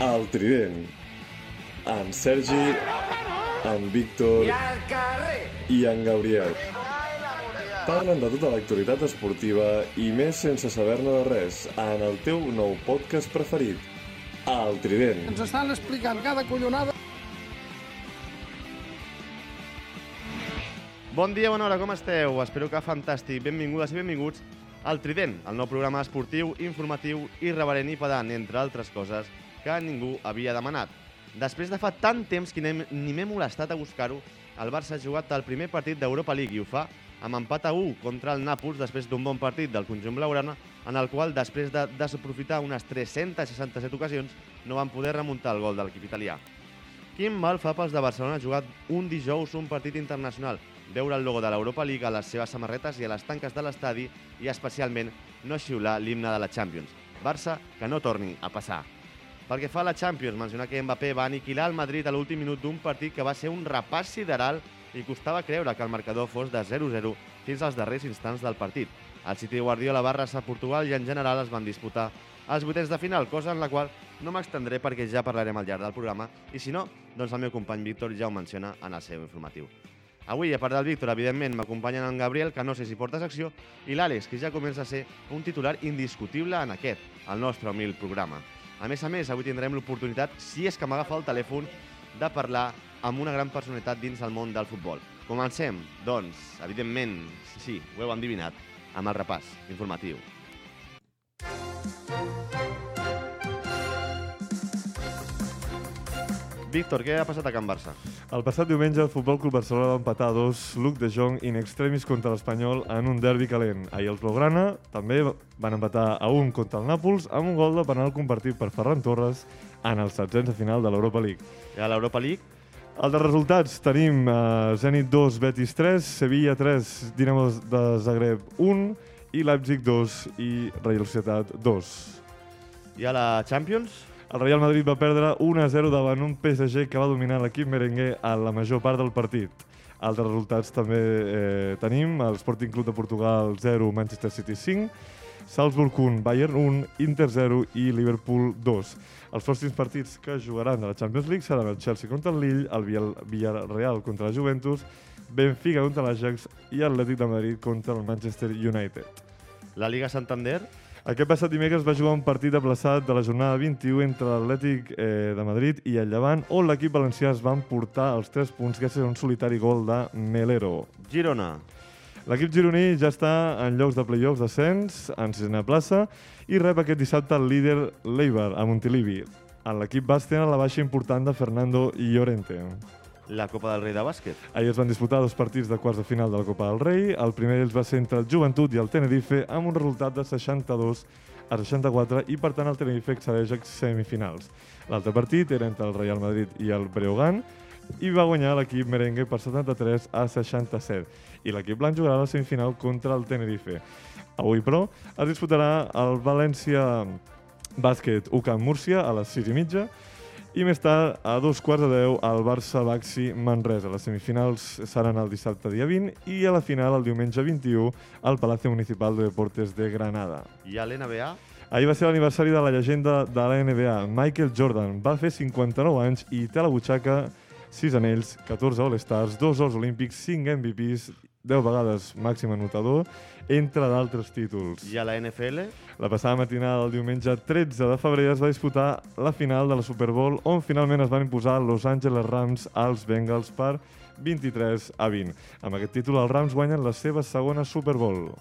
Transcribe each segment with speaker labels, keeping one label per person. Speaker 1: El Trident. En Sergi, en Víctor
Speaker 2: al carrer!
Speaker 1: i en Gabriel. Parlen de tota l'actualitat esportiva i més sense saber-ne de res en el teu nou podcast preferit, El Trident.
Speaker 3: Ens estan explicant cada collonada.
Speaker 4: Bon dia, bona hora, com esteu? Espero que fantàstic. Benvingudes i benvinguts al Trident, el nou programa esportiu, informatiu, irreverent i pedant, entre altres coses, que ningú havia demanat. Després de fa tant temps que anem, ni m'he molestat a buscar-ho, el Barça ha jugat el primer partit d'Europa League i ho fa amb empat a 1 contra el Nàpols després d'un bon partit del conjunt blaugrana en el qual, després de desaprofitar unes 367 ocasions, no van poder remuntar el gol de l'equip italià. Quin mal fa pels de Barcelona jugar un dijous un partit internacional, veure el logo de l'Europa League a les seves samarretes i a les tanques de l'estadi i especialment no xiular l'himne de la Champions. Barça, que no torni a passar. Pel que fa a la Champions, mencionar que Mbappé va aniquilar el Madrid a l'últim minut d'un partit que va ser un repàs sideral i costava creure que el marcador fos de 0-0 fins als darrers instants del partit. El City Guardiola va arrasar Portugal i en general es van disputar els vuitens de final, cosa en la qual no m'extendré perquè ja parlarem al llarg del programa i si no, doncs el meu company Víctor ja ho menciona en el seu informatiu. Avui, a part del Víctor, evidentment, m'acompanyen en Gabriel, que no sé si porta secció, i l'Àlex, que ja comença a ser un titular indiscutible en aquest, el nostre humil programa. A més a més, avui tindrem l'oportunitat, si és que m'agafa el telèfon, de parlar amb una gran personalitat dins el món del futbol. Comencem, doncs, evidentment, sí, ho heu endivinat, amb el repàs informatiu. Víctor, què ha passat a Can Barça?
Speaker 5: El passat diumenge, el Futbol Club Barcelona va empatar a dos Luc de Jong in extremis contra l'Espanyol en un derbi calent. Ahir els Blaugrana també van empatar a un contra el Nàpols amb un gol de penal compartit per Ferran Torres en el setzents de final de l'Europa League.
Speaker 4: I a l'Europa League,
Speaker 5: Altres resultats tenim eh, Zenit 2, Betis 3, Sevilla 3, Dinamo de Zagreb 1 i Leipzig 2 i Real Societat 2.
Speaker 4: i a la Champions,
Speaker 5: El Real Madrid va perdre 1-0 davant un PSG que va dominar l'equip merengue a la major part del partit. Altres resultats també eh, tenim, el Sporting Club de Portugal 0, Manchester City 5, Salzburg 1, Bayern 1, Inter 0 i Liverpool 2. Els pròxims partits que jugaran de la Champions League seran el Chelsea contra el Lille, el Vill- Villarreal contra la Juventus, Benfica contra l'Ajax i Atlètic de Madrid contra el Manchester United.
Speaker 4: la Liga Santander,
Speaker 5: Aquest passat dimecres va jugar un partit aplaçat de la jornada 21 entre l'Atlètic eh, de Madrid i el Llevant, on l'equip valencià es va emportar els 3 punts gràcies a un solitari gol de Melero.
Speaker 4: Girona,
Speaker 5: L'equip gironí ja està en llocs de play-offs d'ascens, en sisena plaça, i rep aquest dissabte el líder l'Eibar, a Montilivi. En l'equip bas tenen la baixa important de Fernando Llorente.
Speaker 4: la Copa del Rei de Bàsquet,
Speaker 5: Ahir es van disputar dos partits de quarts de final de la Copa del Rei. El primer d'ells va ser entre el Joventut i el Tenerife amb un resultat de 62 a 64 i, per tant, el Tenerife accedeix a semifinals. L'altre partit era entre el Real Madrid i el Breogán i va guanyar l'equip merengue per 73 a 67. I l'equip blanc jugarà a la semifinal contra el Tenerife. Avui, però, es disputarà el València Bàsquet UCAM Múrcia a les 6 i mitja i més tard, a dos quarts de deu, el Barça-Baxi Manresa. Les semifinals seran el dissabte dia 20 i a la final, el diumenge 21, al Palacio Municipal de Deportes de Granada.
Speaker 4: i a l'NBA,
Speaker 5: Ahir va ser l'aniversari de la llegenda de la NBA. Michael Jordan va fer 59 anys i té a la butxaca 6 anells, 14 All-Stars, 2 Ors Olímpics, 5 MVPs, 10 vegades màxim anotador, entre d'altres títols.
Speaker 4: i a la NFL,
Speaker 5: La passada matinada del diumenge 13 de febrer es va disputar la final de la Super Bowl on finalment es van imposar Los Angeles Rams als Bengals per 23 a 20. Amb aquest títol els Rams guanyen la seva segona Super Bowl.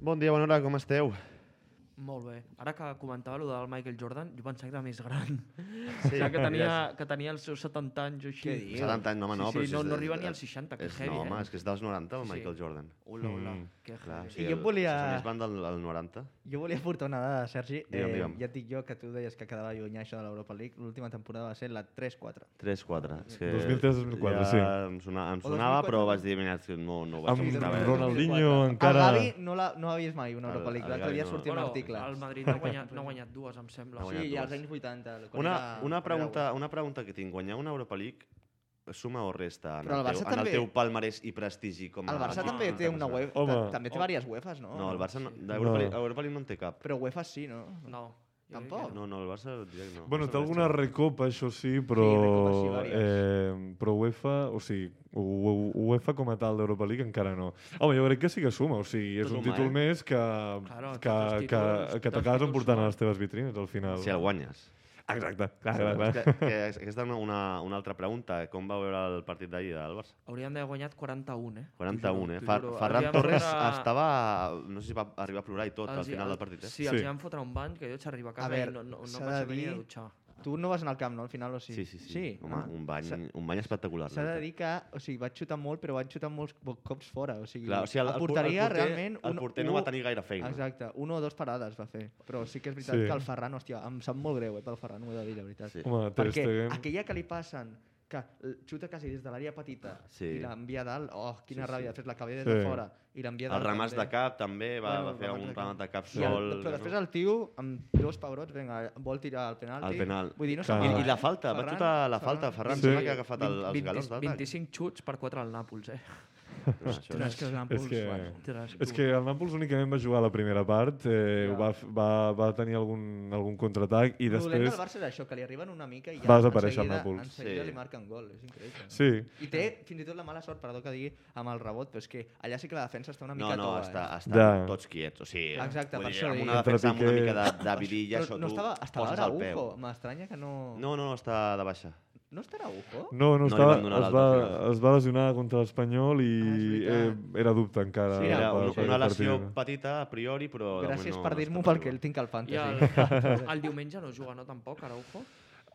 Speaker 4: Bon dia, bona hora, com esteu?
Speaker 6: Molt bé. Ara que comentava allò del Michael Jordan, jo pensava que era més gran.
Speaker 4: Sí,
Speaker 6: Sí, ja que tenia, que tenia els seus 70 anys o així.
Speaker 3: Què dius?
Speaker 4: 70 anys, no, home, no.
Speaker 6: Sí,
Speaker 4: però
Speaker 6: sí,
Speaker 4: si
Speaker 6: no,
Speaker 4: és de-
Speaker 6: no arriba ni als 60, que
Speaker 4: és,
Speaker 6: heavy,
Speaker 4: no, home,
Speaker 6: eh?
Speaker 4: és que és dels 90, el
Speaker 6: Sí.
Speaker 4: Michael Jordan.
Speaker 6: Hola, hola, mm. que
Speaker 4: Clar,
Speaker 6: heavy.
Speaker 3: sí. jo
Speaker 4: el-
Speaker 3: volia-
Speaker 4: Els seus van del, del 90.
Speaker 3: Jo volia portar una dada, Sergi. Eh,
Speaker 4: Digue'm, digue'm.
Speaker 3: Ja et dic jo que tu deies que quedava lluny això de l'Europa League. L'última temporada va ser la 3-4.
Speaker 4: 3-4.
Speaker 5: 2003-2004,
Speaker 4: ja
Speaker 5: sí.
Speaker 4: Em sonava, em sonava però vaig dir, mira, és que no, no ho vaig
Speaker 5: Amb
Speaker 4: buscar, eh?
Speaker 5: Ronaldinho
Speaker 3: Encara...
Speaker 5: encara...
Speaker 3: El Gavi no, la, no ha vist mai una
Speaker 4: El-
Speaker 3: Europa League.
Speaker 4: el
Speaker 3: L'altre
Speaker 4: Gavi
Speaker 3: dia
Speaker 4: no.
Speaker 3: sortia un
Speaker 6: Però
Speaker 3: article.
Speaker 6: el Madrid n'ha guanyat, n'ha guanyat dues, em
Speaker 4: Ha
Speaker 6: sembla.
Speaker 4: guanyat
Speaker 3: Sí, i
Speaker 4: dues.
Speaker 3: als anys 80. quan
Speaker 4: Una,
Speaker 3: era- quan
Speaker 4: una,
Speaker 3: era
Speaker 4: pregunta, una pregunta que tinc. Guanyar una Europa League suma o resta en,
Speaker 3: Però el
Speaker 4: el, teu,
Speaker 3: Barça
Speaker 4: en el
Speaker 3: també-
Speaker 4: teu palmarès i prestigi com a
Speaker 3: El Barça
Speaker 4: equip
Speaker 3: també té una
Speaker 4: internacional?
Speaker 3: UEFA,
Speaker 5: Home.
Speaker 3: ta- també té diverses UEFAs, no?
Speaker 4: No, el Barça no,
Speaker 6: Sí.
Speaker 5: No.
Speaker 4: d'Europa League- Europa League no en té cap.
Speaker 3: Però UEFA sí, no?
Speaker 6: No. jo crec que
Speaker 3: Tampoc.
Speaker 4: No, no, el Barça diré que no.
Speaker 5: Bueno,
Speaker 4: No
Speaker 5: té
Speaker 4: se'n
Speaker 5: alguna
Speaker 4: resta.
Speaker 5: recopa, això sí, però,
Speaker 3: Sí, recopes, sí, vàries.
Speaker 5: eh, però UEFA, o sigui, U- U- UEFA com a tal d'Europa League encara no. Home, jo crec que sí que suma, o sigui, és
Speaker 4: Tot
Speaker 5: un
Speaker 4: suma,
Speaker 5: títol
Speaker 4: eh?
Speaker 5: més que,
Speaker 6: Claro,
Speaker 5: que,
Speaker 6: tots els
Speaker 5: que, que
Speaker 6: títols- tots els
Speaker 5: t'acabes
Speaker 6: títols
Speaker 5: emportant a
Speaker 6: sumen.
Speaker 5: les teves vitrines al final.
Speaker 4: Si el guanyes.
Speaker 5: Exacte, clar, clar, clar.
Speaker 4: És que, que és- aquesta és una, una altra pregunta. Com va veure el partit d'ahir del Barça?
Speaker 6: Haurien d'haver guanyat 41, eh?
Speaker 4: 41, eh?
Speaker 6: T'ho
Speaker 4: Fer
Speaker 6: juro.
Speaker 4: Ferran
Speaker 6: Els hi van
Speaker 4: Torres
Speaker 6: fotre-
Speaker 4: estava... No sé si va arribar a plorar i tot al
Speaker 6: els hi-
Speaker 4: final del
Speaker 6: el-
Speaker 4: partit, eh?
Speaker 6: Sí, els
Speaker 5: Sí.
Speaker 6: sí. van fotre un bany que jo vaig arribar a casa
Speaker 3: veure,
Speaker 6: i no, no, no
Speaker 3: s'ha
Speaker 6: em vaig
Speaker 3: de
Speaker 6: haver ni
Speaker 3: dir-
Speaker 6: de dutxar.
Speaker 3: Tu no vas anar al camp, no, al final, o sí?
Speaker 4: Sí, sí, sí.
Speaker 3: Sí?
Speaker 4: Home,
Speaker 3: Ah.
Speaker 4: un, bany,
Speaker 3: S'ha-
Speaker 4: un bany espectacular.
Speaker 3: S'ha
Speaker 4: la
Speaker 3: de
Speaker 4: veritat.
Speaker 3: dir que, o sigui, vaig xutar molt, però vaig xutar molts bo- cops fora, o sigui,
Speaker 4: Clar, o sigui, el,
Speaker 3: a
Speaker 4: el, por-
Speaker 3: porteria
Speaker 4: el porter,
Speaker 3: realment...
Speaker 4: El
Speaker 3: un-
Speaker 4: porter no va
Speaker 3: un-
Speaker 4: tenir gaire feina.
Speaker 3: Exacte, una o dues parades va fer. Però sí que és veritat
Speaker 5: Sí.
Speaker 3: sí. que el Ferran, hòstia, em sap molt greu, eh, pel Ferran, ho he de dir, la veritat.
Speaker 4: Sí.
Speaker 5: Home, Ter
Speaker 3: Perquè
Speaker 5: Stegen...
Speaker 3: aquella que li passen, que l- xuta quasi des de l'àrea petita
Speaker 4: Sí.
Speaker 3: i l'envia a dalt, oh, quina
Speaker 4: Sí, sí.
Speaker 3: ràbia, després la cabella des
Speaker 5: Sí.
Speaker 3: de fora i l'envia a
Speaker 4: El
Speaker 3: dalt.
Speaker 4: ramàs de
Speaker 3: també.
Speaker 4: cap també va,
Speaker 3: Bueno,
Speaker 4: va
Speaker 3: el
Speaker 4: fer
Speaker 3: ramàs
Speaker 4: un
Speaker 3: de cap.
Speaker 4: ramat de cap
Speaker 3: I el,
Speaker 4: sol.
Speaker 3: però després el tio, amb dos pebrots, vinga, vol tirar el penalti.
Speaker 4: El penal.
Speaker 3: Vull dir, no
Speaker 5: Clar.
Speaker 3: se'n
Speaker 5: I-
Speaker 3: va,
Speaker 4: I, I la
Speaker 3: eh?
Speaker 4: falta, va
Speaker 3: Ferran,
Speaker 4: tota la falta, Ferran,
Speaker 5: Sí.
Speaker 4: sí. sembla que ha agafat el, els
Speaker 6: 20
Speaker 4: galons d'atac.
Speaker 6: 25 xuts per 4 al Nàpols, eh?
Speaker 4: No, això
Speaker 3: Ostres,
Speaker 4: és-
Speaker 3: que el
Speaker 5: És
Speaker 3: Nàpols,
Speaker 5: que-
Speaker 3: bueno.
Speaker 6: Ostres,
Speaker 5: És
Speaker 6: tu.
Speaker 5: que el Nàpols únicament va jugar la primera part, eh,
Speaker 3: Ja.
Speaker 5: va, f- va, va tenir algun, algun contraatac i
Speaker 3: El dolent
Speaker 5: després...
Speaker 3: del Barça és això, que li arriben una mica i ja
Speaker 5: Va desaparèixer el
Speaker 3: en seguida,
Speaker 5: Nàpols.
Speaker 3: En seguida
Speaker 4: Sí.
Speaker 3: li marquen gol, és increïble.
Speaker 5: Sí,
Speaker 3: I té fins i tot la mala sort, perdó que digui, amb el rebot, però és que allà sí que la defensa està una
Speaker 4: No,
Speaker 3: mica
Speaker 4: no,
Speaker 3: tova.
Speaker 4: està,
Speaker 3: eh?
Speaker 4: estan
Speaker 5: Ja.
Speaker 4: tots quiets. O sigui,
Speaker 3: Exacte,
Speaker 4: vull
Speaker 3: per
Speaker 4: dir,
Speaker 3: això
Speaker 4: amb
Speaker 3: dic.
Speaker 4: una defensa amb una
Speaker 5: Entre
Speaker 4: mica de, de
Speaker 3: Però
Speaker 4: virilla, això
Speaker 3: no
Speaker 4: tu
Speaker 3: estava, estava
Speaker 4: poses el peu.
Speaker 3: Araujo, m'estranya que no...
Speaker 4: No, no, està de baixa.
Speaker 3: No està Araujo?
Speaker 5: No, no,
Speaker 4: No li
Speaker 5: estava,
Speaker 4: van donar
Speaker 5: es,
Speaker 4: l'alta
Speaker 5: va,
Speaker 4: final.
Speaker 5: es va lesionar contra l'Espanyol i
Speaker 3: Ah, és
Speaker 5: eh,
Speaker 3: veritat.
Speaker 5: era dubte encara.
Speaker 3: Sí,
Speaker 4: Sí, era
Speaker 5: per-
Speaker 4: una,
Speaker 5: per
Speaker 4: una
Speaker 5: aquest
Speaker 4: lesió
Speaker 5: partit.
Speaker 4: petita a priori, però... de
Speaker 3: Gràcies
Speaker 4: moment
Speaker 3: per
Speaker 4: no
Speaker 3: dir-m'ho
Speaker 4: està
Speaker 3: perquè el tinc al
Speaker 6: I el,
Speaker 3: fantasy.
Speaker 6: el diumenge no juga, no, tampoc, Araujo?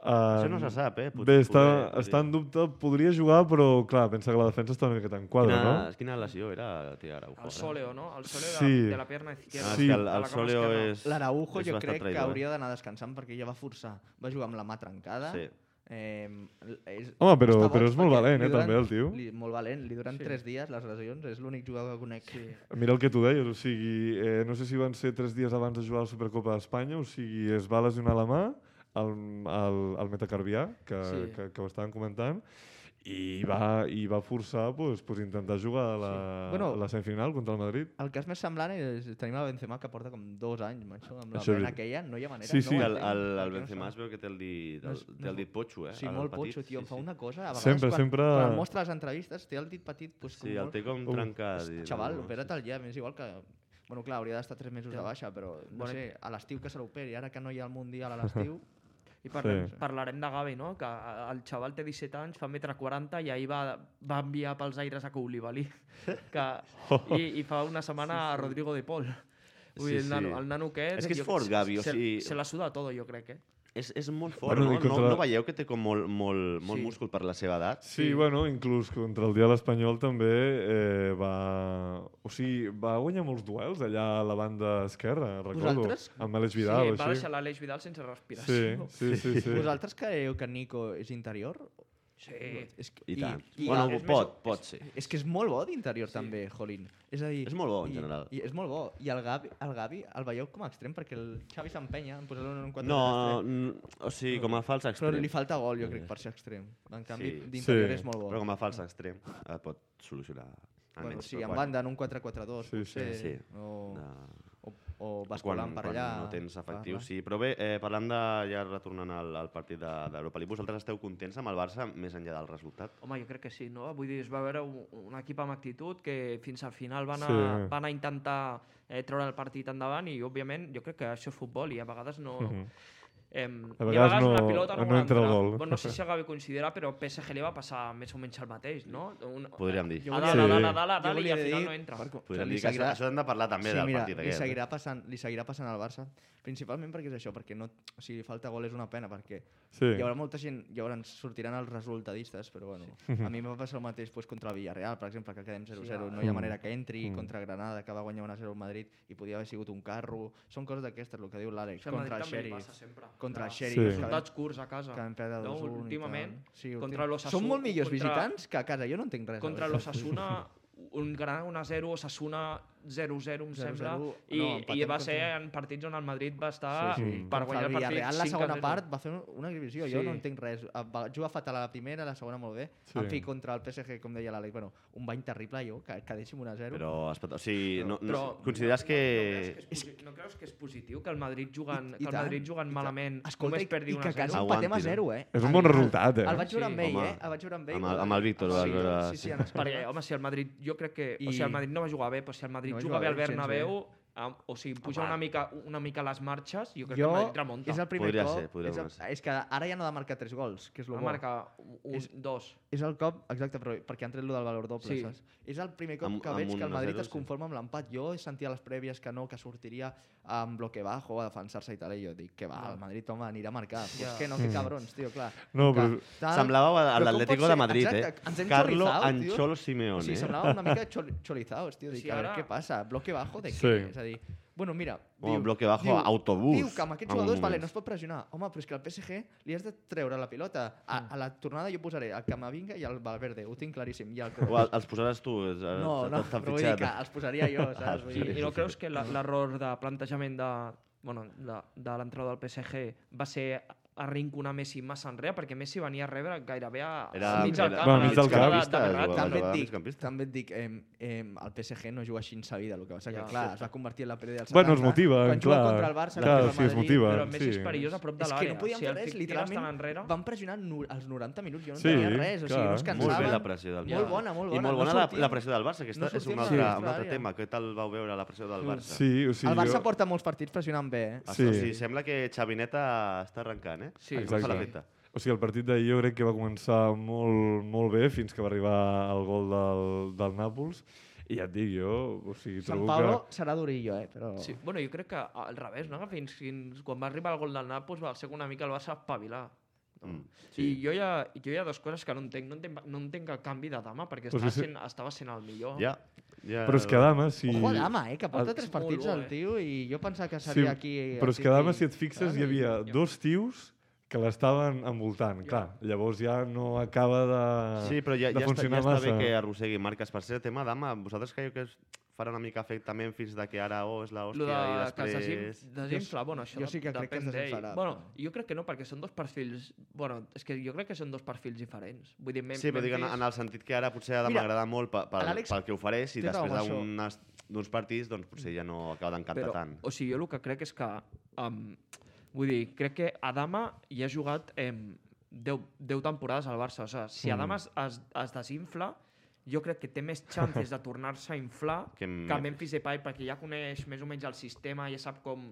Speaker 5: Ah,
Speaker 4: Això no se sap, eh?
Speaker 5: Bé,
Speaker 4: Potser-
Speaker 5: està,
Speaker 4: poder-
Speaker 5: està en dubte, podria jugar, però clar, pensa que la defensa està una miqueta en quadre,
Speaker 4: Quina,
Speaker 5: no?
Speaker 4: quina lesió era, tio, Araujo?
Speaker 6: El Soleo, no? El Soleo de,
Speaker 5: Sí.
Speaker 6: la, de la pierna izquierda.
Speaker 4: Ah,
Speaker 5: Sí.
Speaker 4: sí, el,
Speaker 6: de
Speaker 4: el
Speaker 6: la cama
Speaker 4: Soleo
Speaker 6: esquerra.
Speaker 4: és...
Speaker 3: L'Araujo
Speaker 4: és
Speaker 3: jo
Speaker 4: bastant
Speaker 3: crec que
Speaker 4: traïdor, eh?
Speaker 3: hauria d'anar descansant perquè ja va forçar. Va jugar amb la mà trencada.
Speaker 4: Sí.
Speaker 3: Eh, és,
Speaker 5: Home, però-
Speaker 3: està boig
Speaker 5: però és molt
Speaker 3: perquè
Speaker 5: valent,
Speaker 3: li
Speaker 5: eh, també, el tio.
Speaker 3: Li, molt valent, li duran
Speaker 6: Sí.
Speaker 3: 3 dies les lesions, és l'únic jugador que conec.
Speaker 6: Sí.
Speaker 5: Mira el que tu deies, o sigui, eh, no sé si van ser tres dies abans de jugar a la Supercopa d'Espanya, o sigui, es va lesionar la mà al, al, al metacarbià, que, sí.
Speaker 6: Sí.
Speaker 5: que, que ho estàvem comentant, i va, i va forçar pues, pues, intentar jugar a la, sí.
Speaker 3: Sí. Bueno,
Speaker 5: la semifinal contra el Madrid.
Speaker 3: El cas més semblant és tenim el Benzema que porta com dos anys, macho, amb la
Speaker 5: Això és
Speaker 3: vena
Speaker 5: veritat.
Speaker 3: aquella, no hi ha manera.
Speaker 5: Sí, sí.
Speaker 4: Sí,
Speaker 3: no ho
Speaker 4: el,
Speaker 3: entenc,
Speaker 4: el, el
Speaker 3: perquè no
Speaker 4: Benzema
Speaker 3: sap.
Speaker 4: es veu que té el dit,
Speaker 3: No
Speaker 4: el,
Speaker 3: és-
Speaker 4: té el dit potxo, eh?
Speaker 3: Sí,
Speaker 4: el
Speaker 3: molt
Speaker 4: petit,
Speaker 3: potxo, tio, em fa una cosa... A vegades,
Speaker 5: Sempre,
Speaker 3: quan,
Speaker 5: sempre-
Speaker 3: Quan el mostra les entrevistes, té el dit petit, doncs,
Speaker 4: Sí, el té com
Speaker 5: Uh.
Speaker 4: trencat. i-
Speaker 3: Xaval,
Speaker 4: no,
Speaker 3: opera't ja, és igual que... Bueno, clar, hauria d'estar 3 mesos de baixa, però no
Speaker 6: Bona-
Speaker 3: sé, a l'estiu que se l'operi, ara que no hi ha el Mundial a l'estiu...
Speaker 6: I parlem,
Speaker 5: Sí.
Speaker 6: sí. parlarem de Gavi, no? Que eh, el xaval té 17 anys, fa 1,40 m i ahir va, va enviar pels aires a Koulibaly. Que, i, I fa una setmana a Rodrigo de Pol. Vull dir,
Speaker 4: Oh. Sí,
Speaker 6: el, nano,
Speaker 4: sí.
Speaker 6: el nano aquest...
Speaker 4: És que és
Speaker 6: jo-
Speaker 4: fort,
Speaker 6: se-
Speaker 4: Gavi, o
Speaker 6: se-
Speaker 4: sigui-
Speaker 6: Se la suda todo, jo crec, eh?
Speaker 4: És, és molt fort,
Speaker 5: Bueno,
Speaker 4: bueno,
Speaker 5: i
Speaker 4: no?
Speaker 5: contra-
Speaker 4: No, no veieu que té com molt, molt, molt
Speaker 6: Sí.
Speaker 4: múscul per la seva edat?
Speaker 5: Sí, sí, bueno, inclús contra el dia de l'Espanyol també eh, va... O sigui, va guanyar molts duels allà a la banda esquerra, recordo.
Speaker 3: Vosaltres?
Speaker 5: Amb Aleix
Speaker 6: Sí,
Speaker 5: Vidal,
Speaker 6: va
Speaker 5: així.
Speaker 6: deixar l'Aleix Vidal sense
Speaker 5: Sí,
Speaker 6: respiració.
Speaker 5: sí, sí. sí.
Speaker 3: Vosaltres creieu que Nico és interior?
Speaker 6: Sí.
Speaker 3: És que,
Speaker 4: I tant. I,
Speaker 3: i-
Speaker 4: bueno,
Speaker 3: és
Speaker 4: pot,
Speaker 3: més-
Speaker 4: pot, pot ser.
Speaker 3: És que és molt bo d'interior sí. també, Jolín. És a dir,
Speaker 4: És molt bo, en
Speaker 3: i,
Speaker 4: general.
Speaker 3: I és molt bo. I el Gavi, el Gavi el veieu com a extrem perquè el Xavi s'empenya en posar-lo en un 4
Speaker 4: No, n- o sigui, com a fals
Speaker 3: eh? però
Speaker 4: extrem.
Speaker 3: li falta gol, jo crec, per ser extrem. En canvi,
Speaker 4: Sí.
Speaker 3: d'interior
Speaker 5: Sí.
Speaker 3: és molt bo.
Speaker 4: Però com a fals extrem eh, pot solucionar
Speaker 3: bueno,
Speaker 4: almenys.
Speaker 3: sí,
Speaker 4: però
Speaker 3: en banda, en un 4-4-2,
Speaker 5: Sí,
Speaker 3: sí,
Speaker 5: sí.
Speaker 3: potser, sí,
Speaker 4: Sí.
Speaker 3: o,
Speaker 4: de-
Speaker 3: o, o basculant per allà.
Speaker 4: Quan no tens efectius,
Speaker 3: parla.
Speaker 4: sí. Però bé, eh, parlant de, ja retornant al, al partit de- d'Europa de, League, vosaltres esteu contents amb el Barça més enllà del resultat?
Speaker 6: Home, jo crec que sí, no? Vull dir, es va veure un, un equip amb actitud que fins al final van a,
Speaker 5: Sí.
Speaker 6: sí. van a intentar eh, treure el partit endavant i, òbviament, jo crec que això és futbol i a vegades no... Em,
Speaker 5: Mhm. A
Speaker 6: i
Speaker 5: vegades
Speaker 6: la
Speaker 5: no-
Speaker 6: pilota
Speaker 5: no
Speaker 6: vol
Speaker 5: entra el
Speaker 6: entrar.
Speaker 5: gol.
Speaker 6: Bueno, no sé si el Gavi considera, però el PSG li va passar més o menys el mateix, no? Un,
Speaker 4: Podríem dir.
Speaker 6: a
Speaker 3: volia-
Speaker 6: dalt, a dalt, a
Speaker 5: Ah, Sí.
Speaker 6: dalt, a dalt
Speaker 3: Jo
Speaker 6: i
Speaker 3: volia
Speaker 6: al final
Speaker 3: dir-
Speaker 6: no entra.
Speaker 3: per-
Speaker 4: Podríem
Speaker 3: li
Speaker 4: dir Pues que això,
Speaker 3: seguirà-
Speaker 4: això hem de parlar també
Speaker 3: sí,
Speaker 4: del
Speaker 3: mira,
Speaker 4: partit
Speaker 3: li
Speaker 4: aquest.
Speaker 3: seguirà, passant, li seguirà passant al Barça, principalment perquè és això, perquè no, o sigui, falta gol és una pena, perquè
Speaker 5: Sí.
Speaker 3: hi haurà molta gent, hi haurà, ens sortiran els resultadistes, però bueno, a mi em va passar el mateix doncs, contra el Villarreal, per exemple, que quedem 0-0, no hi ha manera que entri,
Speaker 4: Mm.
Speaker 3: contra Granada, que va guanyar 1-0 al Madrid i podia haver sigut un carro, són coses d'aquestes, el que diu l'Àlex,
Speaker 6: Això al
Speaker 3: contra el
Speaker 6: Madrid també li
Speaker 3: Sheriff,
Speaker 6: passa sempre.
Speaker 3: contra el
Speaker 6: Clar.
Speaker 5: Sí.
Speaker 3: Sheriff, que vam-
Speaker 6: Resultats curts a casa.
Speaker 3: que han perdut
Speaker 6: no,
Speaker 3: 2-1 i
Speaker 6: últimament,
Speaker 3: tal. Sí,
Speaker 6: contra
Speaker 3: últim-
Speaker 6: l'Osasuna...
Speaker 3: Són molt
Speaker 6: contra-
Speaker 3: millors visitants que a casa, jo no entenc res.
Speaker 6: Contra
Speaker 3: l'Osasuna.
Speaker 6: l'Osasuna, un gran 1-0, Osasuna 0-0, em
Speaker 3: 0-0,
Speaker 6: sembla,
Speaker 3: no,
Speaker 6: i,
Speaker 3: empatem
Speaker 6: i va
Speaker 3: contra-
Speaker 6: ser en partits on el Madrid va estar
Speaker 5: Sí, sí.
Speaker 6: per
Speaker 3: Contra
Speaker 6: guanyar
Speaker 3: el
Speaker 6: el partit.
Speaker 3: Villarreal,
Speaker 6: 5
Speaker 3: la
Speaker 6: a
Speaker 3: segona
Speaker 6: 0.
Speaker 3: part va fer una divisió,
Speaker 6: Sí.
Speaker 3: jo no entenc res. Eh, Va jugar fatal a la primera, a la segona molt bé.
Speaker 5: Sí.
Speaker 3: En fi, contra el PSG, com deia l'Àlex, bueno, un bany terrible, jo, que quedéssim 1 a 0.
Speaker 4: Però, espera, o sigui, no, no,
Speaker 6: Però-
Speaker 4: consideres que...
Speaker 6: No creus, que és posi- no creus que és positiu que el Madrid jugant,
Speaker 3: I
Speaker 6: que el
Speaker 3: tant,
Speaker 6: Madrid jugant malament
Speaker 3: Escolta,
Speaker 6: només
Speaker 3: i,
Speaker 6: perdi
Speaker 3: i
Speaker 6: una
Speaker 3: que a casa
Speaker 4: zero.
Speaker 3: empatem a
Speaker 4: Aguanti,
Speaker 3: 0, eh?
Speaker 5: És un bon
Speaker 3: Al-
Speaker 5: resultat, eh?
Speaker 3: El vaig jugar
Speaker 6: Sí.
Speaker 3: amb ell,
Speaker 4: Home,
Speaker 3: eh? El vaig jugar amb ell.
Speaker 4: amb el- amb el Víctor,
Speaker 3: Sí,
Speaker 4: vas veure- sí.
Speaker 3: Sí, sí, en
Speaker 6: Perquè,
Speaker 3: escolta.
Speaker 6: home, si el Madrid, jo crec que... I... O
Speaker 3: I-
Speaker 6: sigui, el Madrid no va jugar bé, però si el Madrid
Speaker 3: No va
Speaker 6: juga
Speaker 3: jugar
Speaker 6: bé al
Speaker 3: bé, gens
Speaker 6: Bernabéu, am- o sigui, puja
Speaker 4: Home.
Speaker 6: una mica, una mica les marxes, jo crec que
Speaker 3: Jo,
Speaker 6: el Madrid remunta.
Speaker 3: és el primer
Speaker 4: Podria
Speaker 3: cop...
Speaker 4: ser, podria
Speaker 3: és,
Speaker 4: ser.
Speaker 3: el, és que ara ja no ha de marcar 3 gols, que és lo
Speaker 6: Va
Speaker 3: bo.
Speaker 6: marcar un,
Speaker 3: És-
Speaker 6: dos.
Speaker 3: És el cop, exacte, però perquè han tret lo del valor doble,
Speaker 6: Sí.
Speaker 3: sí. saps? És el primer cop
Speaker 4: Amb-
Speaker 3: que
Speaker 4: amb
Speaker 3: veig
Speaker 4: un
Speaker 3: que el Madrid
Speaker 4: 1-0,
Speaker 3: es
Speaker 4: sí.
Speaker 3: conforma amb l'empat. Jo sentia a les prèvies que no, que sortiria amb bloque bajo a defensar-se i tal, i jo dic, que va,
Speaker 6: Ja.
Speaker 3: el Madrid, home, anirà a marcar. Ja.
Speaker 6: Ja.
Speaker 3: És que no, que cabrons, tio, clar.
Speaker 5: No,
Speaker 3: Que
Speaker 5: però-
Speaker 3: tal-
Speaker 4: Mm. Semblava a- a
Speaker 3: Però com
Speaker 4: l'Atlético
Speaker 3: pot
Speaker 4: de
Speaker 3: ser?
Speaker 4: Madrid,
Speaker 3: Exacte, ens
Speaker 4: eh?
Speaker 3: hem
Speaker 4: Carlo
Speaker 3: xorrizao, tio.
Speaker 4: Ancholo
Speaker 3: O
Speaker 4: Simeone.
Speaker 3: sigui,
Speaker 4: eh?
Speaker 3: semblava una mica chol chorizaos, tio.
Speaker 6: Sí,
Speaker 3: Dic, a veure
Speaker 6: ara-
Speaker 3: què passa, bloque bajo de què?
Speaker 5: Sí.
Speaker 3: És a dir, bueno, mira...
Speaker 4: Home, eh. bloque bajo, autobús,
Speaker 3: Diu que amb
Speaker 4: en
Speaker 3: aquests
Speaker 4: un
Speaker 3: jugadors, vale,
Speaker 4: moment.
Speaker 3: no es pot pressionar. Home, però és que al PSG li has de treure la pilota. A,
Speaker 6: Mm.
Speaker 3: a la tornada jo posaré el Camavinga i el Valverde, ho tinc claríssim. I el...
Speaker 4: O el- els posaràs tu, eh,
Speaker 3: No, no,
Speaker 4: t'han
Speaker 3: però vull dir
Speaker 4: fitxat.
Speaker 3: que els posaria jo,
Speaker 4: Ah,
Speaker 3: saps? Vull
Speaker 6: I,
Speaker 4: sí.
Speaker 3: dir,
Speaker 6: i no creus que la- l'error de plantejament de, bueno, de, de l'entrada del PSG va ser arrinconar Messi massa enrere, perquè Messi venia a rebre gairebé a,
Speaker 4: Era-
Speaker 6: a mig del
Speaker 4: era-
Speaker 6: camp.
Speaker 5: Va,
Speaker 6: a
Speaker 5: mig del camp.
Speaker 6: de- de Verratti.
Speaker 4: Jugava- jugava
Speaker 3: també et dic,
Speaker 4: migcampista.
Speaker 3: també et dic em, em, el PSG no juga així en sa vida, el que passa que,
Speaker 6: Ja.
Speaker 3: clar, es va convertir en la PD del 70.
Speaker 5: Bueno, es motiven,
Speaker 3: Quan juga
Speaker 5: clar.
Speaker 3: contra el Barça,
Speaker 5: Clar,
Speaker 3: contra el
Speaker 5: sí, es
Speaker 3: Madrid,
Speaker 5: motiven.
Speaker 6: Però Messi
Speaker 5: sí.
Speaker 6: és perillós a prop de
Speaker 3: És
Speaker 6: l'àrea.
Speaker 3: que no podíem
Speaker 6: si
Speaker 3: fer
Speaker 6: el
Speaker 3: res,
Speaker 6: tires
Speaker 3: literalment
Speaker 6: tan enrere...
Speaker 3: van pressionar nu- els 90 minuts, jo no
Speaker 5: Sí,
Speaker 3: entenia res, o sigui,
Speaker 5: clar.
Speaker 3: no es
Speaker 5: Molt
Speaker 3: cansaven.
Speaker 4: Molt bé la pressió del Barça.
Speaker 3: Molt bona, molt
Speaker 4: I
Speaker 3: bona,
Speaker 4: molt
Speaker 3: no
Speaker 4: bona la,
Speaker 3: sortien.
Speaker 4: la pressió del Barça, que
Speaker 3: No
Speaker 4: esta, és un
Speaker 3: sortien
Speaker 4: altre,
Speaker 3: de la
Speaker 4: un altre
Speaker 3: àrea.
Speaker 4: tema. Què tal vau veure la pressió del Barça?
Speaker 5: Sí, o sigui,
Speaker 3: El Barça
Speaker 5: jo-
Speaker 3: porta molts partits pressionant bé, eh?
Speaker 4: Sí.
Speaker 5: Sí.
Speaker 4: O sigui, sembla que Xavineta està arrencant, eh?
Speaker 6: Sí,
Speaker 4: Em Fa
Speaker 5: Exacte.
Speaker 4: l'efecte.
Speaker 5: O sigui, el partit d'ahir jo crec que va començar molt, molt bé fins que va arribar el gol del, del Nàpols. I ja et dic, jo... O sigui,
Speaker 3: Sant
Speaker 5: trobo
Speaker 3: Paulo serà durillo, eh? Però...
Speaker 6: Sí, bueno, jo crec que al revés, no? Fins, fins quan va arribar el gol del Nàpols va ser que una mica el Barça espavilar. No?
Speaker 4: Mm,
Speaker 6: sí. I jo hi, ha, jo hi ha dues coses que no entenc. No entenc, no entenc el canvi de dama, perquè
Speaker 5: Però
Speaker 6: estava,
Speaker 5: si-
Speaker 6: sent, estava sent el millor.
Speaker 4: Ja. ja.
Speaker 5: que... Però és que Dama, si...
Speaker 3: Ojo a Dama, eh? Que porta
Speaker 5: El-
Speaker 3: tres
Speaker 6: Molt
Speaker 3: partits
Speaker 6: bo,
Speaker 3: al
Speaker 6: eh?
Speaker 3: tio i jo pensava que
Speaker 5: Ah, Sí,
Speaker 3: seria aquí... Ah. el
Speaker 5: però és que
Speaker 3: titular.
Speaker 5: Dama, si et fixes, hi havia dos tios que l'estaven envoltant,
Speaker 6: Ja.
Speaker 5: clar. Llavors ja no acaba de,
Speaker 4: Sí, però ja,
Speaker 5: de
Speaker 4: ja, està, ja
Speaker 5: funcionar
Speaker 4: està bé
Speaker 5: massa.
Speaker 4: que arrossegui marques. Per ser tema, dama, vosaltres creieu que es farà una mica efecte Memphis de que ara oh, és la
Speaker 6: Lo
Speaker 4: hòstia
Speaker 6: de
Speaker 4: i
Speaker 6: que es
Speaker 4: després...
Speaker 6: desin- desinfla, bueno, això
Speaker 3: jo sí que
Speaker 6: depèn
Speaker 3: crec que es
Speaker 6: d'ell.
Speaker 3: desinflarà,
Speaker 6: Bueno,
Speaker 3: però-
Speaker 6: jo crec que no, perquè són dos perfils... Bueno, és que jo crec que són dos perfils diferents. Vull dir, Mem
Speaker 4: Sí, però dic en,
Speaker 6: Memphis-
Speaker 4: en el sentit que ara potser Adam
Speaker 3: Mira,
Speaker 4: m'agrada molt pe- pel,
Speaker 3: l'Àlex
Speaker 4: pel que ofereix i
Speaker 3: té raó
Speaker 4: després
Speaker 3: amb això.
Speaker 4: d'unes- d'uns partits doncs potser ja no acaba d'encantar tant.
Speaker 6: O sigui, jo el que crec és que... Um, vull dir, crec que Adama hi ha jugat um, 10, 10 temporades al Barça. O sigui,
Speaker 4: Mm.
Speaker 6: si Adama es, es, es desinfla, jo crec que té més chances de tornar-se a inflar
Speaker 4: Que
Speaker 6: que,
Speaker 4: en
Speaker 6: que
Speaker 4: Memphis.
Speaker 6: Memphis Depay, perquè ja coneix més o menys el sistema, ja sap com...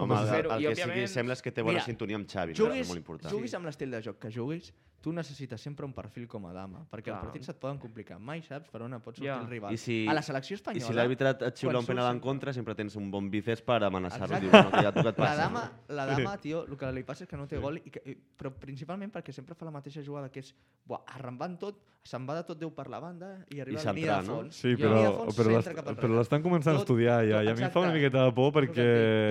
Speaker 4: Home, el, el,
Speaker 6: zero, i
Speaker 4: que sí
Speaker 6: òbviament-
Speaker 4: que sembla és que té bona
Speaker 3: Mira,
Speaker 4: sintonia amb Xavi, no?
Speaker 3: Juguis,
Speaker 4: és molt important.
Speaker 3: juguis amb l'estil de joc que juguis, tu necessites sempre un perfil com a dama, perquè
Speaker 6: Clar.
Speaker 3: els partits et poden complicar. Mai saps per on et pot sortir
Speaker 6: Ja.
Speaker 3: el rival.
Speaker 4: I si-
Speaker 3: a la selecció espanyola...
Speaker 4: I si l'àrbitre et- et xiula
Speaker 3: eh? quan
Speaker 4: un penal en
Speaker 3: surts-
Speaker 4: contra, sempre tens un bon bíceps per amenaçar-lo.
Speaker 3: Exacte.
Speaker 4: Diu, no, que ja tu què et
Speaker 3: La
Speaker 4: passa?
Speaker 3: dama, la dama, tio, el que li passa és que no té gol, i que, i- però principalment perquè sempre fa la mateixa jugada, que és buah, arrambant tot, se'n va de tot Déu per la banda i arriba
Speaker 4: I
Speaker 3: a la línia
Speaker 4: centrar,
Speaker 3: de
Speaker 4: no?
Speaker 3: fons.
Speaker 5: Sí,
Speaker 3: I la
Speaker 5: però,
Speaker 3: línia de fons
Speaker 5: però,
Speaker 3: s'entra
Speaker 5: l'est-
Speaker 3: cap enrere.
Speaker 5: però l'estan començant a
Speaker 3: Tot-
Speaker 5: estudiar ja,
Speaker 3: tot-
Speaker 5: i a mi em fa una
Speaker 3: exacte.
Speaker 5: miqueta de por perquè...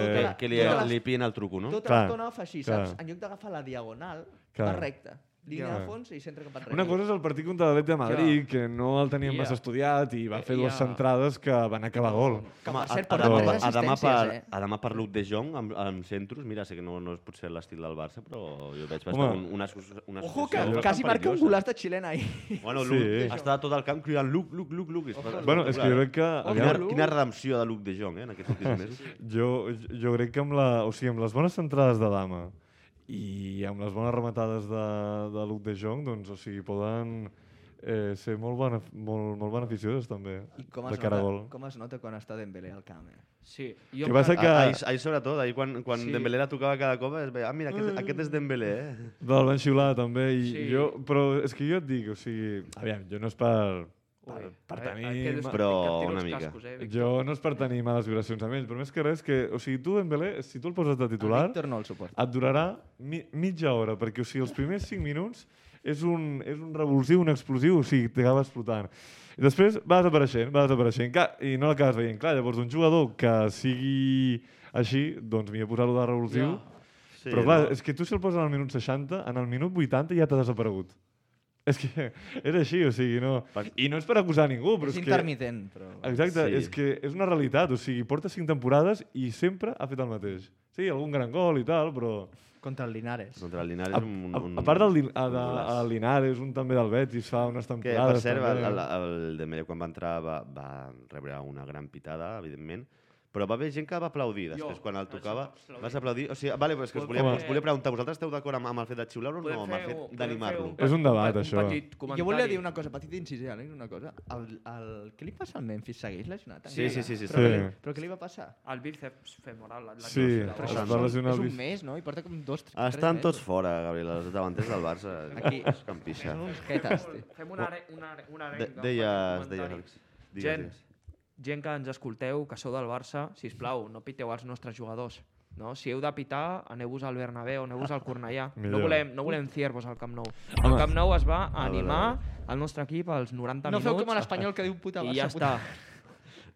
Speaker 3: Tot
Speaker 4: Que,
Speaker 3: la-
Speaker 4: que li,
Speaker 3: tota la-
Speaker 4: li pillin el truco, no?
Speaker 3: Tota
Speaker 5: Clar.
Speaker 3: l'estona fa així,
Speaker 5: Clar.
Speaker 3: saps? En lloc d'agafar la diagonal,
Speaker 5: Clar.
Speaker 3: va recta. Línia
Speaker 5: Clar.
Speaker 3: de fons i centra cap enrere.
Speaker 5: Una cosa és el partit contra l'Atlètic de Madrid, que no el teníem
Speaker 6: Ja.
Speaker 5: massa estudiat i va fer
Speaker 6: Ja.
Speaker 5: dues centrades que van acabar gol.
Speaker 3: Que,
Speaker 4: Home,
Speaker 3: per cert,
Speaker 4: a- a
Speaker 3: porta
Speaker 4: demà-
Speaker 3: tres
Speaker 4: a demà per,
Speaker 3: assistències, eh?
Speaker 4: a demà per Luc de Jong, amb, amb centros, mira, sé que no, no és potser l'estil del Barça, però jo veig bastant
Speaker 5: Home.
Speaker 4: un, una, asso- una
Speaker 3: Ojo, que
Speaker 4: associació
Speaker 3: quasi
Speaker 4: bastant
Speaker 3: marca un
Speaker 4: perillosa.
Speaker 3: golaç de xilena ahir.
Speaker 4: Bueno,
Speaker 5: Sí.
Speaker 4: Luc sí. està a tot el camp cridant Luc, Luc, Luc, Luc. És bastant
Speaker 5: Bueno, és que jo crec que...
Speaker 4: Quina,
Speaker 5: Aviam,
Speaker 4: quina redempció de Luc de Jong, eh, en aquests últims mesos.
Speaker 5: Jo, jo crec que amb, la, o sigui, amb les bones centrades de dama i amb les bones rematades de, de Luc de Jong, doncs, o sigui, poden eh, ser molt, benef molt, molt beneficioses també,
Speaker 3: I com
Speaker 5: de
Speaker 3: es,
Speaker 5: cara
Speaker 3: nota,
Speaker 5: a gol.
Speaker 3: com es nota quan està Dembélé al camp, eh?
Speaker 6: Sí,
Speaker 5: Que va ser
Speaker 4: Ah,
Speaker 5: que
Speaker 4: Ahir, ahir sobretot, ahir quan, quan
Speaker 6: Sí.
Speaker 4: sí. Dembélé la tocava cada cop, es veia, ah, mira, aquest, aquest és Dembélé, eh?
Speaker 5: del van xiular també, i
Speaker 6: Sí.
Speaker 5: jo, però és que jo et dic, o sigui, aviam, jo no és per... per,
Speaker 6: Eh,
Speaker 5: per tenir... ma-
Speaker 4: Però una mica.
Speaker 5: Jo no és per tenir males vibracions amb ells, però més que res que, o sigui, tu Dembélé, si tu el poses de titular, Ah,
Speaker 3: El Víctor no el suporta.
Speaker 5: et durarà mi mitja hora, perquè o sigui, els primers 5 minuts és un, és un revulsiu, un explosiu, o sigui, t'acaba explotant. I després va desapareixent, va desapareixent, clar, i no l'acabes veient. Clar, llavors un jugador que sigui així, doncs m'hi he posat de revulsiu,
Speaker 6: Ja.
Speaker 5: però clar, és que tu si el poses al minut 60, en el minut 80 ja t'ha desaparegut. És que era així, o sigui, no... I no és per acusar ningú, però
Speaker 3: És
Speaker 5: és, que...
Speaker 3: intermitent, però...
Speaker 5: Exacte,
Speaker 4: Sí.
Speaker 5: sí. és que és una realitat, o sigui, porta cinc temporades i sempre ha fet el mateix. Sí, algun gran gol i tal, però...
Speaker 3: Contra el Linares.
Speaker 4: Contra el Linares...
Speaker 5: A,
Speaker 4: un,
Speaker 5: a,
Speaker 4: un,
Speaker 5: a part del Lin- a,
Speaker 4: un
Speaker 5: de,
Speaker 4: golaç.
Speaker 5: a Linares, un també del Betis fa unes
Speaker 4: Que,
Speaker 5: temporades...
Speaker 4: per cert, el,
Speaker 5: també.
Speaker 4: el, el de Melle, quan va entrar, va, va rebre una gran pitada, evidentment, però va haver gent que va aplaudir després,
Speaker 6: Jo,
Speaker 4: quan el
Speaker 6: vaig
Speaker 4: tocava.
Speaker 6: aplaudir.
Speaker 4: Vas aplaudir? O sigui, vale, però és que us volia,
Speaker 5: Home.
Speaker 4: us volia preguntar, vosaltres esteu d'acord amb, amb el fet de xiular-lo o no, amb el
Speaker 6: fer un-
Speaker 4: fet
Speaker 6: podem fer
Speaker 4: d'animar-lo?
Speaker 5: És un debat,
Speaker 6: pe-
Speaker 5: això.
Speaker 6: petit
Speaker 3: Jo volia
Speaker 6: comentari.
Speaker 3: dir una cosa, petit incís, eh, Àlex, una cosa. El, el... Què li passa al Memphis? Segueix lesionat?
Speaker 4: Sí, sí, sí, sí,
Speaker 3: Però,
Speaker 5: sí.
Speaker 3: què li- però què li va passar?
Speaker 6: El bíceps femoral. la- la-
Speaker 5: Sí, Però
Speaker 6: la-
Speaker 3: Però
Speaker 5: es
Speaker 3: això
Speaker 5: va
Speaker 3: són-
Speaker 5: lesionar
Speaker 3: és
Speaker 5: el Ah,
Speaker 3: un
Speaker 5: bíceps.
Speaker 3: mes, no? I porta com dos, tres,
Speaker 4: Estan
Speaker 3: tres
Speaker 4: tots
Speaker 3: mesos.
Speaker 4: fora, Gabriel, els davanters del Barça.
Speaker 3: Aquí.
Speaker 4: Els campixa.
Speaker 3: Són uns jetes, tio.
Speaker 6: Fem una, are, una, are, una
Speaker 4: De,
Speaker 6: arenga, un
Speaker 4: deies,
Speaker 6: petit
Speaker 4: deies,
Speaker 6: comentari.
Speaker 4: Àlex. Digues,
Speaker 6: Gent,
Speaker 4: digues.
Speaker 6: gent que ens escolteu, que sou del Barça, si plau, no piteu als nostres jugadors. No? Si heu de pitar, aneu-vos al Bernabéu, aneu-vos al Cornellà. No
Speaker 5: Millor.
Speaker 6: volem, no volem ciervos al Camp Nou. Al
Speaker 5: Home.
Speaker 6: Camp Nou es va a
Speaker 4: vale,
Speaker 6: animar el nostre equip als 90
Speaker 3: No
Speaker 6: minuts.
Speaker 3: feu com a l'Espanyol que diu puta Barça.
Speaker 6: I ja
Speaker 3: puta.
Speaker 6: està.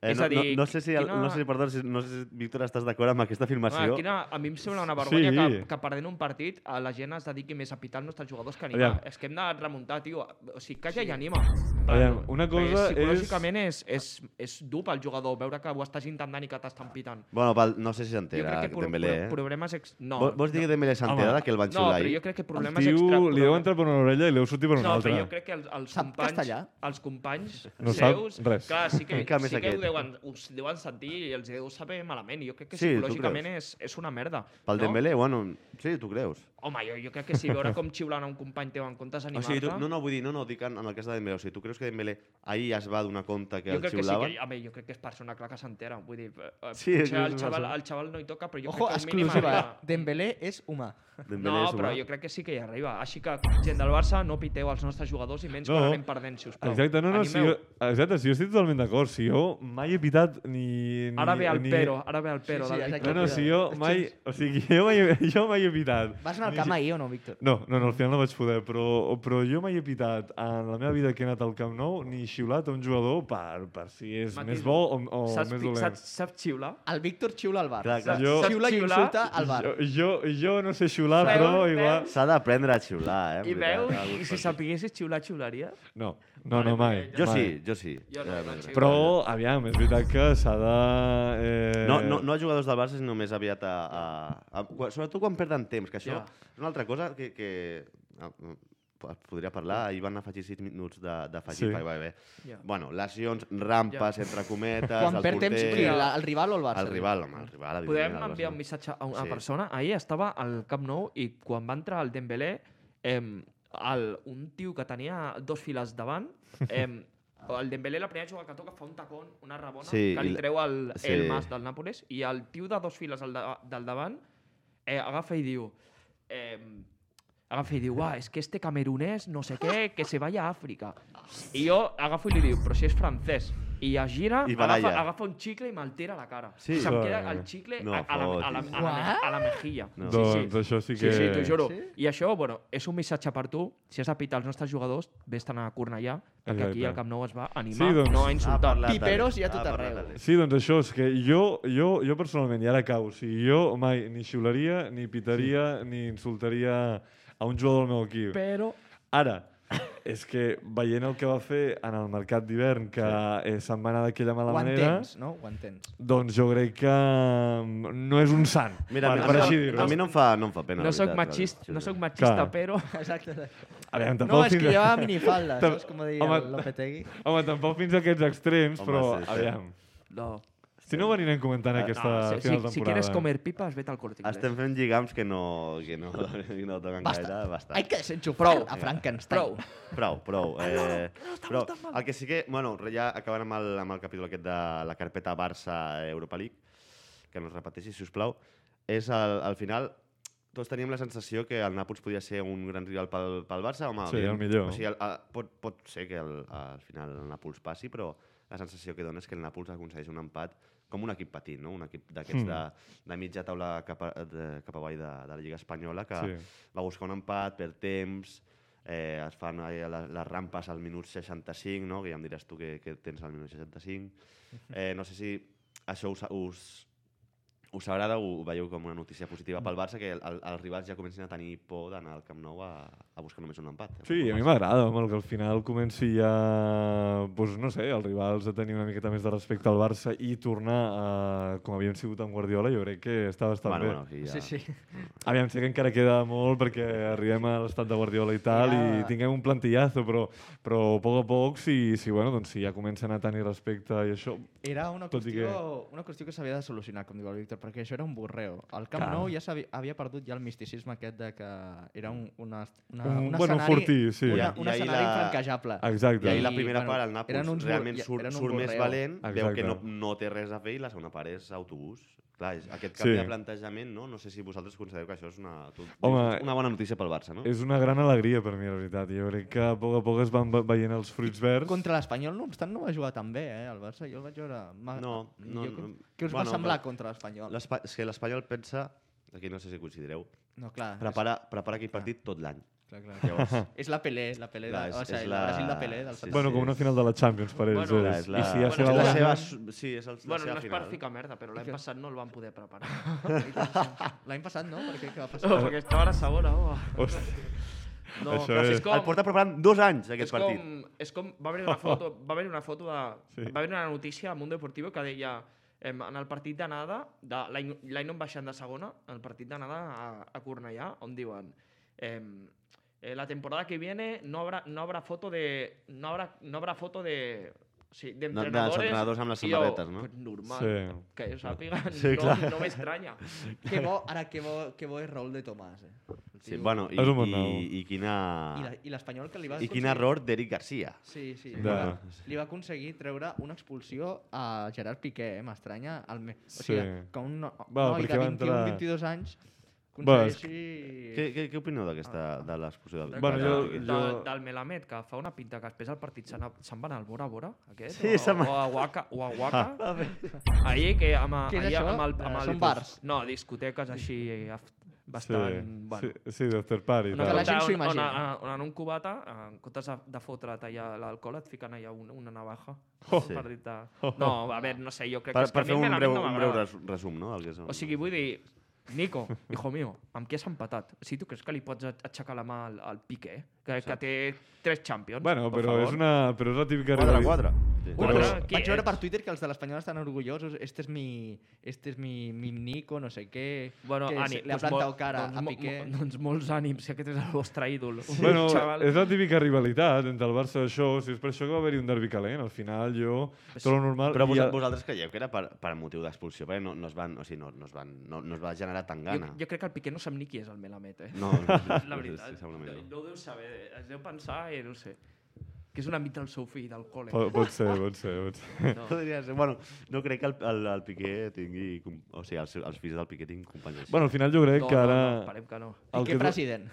Speaker 4: Eh,
Speaker 6: És
Speaker 4: no,
Speaker 6: a dir,
Speaker 4: no, no, sé si, el,
Speaker 6: quina-
Speaker 4: no sé si, perdó, si, no sé si, Víctor, estàs d'acord amb aquesta
Speaker 6: Home,
Speaker 4: afirmació.
Speaker 6: quina, a mi em sembla una vergonya
Speaker 5: Sí.
Speaker 6: que, que perdent un partit a la gent es dediqui més a pitar els nostres jugadors que a animar.
Speaker 5: Aviam.
Speaker 6: És que hem de remuntar, tio. O sigui, calla i anima.
Speaker 5: Aviam, una cosa
Speaker 6: Perquè
Speaker 5: és-
Speaker 6: psicològicament és... És, és, dur pel jugador veure que ho estàs intentant i que t'estan pitant.
Speaker 4: Bueno, pel, no sé si
Speaker 6: Jo
Speaker 4: s'entera,
Speaker 6: crec que pro,
Speaker 4: Dembélé, eh?
Speaker 6: pro, problemes... Ex... No,
Speaker 4: Vols, vols dir que Dembélé s'entera
Speaker 5: Home.
Speaker 4: que el van
Speaker 6: no,
Speaker 4: xiular
Speaker 6: però
Speaker 4: ahir?
Speaker 6: jo crec que
Speaker 5: El
Speaker 6: problemes extra...
Speaker 5: tio li deu entrar per una orella i li deu sortir per una
Speaker 6: no,
Speaker 5: altra.
Speaker 6: però jo crec que els, els
Speaker 3: Sap
Speaker 6: companys,
Speaker 3: castellà?
Speaker 6: els companys
Speaker 5: No sap
Speaker 6: seus,
Speaker 5: res.
Speaker 6: clar, sí que,
Speaker 4: Encara més
Speaker 6: sí que
Speaker 4: aquest.
Speaker 6: ho deuen, us deuen sentir i els deu saber malament. Jo crec que
Speaker 4: Sí, tu
Speaker 6: psicològicament és, és una merda.
Speaker 4: Pel
Speaker 6: no?
Speaker 4: Dembélé, bueno, sí, tu creus.
Speaker 6: Home, jo, jo crec que si veure com xiulant a un company teu en comptes
Speaker 4: O
Speaker 6: d'animar-te...
Speaker 4: sigui, tu, no, no, vull dir, no, no, dic en, en el cas de Dembélé. O sigui, tu creus que Dembélé ahir es va donar compte que
Speaker 6: jo
Speaker 4: el
Speaker 6: crec que sí,
Speaker 4: xiulaven?
Speaker 6: que, home, jo crec que és persona clar que s'entera. Vull dir, eh,
Speaker 4: Sí,
Speaker 6: sí,
Speaker 4: és que
Speaker 6: potser el
Speaker 4: és
Speaker 6: xaval,
Speaker 4: persona.
Speaker 6: el xaval no hi toca, però jo
Speaker 3: Ojo,
Speaker 6: crec que el mínim...
Speaker 3: exclusiva.
Speaker 6: arriba.
Speaker 5: eh?
Speaker 3: Dembélé és humà.
Speaker 4: Dembélé
Speaker 6: No,
Speaker 4: és
Speaker 6: però
Speaker 4: humà.
Speaker 6: jo crec que sí que hi arriba. Així que, gent del Barça, no piteu als nostres jugadors i menys
Speaker 5: No.
Speaker 6: quan anem perdent, sisplau.
Speaker 5: Exacte, no, no, si
Speaker 6: Animeu.
Speaker 5: jo, exacte, si jo estic totalment d'acord. Si jo mai he pitat ni... ni
Speaker 6: Ara ve el
Speaker 5: ni...
Speaker 6: pero, ara ve el pero.
Speaker 3: Sí, sí,
Speaker 6: del
Speaker 3: exacte.
Speaker 5: No,
Speaker 6: Víctor.
Speaker 5: no, si jo mai... O sigui, jo mai, he- jo mai he pitat.
Speaker 3: Vas anar al
Speaker 5: Ni
Speaker 3: camp
Speaker 5: si-
Speaker 3: ahir o no, Víctor?
Speaker 5: No, no, no, al final no vaig poder, però, però jo mai he pitat en la meva vida que he anat al Camp Nou ni xiulat a un jugador per, per si és
Speaker 6: Matiso.
Speaker 5: més bo o, o
Speaker 6: saps,
Speaker 5: més
Speaker 6: pi-
Speaker 5: dolent.
Speaker 6: saps, saps xiular?
Speaker 3: El Víctor xiula al bar.
Speaker 4: Clar, clar.
Speaker 5: Jo-
Speaker 3: Xiula
Speaker 6: Saps
Speaker 3: i
Speaker 6: xiular?
Speaker 3: insulta al bar.
Speaker 5: Jo, jo, jo no sé xiular,
Speaker 6: Sabeu,
Speaker 5: però
Speaker 6: sabeu?
Speaker 5: igual...
Speaker 4: S'ha d'aprendre a xiular, eh?
Speaker 6: I
Speaker 4: en veritat,
Speaker 6: veus?
Speaker 4: a
Speaker 6: I
Speaker 4: alguns
Speaker 6: si
Speaker 4: partits.
Speaker 6: sapiguessis xiular, xiularies?
Speaker 5: No, no, no, mai.
Speaker 4: Jo
Speaker 5: mai.
Speaker 4: sí, jo sí.
Speaker 6: Jo no,
Speaker 4: Ja,
Speaker 6: no,
Speaker 4: ja, ja.
Speaker 5: Però, aviam, és veritat que s'ha de... Eh...
Speaker 4: No, no, no a jugadors del Barça, sinó més aviat a... a, a, quan- sobretot quan perden temps, que això
Speaker 6: Ja.
Speaker 4: és una altra cosa que... que ah, mm, es podria parlar, ahir van afegir 6 minuts de- d'afegir,
Speaker 5: Sí.
Speaker 4: sí. va, bé.
Speaker 6: Ja.
Speaker 4: Bueno, lesions, rampes, entre cometes,
Speaker 3: Quan
Speaker 4: el
Speaker 3: perd
Speaker 4: porter...
Speaker 3: temps, qui? La- el rival o el Barça?
Speaker 4: El rival, home, el rival,
Speaker 6: Podem
Speaker 4: evidentment, el
Speaker 6: enviar un
Speaker 4: Barça.
Speaker 6: missatge a una
Speaker 4: Sí.
Speaker 6: sí. persona? Ahir estava al Camp Nou i quan va entrar el Dembélé, em, el, un tio que tenia dos files davant, em, el Dembélé la primera jugada que toca fa un tacón, una rabona,
Speaker 4: Sí,
Speaker 6: sí, que
Speaker 4: i
Speaker 6: li
Speaker 4: la-
Speaker 6: treu el,
Speaker 4: sí.
Speaker 6: sí. el mas del Nàpoles i el tio de dos files al da, del davant eh, agafa i diu... Em, agafa i diu, uah, és que este camerunès no sé què, que se vaya a Àfrica. I jo agafo i li diu, però si és francès. I es gira,
Speaker 4: I
Speaker 6: agafa,
Speaker 4: baralla.
Speaker 6: agafa un xicle i me'l tira a la cara.
Speaker 4: Sí.
Speaker 6: Sí, Se'm
Speaker 5: Joder.
Speaker 6: queda el xicle
Speaker 4: No
Speaker 6: a, a, la, a, la, a, la, me- a la mejilla.
Speaker 4: No.
Speaker 5: Doncs això sí que...
Speaker 6: Sí, sí, t'ho juro. Sí? I això, bueno, és un missatge per tu. Si has de pitar els nostres jugadors, vés-te'n a Cornellà, perquè
Speaker 5: Exacte.
Speaker 6: aquí al Camp Nou es va animar,
Speaker 5: Sí, doncs.
Speaker 6: no a
Speaker 4: Ha
Speaker 6: insultar.
Speaker 4: parlat
Speaker 3: Piperos
Speaker 4: Àlex,
Speaker 3: hi ha tot
Speaker 4: ha parlat
Speaker 3: arreu.
Speaker 4: Àlex.
Speaker 5: Sí, doncs això, és que jo, jo, jo personalment, i ara cau, o sigui, jo mai ni xiularia, ni pitaria, sí. ni insultaria a un jugador del meu equip.
Speaker 6: Però...
Speaker 5: Ara, és que veient el que va fer en el mercat d'hivern, que sí. eh, se'n va anar d'aquella mala
Speaker 3: Ho
Speaker 5: manera,
Speaker 3: entens, no? Ho entens.
Speaker 5: doncs jo crec que mm, no és un sant,
Speaker 4: Mira,
Speaker 5: per,
Speaker 4: a,
Speaker 5: per
Speaker 4: mi,
Speaker 5: així
Speaker 4: no,
Speaker 5: dir-ho.
Speaker 4: a mi no em fa, no em fa pena.
Speaker 6: No
Speaker 4: la
Speaker 6: sóc
Speaker 4: veritat,
Speaker 6: machista,
Speaker 4: Àlex.
Speaker 6: no sóc machista,
Speaker 5: Clar.
Speaker 6: però...
Speaker 3: Exacte. exacte.
Speaker 5: Aviam,
Speaker 3: No,
Speaker 5: tampoc
Speaker 3: és que
Speaker 5: fins a-
Speaker 3: llevava minifalda,
Speaker 5: Tam-
Speaker 3: saps? Com ho deia
Speaker 5: Home,
Speaker 3: el Lopetegui.
Speaker 5: Home, tampoc fins a aquests extrems,
Speaker 4: Home,
Speaker 5: però
Speaker 4: sí, sí.
Speaker 5: aviam.
Speaker 6: No.
Speaker 5: Si no ho anirem comentant
Speaker 4: Ah,
Speaker 5: aquesta
Speaker 6: no si,
Speaker 5: final
Speaker 6: si,
Speaker 5: de temporada. eh.
Speaker 6: si quieres comer pipas, vete al corte. Inglés.
Speaker 4: Estem fent lligams que no, que no, que no toquen
Speaker 3: Basta.
Speaker 4: gaire. Basta.
Speaker 3: Hay que desenxufar a Frankenstein.
Speaker 4: Prou, prou. Eh, prou. El que sí que... Bueno, ja acabant amb el, amb el capítol aquest de la carpeta Barça-Europa League, que no es repeteixi, si us plau, és al, al final tots teníem la sensació que el Nàpols podia ser un gran rival pel, pel Barça. Home,
Speaker 5: Sí,
Speaker 4: evident-
Speaker 5: el millor.
Speaker 4: O sigui, el, el, pot, pot ser que el, al final el Nàpols passi, però la sensació que dona és que el Nàpols aconsegueix un empat com un equip petit, no? un equip
Speaker 5: Mm.
Speaker 4: d'aquests de, de mitja taula cap, a, de, cap avall de, de la Lliga Espanyola, que
Speaker 5: Sí.
Speaker 4: va buscar un empat per temps, eh, es fan eh, les, les rampes al minut 65, no? que ja em diràs tu que, que tens al minut 65. Eh, no sé si això us, us, us agrada, ho veieu com una notícia positiva pel Barça, que el, el, els rivals ja comencin a tenir por d'anar al Camp Nou a, a buscar només un empat.
Speaker 5: Sí, a mi m'agrada, home, el que al final comenci ja, doncs, no sé, els rivals a tenir una miqueta més de respecte al Barça i tornar a, com havíem sigut amb Guardiola, jo crec que està bastant
Speaker 4: Bueno,
Speaker 5: bé.
Speaker 4: bueno, sí, ja...
Speaker 3: Sí, sí.
Speaker 5: Aviam, sé que encara queda molt perquè arribem a l'estat de Guardiola i tal i
Speaker 3: Ja.
Speaker 5: tinguem un plantillazo, però, però a poc a poc, si, si, bueno, doncs, si ja comencen a tenir respecte i això...
Speaker 3: Era una
Speaker 5: Tot i que-
Speaker 3: qüestió, una qüestió que s'havia de solucionar, com diu el Víctor, perquè això era un borreo. El Camp
Speaker 5: Clar.
Speaker 3: Nou ja s'havia- havia perdut ja el misticisme aquest de que era un, una, una,
Speaker 5: Un-
Speaker 3: un
Speaker 5: bueno, un
Speaker 3: escenari,
Speaker 5: fortí, sí.
Speaker 3: una,
Speaker 4: I-
Speaker 3: un
Speaker 4: i ahir
Speaker 3: escenari
Speaker 4: la-
Speaker 3: infranquejable.
Speaker 5: Exacte.
Speaker 4: I ahir la
Speaker 3: I,
Speaker 4: primera
Speaker 3: bueno,
Speaker 4: part, el Nàpols,
Speaker 3: eren uns bur-
Speaker 4: realment
Speaker 3: ja-
Speaker 4: surt,
Speaker 3: eren un
Speaker 4: surt més
Speaker 3: borreo.
Speaker 4: valent, Exacte. veu
Speaker 5: Exacte.
Speaker 4: que no, no té res a fer i la segona part és autobús. Clar, és, aquest
Speaker 5: Sí.
Speaker 4: canvi de plantejament, no? no sé si vosaltres considereu que això és una, tu,
Speaker 5: Home,
Speaker 4: és una bona notícia pel Barça, no?
Speaker 5: És una gran alegria per mi, la veritat. Jo crec que a poc a poc es van ve- veient els fruits verds.
Speaker 3: Contra l'Espanyol, no obstant, no va jugar tan bé, eh, el Barça. Jo el vaig veure... Ma...
Speaker 4: No, no,
Speaker 3: jo,
Speaker 4: no.
Speaker 3: Què us
Speaker 4: Bueno,
Speaker 3: va semblar
Speaker 4: però-
Speaker 3: contra l'Espanyol?
Speaker 4: L'espa- És que l'Espanyol pensa, aquí no sé si coincidireu,
Speaker 5: Ah,
Speaker 3: No, clar.
Speaker 4: prepara, prepara aquell partit tot l'any.
Speaker 3: És, clar, clar.
Speaker 5: Ah.
Speaker 3: Llavors, és la Pelé, la Pelé,
Speaker 4: Clar,
Speaker 3: de,
Speaker 4: és-
Speaker 3: o sigui,
Speaker 4: és
Speaker 3: la...
Speaker 4: la-
Speaker 3: Brasil de Pelé del
Speaker 4: sí,
Speaker 3: sí,
Speaker 5: Bueno, com una final de la Champions per ells. és.
Speaker 6: Bueno,
Speaker 4: Clar, és la,
Speaker 5: I si ja
Speaker 6: Bueno,
Speaker 5: se
Speaker 6: és
Speaker 5: la
Speaker 6: la
Speaker 5: guanyen-
Speaker 6: seva-
Speaker 4: su- sí, és el, la
Speaker 6: Bueno, no
Speaker 4: seva
Speaker 6: és per
Speaker 4: final.
Speaker 6: ficar merda, però l'any
Speaker 3: que-
Speaker 6: passat no el van poder preparar.
Speaker 3: L'any passat no, perquè què va passar?
Speaker 6: no, perquè estava a la segona, home.
Speaker 5: Hosti,
Speaker 6: No,
Speaker 5: Això
Speaker 6: però si
Speaker 5: és-
Speaker 6: és com...
Speaker 4: El porta preparant dos anys,
Speaker 6: és
Speaker 4: aquest partit.
Speaker 6: com, és com va haver una foto, va haver una foto de,
Speaker 5: Sí.
Speaker 6: sí. va haver una notícia a Mundo Deportivo que deia em, en el partit d'anada, de l'any l'any on baixant de segona, en el partit d'anada a, a Cornellà, on diuen em, eh, la temporada que viene no habrá, no habrá foto de no habrá, no habrà foto de o sigui,
Speaker 4: dels
Speaker 6: d'entrenadors
Speaker 4: entrenadors amb les
Speaker 6: i jo,
Speaker 4: samarretes, no?
Speaker 6: Pues normal,
Speaker 5: Sí.
Speaker 6: sí. que jo sàpiga,
Speaker 4: Sí,
Speaker 6: no,
Speaker 4: clar.
Speaker 6: no m'estranya.
Speaker 3: Que bo, ara que bo, que bo és Raúl de Tomàs, eh? El
Speaker 4: Sí,
Speaker 3: tio-
Speaker 4: bueno, i,
Speaker 5: És un bon
Speaker 4: i,
Speaker 5: nou.
Speaker 4: i quina...
Speaker 5: Ah.
Speaker 3: I la- I l'Espanyol que li va
Speaker 4: I quin error d'Eric Garcia.
Speaker 3: Sí, sí.
Speaker 5: De-
Speaker 3: Li va, li va aconseguir treure una expulsió a Gerard Piqué, eh? m'estranya. El me... O sigui,
Speaker 5: Sí.
Speaker 3: que un no,
Speaker 5: Va,
Speaker 3: noi
Speaker 5: perquè
Speaker 3: de
Speaker 5: va
Speaker 3: 21,
Speaker 5: entrar-
Speaker 3: 22 anys
Speaker 5: Va, és
Speaker 3: aconsegueixi...
Speaker 4: Què, què, què opineu d'aquesta, de l'expulsió del
Speaker 5: Bueno, jo-
Speaker 6: De-
Speaker 5: jo-
Speaker 6: del Melamed, que fa una pinta que després del partit se'n se van al Bora Bora, aquest?
Speaker 4: Sí,
Speaker 6: o,
Speaker 4: se'n va-
Speaker 6: o a Waka, o a Waka. Ahir que amb,
Speaker 3: Què és
Speaker 6: ahir
Speaker 3: això?
Speaker 6: amb el, amb
Speaker 3: Eh,
Speaker 6: el
Speaker 3: són bars?
Speaker 6: No, discoteques així eh, af- bastant... Sí, bueno,
Speaker 5: sí, sí, de third party.
Speaker 6: Una
Speaker 5: tal.
Speaker 3: que la
Speaker 6: cosa
Speaker 3: gent s'ho
Speaker 6: on, on,
Speaker 3: imagini.
Speaker 6: on, on, en un cubata, en comptes de, de fotre't allà l'alcohol, et fiquen allà una, una navaja.
Speaker 4: Oh.
Speaker 6: Per dir-te... No, a veure, no sé, jo crec
Speaker 4: Per,
Speaker 6: que... és que
Speaker 4: per
Speaker 6: a mi
Speaker 4: fer un
Speaker 6: Melamed
Speaker 4: breu,
Speaker 6: no
Speaker 4: un breu
Speaker 6: m'agrada.
Speaker 4: res- resum, no? Del que és el...
Speaker 6: O sigui, vull dir, Nico, hijo mío, amb què has empatat? Si tu creus que li pots aixecar la mà al, al Piqué, que, que té tres Champions,
Speaker 5: Bueno,
Speaker 6: per
Speaker 5: però és,
Speaker 6: favor.
Speaker 5: una, però és la típica...
Speaker 4: 4
Speaker 5: rivali-
Speaker 4: 4. Sí.
Speaker 5: Quatre.
Speaker 6: Quatre,
Speaker 5: Però-
Speaker 6: qui
Speaker 3: Vaig veure
Speaker 6: ets?
Speaker 3: per Twitter que els de l'Espanyol estan orgullosos. Este és mi, este és mi, mi Nico, no sé què.
Speaker 6: Bueno,
Speaker 3: que
Speaker 6: ànim,
Speaker 3: se- li ha
Speaker 6: doncs mol-
Speaker 3: plantat cara
Speaker 6: doncs
Speaker 3: a
Speaker 6: mo-
Speaker 3: Piqué.
Speaker 6: mo- Doncs molts ànims, que aquest és el vostre ídol. Sí,
Speaker 5: Bueno,
Speaker 6: xaval.
Speaker 5: és la típica rivalitat entre el Barça i això, si és per això que va haver-hi un derbi calent, al final jo trobo normal... i
Speaker 4: Però vos,
Speaker 6: eh,
Speaker 5: a-
Speaker 4: vosaltres creieu que era per, per motiu d'expulsió, perquè no, no, es van, o sigui, no, no, es van, no, no es va generar tan
Speaker 6: Jo,
Speaker 4: gana.
Speaker 6: jo crec que el Piqué no sap ni qui és el Melamed, eh?
Speaker 4: No, no, no,
Speaker 6: La veritat.
Speaker 4: Sí, segurament no.
Speaker 6: no ho deu saber, es deu pensar, eh, no ho sé, que és un amic del seu fill, del col·le.
Speaker 5: Po- Pot ser, pot ser, pot ser.
Speaker 6: No.
Speaker 4: Podria ser. Bueno, no crec que el, el, el Piqué tingui... com- O sigui, els, els fills del Piqué tinguin companys. així.
Speaker 5: Bueno, al final jo crec
Speaker 6: No,
Speaker 5: que ara...
Speaker 6: no, no, esperem que no.
Speaker 5: el,
Speaker 3: Piqué
Speaker 5: que tu,
Speaker 3: president.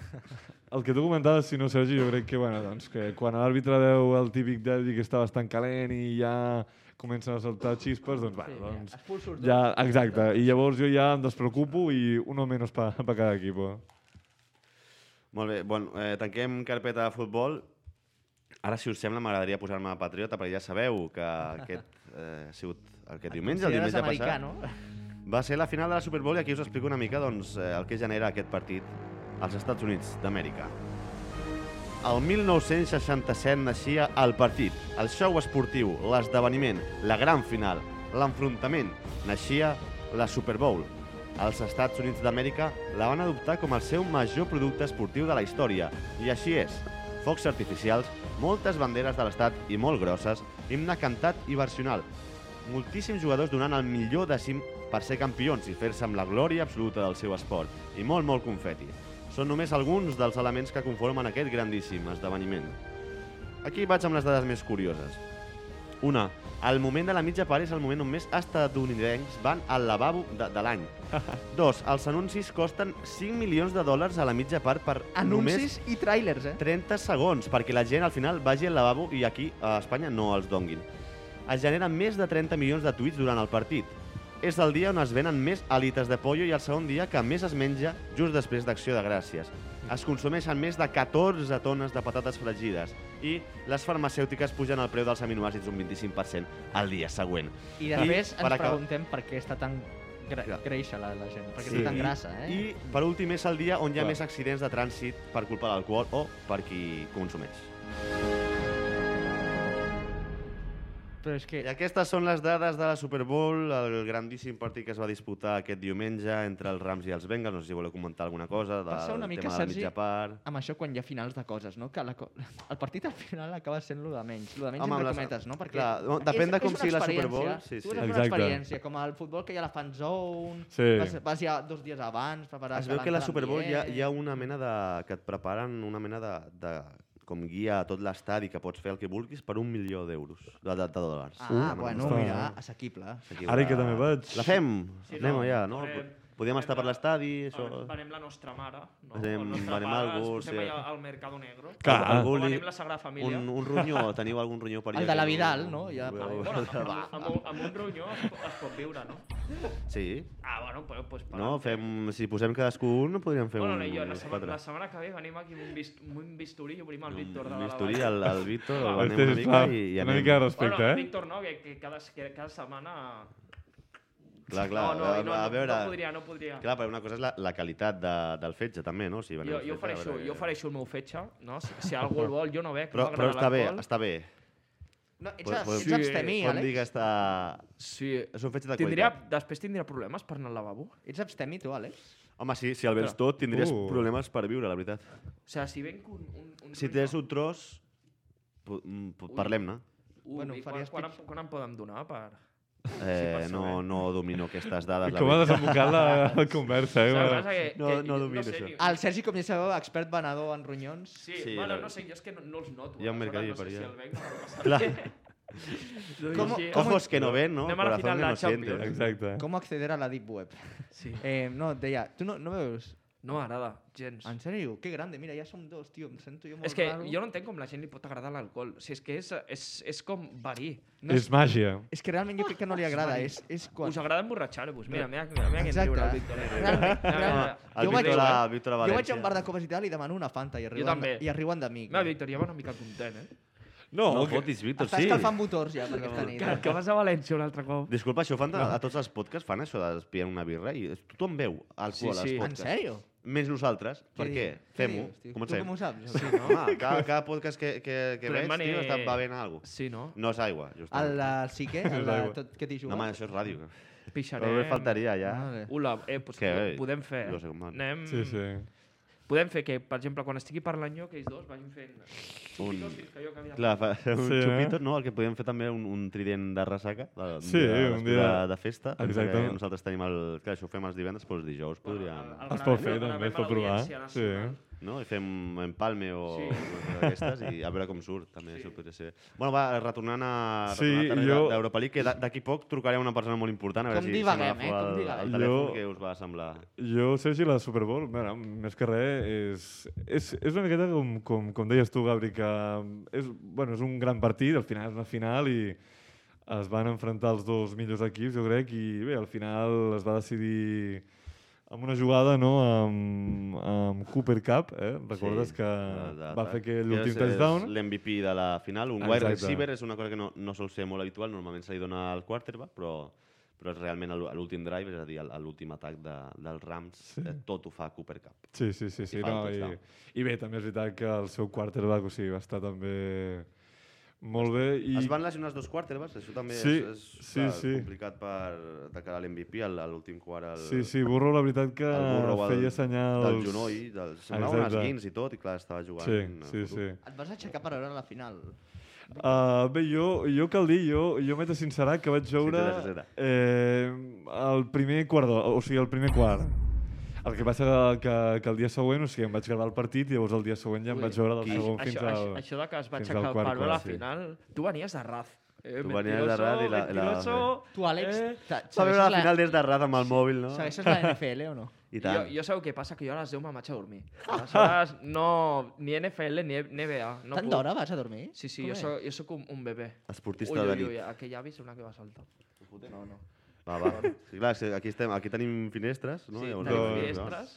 Speaker 5: el que tu comentaves, si no, Sergi, jo crec que, bueno, doncs, que quan l'àrbitre veu el típic derbi que està bastant calent i ja comencen a saltar xispes, doncs, bueno, doncs...
Speaker 3: Expulsos dos.
Speaker 5: Ja, exacte, i llavors jo ja em despreocupo i un o menys per pa cada equip. eh.
Speaker 4: Molt bé, bueno, eh, tanquem carpeta de futbol. Ara, si us sembla, m'agradaria posar-me patriota, perquè ja sabeu que aquest eh, ha sigut aquest diumenge, el
Speaker 3: Consideres
Speaker 4: diumenge
Speaker 3: americà,
Speaker 4: passat.
Speaker 3: no?
Speaker 4: Va ser la final de la Super Bowl i aquí us explico una mica doncs, eh, el que genera aquest partit als Estats Units d'Amèrica. El 1967 naixia el partit, el show esportiu, l'esdeveniment, la gran final, l'enfrontament. Naixia la Super Bowl. Els Estats Units d'Amèrica la van adoptar com el seu major producte esportiu de la història. I així és. Focs artificials, moltes banderes de l'estat i molt grosses, himne cantat i versional, moltíssims jugadors donant el millor dècim per ser campions i fer-se amb la glòria absoluta del seu esport, i molt, molt confeti. Són només alguns dels elements que conformen aquest grandíssim esdeveniment. Aquí vaig amb les dades més curioses. Una, el moment de la mitja part és el moment on més estatunidencs van al lavabo de, de l'any. Dos, els anuncis costen 5 milions de dòlars a la mitja part per només
Speaker 3: Anuncis i tràilers, eh?
Speaker 4: 30 segons perquè la gent al final vagi al lavabo i aquí a Espanya no els donguin. Es generen més de 30 milions de tuits durant el partit. És el dia on es venen més alites de pollo i el segon dia que més es menja just després d'Acció de Gràcies. Es consumeixen més de 14 tones de patates fregides i les farmacèutiques pugen el preu dels aminoàcids un 25% al dia següent.
Speaker 3: I després
Speaker 4: per
Speaker 3: ens
Speaker 4: acabar-
Speaker 3: preguntem per què està tan Gra
Speaker 4: Clar.
Speaker 3: Greixa la, la gent, perquè
Speaker 5: Sí.
Speaker 3: sí. tan grassa, eh?
Speaker 4: I, per últim, és el dia on hi ha
Speaker 5: Clar.
Speaker 4: més accidents de trànsit per culpa de l'alcohol o per qui consumeix.
Speaker 3: Però és que...
Speaker 4: I aquestes són les dades de la Super Bowl, el grandíssim partit que es va disputar aquest diumenge entre els Rams i els Bengals. No sé si voleu comentar alguna cosa del
Speaker 3: Passa una mica,
Speaker 4: tema de la
Speaker 3: Sergi,
Speaker 4: mitja part.
Speaker 3: amb això quan hi ha finals de coses, no? Que la co el partit al final acaba sent lo de menys, lo de menys
Speaker 4: Home,
Speaker 3: Home,
Speaker 4: amb
Speaker 3: entre
Speaker 4: les-
Speaker 3: cometes, no? Perquè
Speaker 4: clar, no, depèn de com
Speaker 3: una
Speaker 4: sigui la Super Bowl,
Speaker 3: experiència.
Speaker 4: sí,
Speaker 3: Tu
Speaker 4: sí.
Speaker 3: és una
Speaker 5: Exacte.
Speaker 3: experiència, com al futbol que hi ha la fan zone,
Speaker 5: Sí.
Speaker 3: vas, vas ja dos dies abans, preparar...
Speaker 4: Es veu que la Super Bowl hi ha, hi ha una mena de... que et preparen una mena de, de com guia a tot l'estadi, que pots fer el que vulguis per un milió d'euros, de, de, de dòlars.
Speaker 3: Ah, bueno,
Speaker 5: està-
Speaker 3: mira, assequible.
Speaker 4: Aquí
Speaker 5: Ara
Speaker 4: la-
Speaker 5: que també vaig.
Speaker 4: Ah. La fem!
Speaker 6: Sí,
Speaker 4: Anem
Speaker 6: no,
Speaker 4: allà, no?
Speaker 6: farem-
Speaker 4: Podíem
Speaker 6: farem
Speaker 4: estar per
Speaker 6: la-
Speaker 4: l'estadi, això...
Speaker 6: Venim, venim la nostra mare, no?
Speaker 4: Venim-
Speaker 6: el nostre
Speaker 4: venim
Speaker 6: pare,
Speaker 4: algú,
Speaker 6: ens posem
Speaker 4: sí.
Speaker 6: allà al Mercado Negro.
Speaker 5: Clar.
Speaker 6: O
Speaker 4: Algú li-
Speaker 6: venim la Sagrada Família.
Speaker 4: Un, un ronyó, teniu algun ronyó per allà?
Speaker 3: El de la
Speaker 4: que no-
Speaker 3: Vidal, no? Ja,
Speaker 4: Voleu-
Speaker 3: vale.
Speaker 6: Bueno, amb, amb, amb, un- amb un ronyó es, po- es pot viure, no?
Speaker 4: Sí.
Speaker 6: Ah, bueno, però pues, per
Speaker 4: No, fem, si posem cadascú un, podríem fer
Speaker 6: Bueno,
Speaker 4: un...
Speaker 6: no, jo, la,
Speaker 4: uns
Speaker 6: setmana,
Speaker 4: quatre.
Speaker 6: la setmana que ve venim aquí amb un, bist, amb un bisturí i obrim el Víctor de
Speaker 4: Un
Speaker 6: la
Speaker 4: bisturí,
Speaker 6: Vall.
Speaker 4: el, el Víctor, el
Speaker 5: Este,
Speaker 4: venem una mica
Speaker 5: clar,
Speaker 4: i, i Ah, anem.
Speaker 5: una mica de
Speaker 6: Bueno,
Speaker 5: respecte, eh?
Speaker 6: Víctor no, que, que cada, que cada setmana...
Speaker 4: Clar, clar,
Speaker 6: Oh, no, no,
Speaker 4: a,
Speaker 6: i no,
Speaker 4: a
Speaker 6: no,
Speaker 4: veure...
Speaker 6: no podria, no podria.
Speaker 4: Clar, però una cosa és la, la qualitat de, del fetge, també, no? Si venem
Speaker 6: jo,
Speaker 4: el
Speaker 6: jo,
Speaker 4: fetge, a
Speaker 6: ofereixo,
Speaker 4: veure
Speaker 6: jo
Speaker 4: què-
Speaker 6: ofereixo el meu fetge, no? Si, si algú el vol, jo no bec,
Speaker 4: Però,
Speaker 6: no
Speaker 4: però
Speaker 6: m'agrada
Speaker 4: està bé,
Speaker 6: l'alcohol.
Speaker 4: està bé.
Speaker 3: No, ets,
Speaker 4: Podem-
Speaker 3: ets
Speaker 4: podem-
Speaker 3: abstemí,
Speaker 4: podem dir
Speaker 3: Àlex.
Speaker 4: que està...
Speaker 6: Sí,
Speaker 4: És un fetge de
Speaker 6: tindria,
Speaker 4: qualitat.
Speaker 6: després tindria problemes per anar al lavabo.
Speaker 3: Ets abstemí, tu, Àlex.
Speaker 4: Home, sí, si el vens tot, tindries
Speaker 5: Uh.
Speaker 4: problemes per viure, la veritat.
Speaker 6: O sigui, si venc un... un, un
Speaker 4: Si tens un tros, po- mm, po- parlem-ne.
Speaker 3: Bueno,
Speaker 6: bueno, quan,
Speaker 3: faries
Speaker 6: quan,
Speaker 3: pitjor.
Speaker 6: em, quan em poden donar per...
Speaker 4: Eh, no, no domino aquestes dades. la
Speaker 5: Com ha
Speaker 4: veritat.
Speaker 5: desembocat la, la conversa, eh?
Speaker 6: Saps el que
Speaker 5: Bueno,
Speaker 6: passa? Que,
Speaker 4: No-
Speaker 6: que,
Speaker 4: no
Speaker 6: jo
Speaker 4: domino
Speaker 6: sé
Speaker 4: això.
Speaker 6: ni-
Speaker 3: El Sergi, com ja sabeu, expert venedor en ronyons.
Speaker 6: Sí,
Speaker 4: Sí,
Speaker 6: sí bueno,
Speaker 4: la-
Speaker 6: no sé, jo és que no, no els noto.
Speaker 4: Hi ha un
Speaker 6: aleshores
Speaker 4: mercadillo
Speaker 6: no sé
Speaker 4: per
Speaker 6: si
Speaker 4: allà.
Speaker 6: el venc, no passa
Speaker 4: Clar.
Speaker 6: res.
Speaker 3: Com-
Speaker 6: Sí,
Speaker 3: com-
Speaker 4: Ojos que no ven, ¿no?
Speaker 6: Anem a la
Speaker 4: Corazón
Speaker 6: final
Speaker 4: que
Speaker 6: de la
Speaker 4: no
Speaker 6: Champions.
Speaker 4: siente.
Speaker 5: Exacte.
Speaker 3: Com acceder a la Deep Web?
Speaker 6: Sí.
Speaker 3: Eh, no, et deia, tu no, no veus?
Speaker 6: No m'agrada, gens.
Speaker 3: En sèrio? Que grande, mira, ja som dos, tio, em sento jo molt
Speaker 6: És que
Speaker 3: raro.
Speaker 6: jo no entenc com la gent li pot agradar l'alcohol. Si és que és, és, és com verí.
Speaker 3: No
Speaker 5: És màgia.
Speaker 3: És que realment jo crec que no li agrada, és, és quan...
Speaker 6: Us agrada emborratxar-vos. Mira, mira, mira, mira,
Speaker 3: Exacte.
Speaker 6: quin riure, el Víctor. Ah,
Speaker 3: Realment,
Speaker 6: eh. Mira, mira,
Speaker 3: realment.
Speaker 6: mira.
Speaker 4: El
Speaker 3: Jo vaig-
Speaker 4: Víctor, a, Víctor a
Speaker 3: Jo
Speaker 4: València.
Speaker 3: vaig a un bar de coves i tal i demano una Fanta i arriben,
Speaker 6: també.
Speaker 3: i arriben de mi.
Speaker 6: Mira, Víctor, ja va una mica content, eh?
Speaker 4: No, no fotis, Víctor,
Speaker 3: Està
Speaker 4: sí.
Speaker 3: escalfant motors ja per aquesta
Speaker 6: Que,
Speaker 3: nit.
Speaker 6: que vas a València un altre cop.
Speaker 4: Disculpa, això ho fan de, a tots els podcasts, fan això de pillar una birra i tothom veu alcohol
Speaker 6: Sí,
Speaker 4: als
Speaker 6: sí.
Speaker 3: En
Speaker 4: podcasts.
Speaker 3: sèrio?
Speaker 4: Menys nosaltres. Per què? Fem-ho.
Speaker 3: Comencem. Tu com
Speaker 4: Comencem.
Speaker 3: ho saps? Sí.
Speaker 4: Home, Ah, cada, cada podcast que, que, que
Speaker 6: Podem
Speaker 4: veig,
Speaker 6: venir-
Speaker 4: tio, està bevent alguna cosa.
Speaker 6: Sí, no?
Speaker 4: No és aigua,
Speaker 3: El,
Speaker 4: justament.
Speaker 3: el Sique, el de tot que t'hi
Speaker 4: No, home,
Speaker 3: juga.
Speaker 4: això és ràdio.
Speaker 6: Pixarem.
Speaker 4: Només faltaria, ja.
Speaker 3: Vale.
Speaker 6: Ula, eh, pues,
Speaker 4: Què,
Speaker 6: que,
Speaker 4: eh?
Speaker 6: podem fer...
Speaker 4: Jo sé com van.
Speaker 6: anem...
Speaker 5: Sí, sí.
Speaker 6: Podem fer que, per exemple, quan estigui per l'anyó, que ells dos vagin fent...
Speaker 4: Un...
Speaker 6: Dos fins que jo camino.
Speaker 4: Clar, fa, un
Speaker 5: Sí, eh?
Speaker 4: xupito, no? El que podíem fer també un, un trident de ressaca, de,
Speaker 5: Sí,
Speaker 4: de,
Speaker 5: un
Speaker 4: de,
Speaker 5: dia-
Speaker 4: de festa.
Speaker 5: Exacte.
Speaker 4: Que nosaltres tenim el... Clar, això ho fem els divendres, però els dijous podríem...
Speaker 6: El
Speaker 5: Es pot
Speaker 6: gravem,
Speaker 5: fer,
Speaker 6: el
Speaker 5: també,
Speaker 6: gravem
Speaker 5: es
Speaker 6: a
Speaker 5: pot provar.
Speaker 6: l'Audiència
Speaker 5: Sí.
Speaker 6: Nacional.
Speaker 4: no? I fem un empalme o
Speaker 6: Sí.
Speaker 4: sí. d'aquestes i a veure com surt, també, sí. això podria ser. Bueno, va, retornant a
Speaker 5: Sí,
Speaker 4: retornant a
Speaker 5: jo-
Speaker 4: d'Europa League, que da- d'aquí poc trucaré a una persona molt important, a veure
Speaker 3: Com
Speaker 4: si, si
Speaker 3: divaguem,
Speaker 4: m'agafa
Speaker 3: eh? Com
Speaker 4: el,
Speaker 3: divaguem.
Speaker 4: el
Speaker 5: Jo-
Speaker 4: telèfon, jo... què us va semblar.
Speaker 5: Jo, Sergi, la Super Bowl, mira, més que res, és, és, és una miqueta com, com, com deies tu, Gabri, que mm, és, bueno, és un gran partit, al final és una final i es van enfrontar els dos millors equips, jo crec, i bé, al final es va decidir amb una jugada, no?, amb, amb Cooper Cup, eh? Recordes que
Speaker 4: de-
Speaker 5: va fer aquell últim
Speaker 4: és- és
Speaker 5: touchdown? Ah,
Speaker 4: L'MVP de la final, un wide
Speaker 5: Exacte.
Speaker 4: receiver, és una cosa que no, no sol ser molt habitual, normalment se li dona al quarterback, però, però és realment el- l'últim drive, és a dir, el- l'últim atac de, dels Rams, sí. eh, tot ho fa Cooper Cup.
Speaker 5: Sí, sí, sí. sí
Speaker 4: I fa el
Speaker 5: no, i,
Speaker 4: touchdown.
Speaker 5: I bé, també és veritat que el seu quarterback o sigui, va estar també molt bé. I...
Speaker 4: Es van lesionar els dos quarterbacks, això també
Speaker 5: Sí,
Speaker 4: és, és
Speaker 5: sí, sí.
Speaker 4: complicat per atacar l'MVP a l'últim quart. El,
Speaker 5: Sí, sí, Burro, la veritat que
Speaker 4: el burro va
Speaker 5: feia
Speaker 4: del,
Speaker 5: senyals...
Speaker 4: del genoll, del, semblava un
Speaker 5: Exacte.
Speaker 4: esguins i tot, i clar, estava jugant.
Speaker 5: Sí,
Speaker 4: a
Speaker 5: sí,
Speaker 4: futur.
Speaker 5: sí.
Speaker 3: Et vas aixecar per veure la final.
Speaker 5: Uh, bé, jo, jo cal dir, jo, jo m'he de sincerar que vaig veure
Speaker 4: t'he de sincerar.
Speaker 5: eh, el primer quart, d'hora, o sigui, el primer quart. El que passa que, que, que el dia següent, o sigui, em vaig gravar el partit i llavors el dia següent ja em
Speaker 6: Ui,
Speaker 5: vaig veure del
Speaker 4: qui-
Speaker 5: segon fins
Speaker 6: Això,
Speaker 5: al...
Speaker 6: això, això de que es va
Speaker 5: fins al
Speaker 6: aixecar per
Speaker 5: quart
Speaker 6: veure la
Speaker 5: quart, sí.
Speaker 6: final... Tu venies de Raz. Eh,
Speaker 4: Tu venies de Raz i la- i la-
Speaker 6: mentiroso.
Speaker 3: Tu, Àlex,
Speaker 6: Eh,
Speaker 3: te-
Speaker 4: Va veure
Speaker 3: segueixes
Speaker 4: la final des de Raz amb el mòbil, no?
Speaker 3: Segueixes la NFL o no?
Speaker 4: I
Speaker 6: jo,
Speaker 4: tant.
Speaker 6: jo sabeu què passa, que jo a les 10 me'n vaig a dormir. Aleshores, no, ni NFL ni NBA. No
Speaker 3: Tant
Speaker 6: puc.
Speaker 3: d'hora vas a dormir?
Speaker 6: Sí, sí,
Speaker 3: Com
Speaker 6: jo
Speaker 3: és?
Speaker 6: soc, jo soc un, un bebè.
Speaker 4: Esportista
Speaker 6: ui,
Speaker 4: de
Speaker 6: ui,
Speaker 4: nit.
Speaker 6: ui, aquell avi sembla que va saltar. No, no.
Speaker 4: Va, va. Sí, clar, sí, aquí, estem, aquí tenim finestres, no?
Speaker 6: Sí,
Speaker 4: Llavors,
Speaker 6: tenim
Speaker 4: doncs,
Speaker 6: finestres.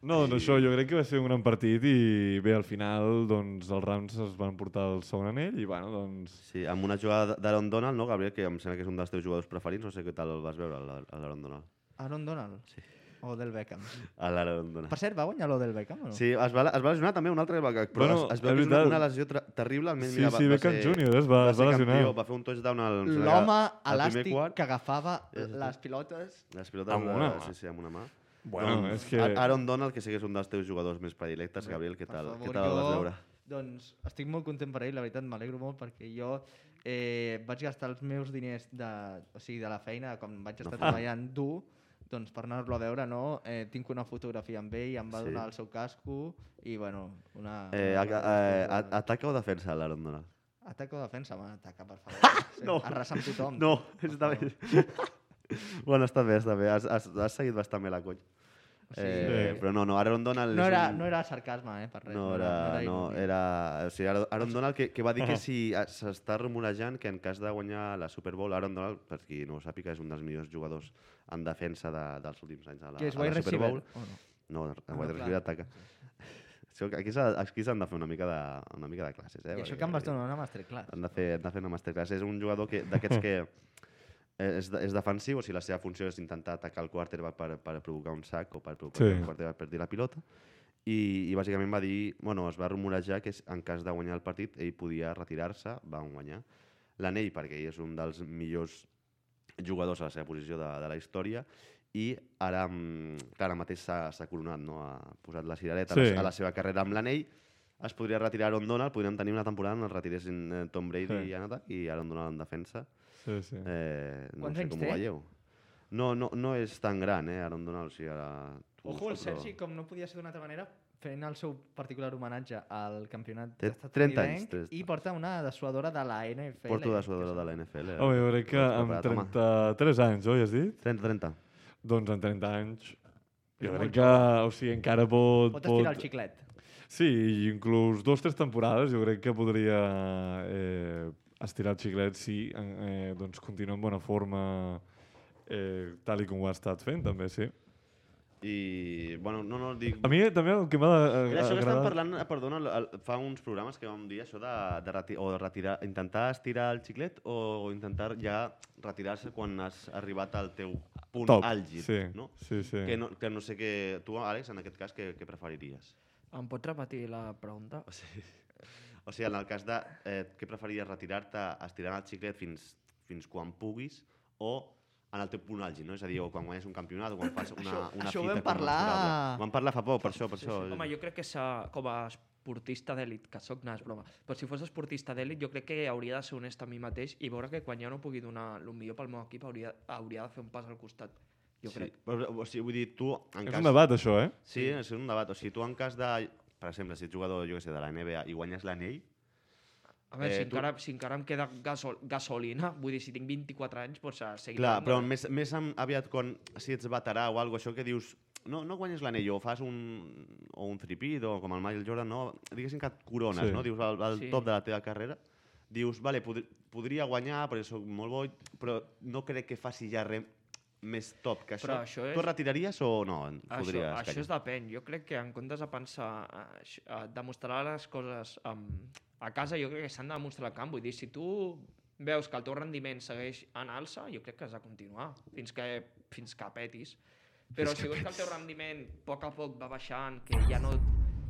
Speaker 5: No, doncs això, jo crec que va ser un gran partit i bé, al final, doncs, els Rams es van portar el segon anell i, bueno, doncs...
Speaker 4: Sí, amb una jugada d'Aaron Donald, no, Gabriel, que em sembla que és un dels teus jugadors preferits, no sé què tal el vas veure, l'Aaron Donald.
Speaker 3: Aaron Donald? Sí. O del Beckham.
Speaker 4: A l'Aaron Donald.
Speaker 3: Per cert, va guanyar l'Odell Beckham o no?
Speaker 4: Sí, es va, es va lesionar també un altre Beckham, però
Speaker 5: Bueno,
Speaker 4: bueno, es, es veu
Speaker 5: és
Speaker 4: que és una,
Speaker 5: veritat.
Speaker 4: una lesió ter- terrible. almenys,
Speaker 5: Sí, sí, Beckham
Speaker 4: ser-
Speaker 5: Júnior, es va- es va
Speaker 4: ser
Speaker 5: lesionar.
Speaker 4: campió, va fer un touchdown al... em sembla que
Speaker 3: L'home
Speaker 4: al doncs, primer
Speaker 3: elàstic
Speaker 4: quart.
Speaker 3: que agafava
Speaker 4: Sí, sí, sí.
Speaker 3: les pilotes.
Speaker 4: Les pilotes
Speaker 5: Amb
Speaker 4: de-
Speaker 5: una mà.
Speaker 4: Sí, sí, amb una mà.
Speaker 5: Bueno,
Speaker 4: Doncs,
Speaker 5: és que-
Speaker 4: Ar- Aaron Donald, que sí que és un dels teus jugadors més predilectes, Gabriel, què
Speaker 3: Per
Speaker 4: tal,
Speaker 3: favor,
Speaker 4: què tal el vas
Speaker 3: jo,
Speaker 4: veure?
Speaker 3: Doncs estic molt content per ell, la veritat m'alegro molt perquè jo eh, vaig gastar els meus diners de, o sigui, de la feina, com vaig estar treballant dur, doncs per anar-lo a veure, no? Eh, tinc una fotografia amb ell, em va
Speaker 4: Sí.
Speaker 3: donar el seu casco i, bueno, una...
Speaker 4: Eh,
Speaker 3: una-
Speaker 4: a, eh, a, ataca o defensa l'Aaron Donald?
Speaker 3: Ataca o defensa? Bueno, ataca, per favor.
Speaker 4: No.
Speaker 3: Arrasa amb tothom.
Speaker 4: No, està bé.
Speaker 3: favor.
Speaker 4: bueno, està bé, està bé. Has, has, has seguit bastant bé la coll.
Speaker 3: O sigui,
Speaker 4: Eh,
Speaker 5: Sí.
Speaker 4: Però no, no, Aaron Donald...
Speaker 3: No
Speaker 4: és
Speaker 3: era,
Speaker 4: un...
Speaker 3: no era sarcasme, eh, per res.
Speaker 4: No era, no,
Speaker 3: inútil.
Speaker 4: era... O sigui, Aaron- Aaron Donald que, que va dir que si eh, s'està rumorejant que en cas de guanyar la Super Bowl, Aaron Donald, per qui no ho sàpiga, és un dels millors jugadors en defensa de, dels últims anys a la,
Speaker 3: Que és
Speaker 4: a
Speaker 3: wide
Speaker 4: la Super
Speaker 3: receiver.
Speaker 4: Bowl.
Speaker 3: O no?
Speaker 4: No, el
Speaker 3: no,
Speaker 4: wide
Speaker 3: clar.
Speaker 4: receiver ataca. Això, aquí s'ha- aquí s'han de fer una mica de, una mica de classes, eh?
Speaker 3: I això
Speaker 4: perquè-
Speaker 3: que em vas donar una masterclass.
Speaker 4: han de fer, han de fer una masterclass. És un jugador que- d'aquests que és, de- és defensiu, o sigui, la seva funció és intentar atacar el quarterback per, per provocar un sac o per provocar
Speaker 5: Sí.
Speaker 4: sí. que el quarterback perdi la pilota. I, I bàsicament va dir, bueno, es va rumorejar que en cas de guanyar el partit ell podia retirar-se, van guanyar l'anell perquè ell és un dels millors jugadors a la seva posició de, de la història i ara, mm, clar, ara mateix s'ha s'ha coronat, no? ha posat la cirereta
Speaker 5: Sí.
Speaker 4: sí. a la seva carrera amb l'anell, es podria retirar Aaron Donald, podríem tenir una temporada on es retiressin eh, Tom Brady
Speaker 5: Sí.
Speaker 4: sí. i en atac i Aaron Donald en defensa.
Speaker 5: Sí, sí.
Speaker 4: Eh, no
Speaker 3: Quants
Speaker 4: sé
Speaker 3: anys
Speaker 4: com
Speaker 3: té?
Speaker 4: ho veieu. No, no, no és tan gran, eh, Aaron Donald. O sigui, ara... tu
Speaker 3: Ojo, el
Speaker 4: busca, però-
Speaker 3: Sergi, com no podia ser d'una altra manera, fent el seu particular homenatge al campionat
Speaker 4: Té
Speaker 3: d'estat
Speaker 4: 30 anys,
Speaker 3: unidenc
Speaker 4: té-
Speaker 3: i porta una dessuadora de la NFL.
Speaker 4: Porto de
Speaker 3: que
Speaker 4: suadora
Speaker 3: és-
Speaker 4: de la NFL. eh?
Speaker 5: Home, jo crec que
Speaker 4: No ets
Speaker 5: amb
Speaker 4: preparat, home.
Speaker 5: 33 anys, oi, has dit?
Speaker 4: 30, 30.
Speaker 5: Doncs en 30 anys... Jo
Speaker 3: És
Speaker 5: crec
Speaker 3: molt
Speaker 5: que, o sigui, encara pot...
Speaker 3: Pot estirar el xiclet.
Speaker 5: Sí, i inclús dos tres temporades jo crec que podria eh, estirar el xiclet si en- eh, doncs continua en bona forma eh, tal i com ho ha estat fent, també, sí.
Speaker 4: I, bueno, no, no, dic...
Speaker 5: A mi eh, també el que m'ha de-
Speaker 4: Era això que estan
Speaker 5: agradat-
Speaker 4: parlant, eh, perdona, el- el- fa uns programes que vam dir això de, de, reti o de retirar, intentar estirar el xiclet o intentar ja retirar-se quan has arribat al teu punt
Speaker 5: Top,
Speaker 4: àlgid,
Speaker 5: sí,
Speaker 4: no?
Speaker 5: sí, sí.
Speaker 4: Que no, que no sé què... Tu, Àlex, en aquest cas, què, què preferiries?
Speaker 6: Em pots repetir la pregunta?
Speaker 4: O sigui, o sigui, en el cas de... Eh, què preferiries, retirar-te estirant el xiclet fins, fins quan puguis o en el teu punt àlgid, no? És a dir, o quan guanyes un campionat o quan fas una,
Speaker 3: Això-
Speaker 4: una
Speaker 3: això ho
Speaker 4: fita
Speaker 3: vam parlar-
Speaker 4: considerable. Vam parlar fa poc, per això, per això.
Speaker 6: Home, jo crec que s'ha- com a esportista d'èlit, que sóc, no, és broma, però si fos esportista d'èlit jo crec que hauria de ser honest amb mi mateix i veure que quan ja no pugui donar el millor pel meu equip hauria, hauria de fer un pas al costat, jo
Speaker 4: sí.
Speaker 6: crec.
Speaker 4: Però, o sigui, vull dir, tu... En
Speaker 5: És
Speaker 4: cas,
Speaker 5: un debat, això, eh?
Speaker 4: Sí, és un debat. O sigui, tu en cas de... Per exemple, si ets jugador, jo què sé, de la NBA i guanyes l'anell,
Speaker 6: A veure,
Speaker 4: Eh,
Speaker 6: eh, si,
Speaker 4: tu-
Speaker 6: encara, si encara em queda gasol, gasolina, vull dir, si tinc 24 anys, doncs a seguir...
Speaker 4: Clar,
Speaker 6: dando.
Speaker 4: però més, més amb, aviat quan si ets veterà o algo, això que dius no, no guanyes l'anell o fas un, o un tripit o com el Michael Jordan, no, diguéssim que et corones,
Speaker 5: Sí.
Speaker 4: sí. no? Dius al, al
Speaker 6: Sí.
Speaker 4: sí. top de la teva carrera, dius, vale, pod podria guanyar perquè sóc molt bo, però no crec que faci ja res més top que això.
Speaker 6: Però això
Speaker 4: Tu
Speaker 6: és-
Speaker 4: et retiraries o no? En
Speaker 6: Això,
Speaker 4: podries
Speaker 6: això
Speaker 4: callar?
Speaker 6: és depèn. Jo crec que en comptes de pensar a, a demostrar les coses um, a casa, jo crec que s'han de demostrar al camp. Vull dir, si tu veus que el teu rendiment segueix en alça, jo crec que has de continuar fins que, fins que petis. Però si veus que el teu rendiment a poc a poc va baixant, que ja no,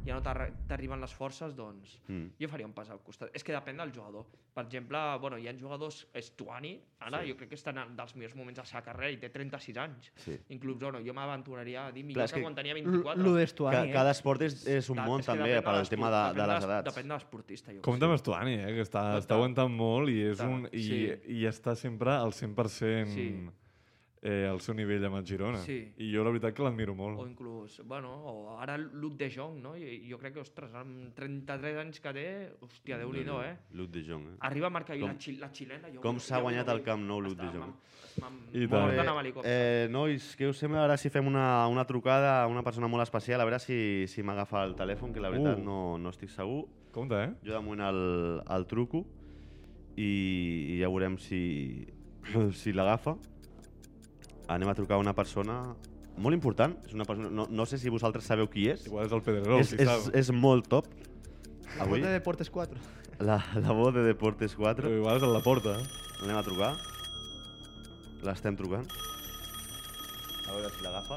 Speaker 6: ja no t'arri- t'arriben les forces, doncs
Speaker 4: Mm.
Speaker 6: jo faria un pas al costat. És que depèn del jugador. Per exemple, bueno, hi ha jugadors, és Tuani, ara
Speaker 4: Sí.
Speaker 6: jo crec que està en el- dels millors moments de la seva carrera i té 36 anys.
Speaker 4: Sí.
Speaker 6: Inclús, bueno, jo m'aventuraria a dir
Speaker 4: Clar,
Speaker 6: millor Clar,
Speaker 4: és
Speaker 6: que,
Speaker 4: que
Speaker 6: quan tenia
Speaker 3: L-
Speaker 6: 24.
Speaker 3: Lo
Speaker 4: Ca,
Speaker 3: d'Estuani, eh?
Speaker 4: cada esport és, és un
Speaker 6: Clar,
Speaker 4: món
Speaker 6: és que
Speaker 4: també
Speaker 6: depèn de
Speaker 4: per al
Speaker 6: l'esport-
Speaker 4: tema de, de
Speaker 6: depèn
Speaker 4: les edats.
Speaker 6: Depèn de l'esportista. jo
Speaker 5: Compte
Speaker 6: crec.
Speaker 5: amb Estuani, eh? Que està, està
Speaker 6: Compte.
Speaker 5: aguantant molt i, és un, i,
Speaker 6: Sí.
Speaker 5: i està sempre al 100%
Speaker 6: Sí.
Speaker 5: eh, al seu nivell amb el Girona.
Speaker 6: Sí.
Speaker 5: I jo la veritat que l'admiro
Speaker 6: O
Speaker 5: molt.
Speaker 6: inclús, bueno, o ara Luc de Jong, no? Jo, jo crec que, ostres, amb 33 anys que té, hòstia, déu nhi eh?
Speaker 4: Luke de Jong, eh?
Speaker 6: Arriba a marcar
Speaker 4: Com-
Speaker 6: la, xil la xilena. Jo,
Speaker 4: com
Speaker 6: jo-
Speaker 4: s'ha
Speaker 6: jo-
Speaker 4: guanyat
Speaker 6: jo-
Speaker 4: el Camp Nou Luc de
Speaker 6: Està-
Speaker 4: Jong.
Speaker 6: m'han-
Speaker 5: I tant.
Speaker 6: m'han- M'han
Speaker 5: Molt
Speaker 4: Bé,
Speaker 5: bé.
Speaker 6: d'anar a helicòpter.
Speaker 4: eh, nois, què us sembla ara si fem una, una trucada a una persona molt especial? A veure si, si m'agafa el telèfon, que la veritat
Speaker 5: Uh.
Speaker 4: no, no estic segur.
Speaker 5: Compte, eh?
Speaker 4: Jo de moment el, el truco i, i ja veurem si, si l'agafa. Anem a trucar a una persona molt important. És una persona, no, no sé si vosaltres sabeu qui és.
Speaker 5: Igual és el Pedrerol,
Speaker 4: és,
Speaker 5: si
Speaker 4: és,
Speaker 5: sap.
Speaker 4: és molt top.
Speaker 3: La
Speaker 4: Avui
Speaker 3: Porta de Deportes 4.
Speaker 4: la, la voz de Deportes
Speaker 5: Però
Speaker 4: 4.
Speaker 5: igual és a la porta.
Speaker 4: Anem a trucar. L'estem trucant. A veure si l'agafa.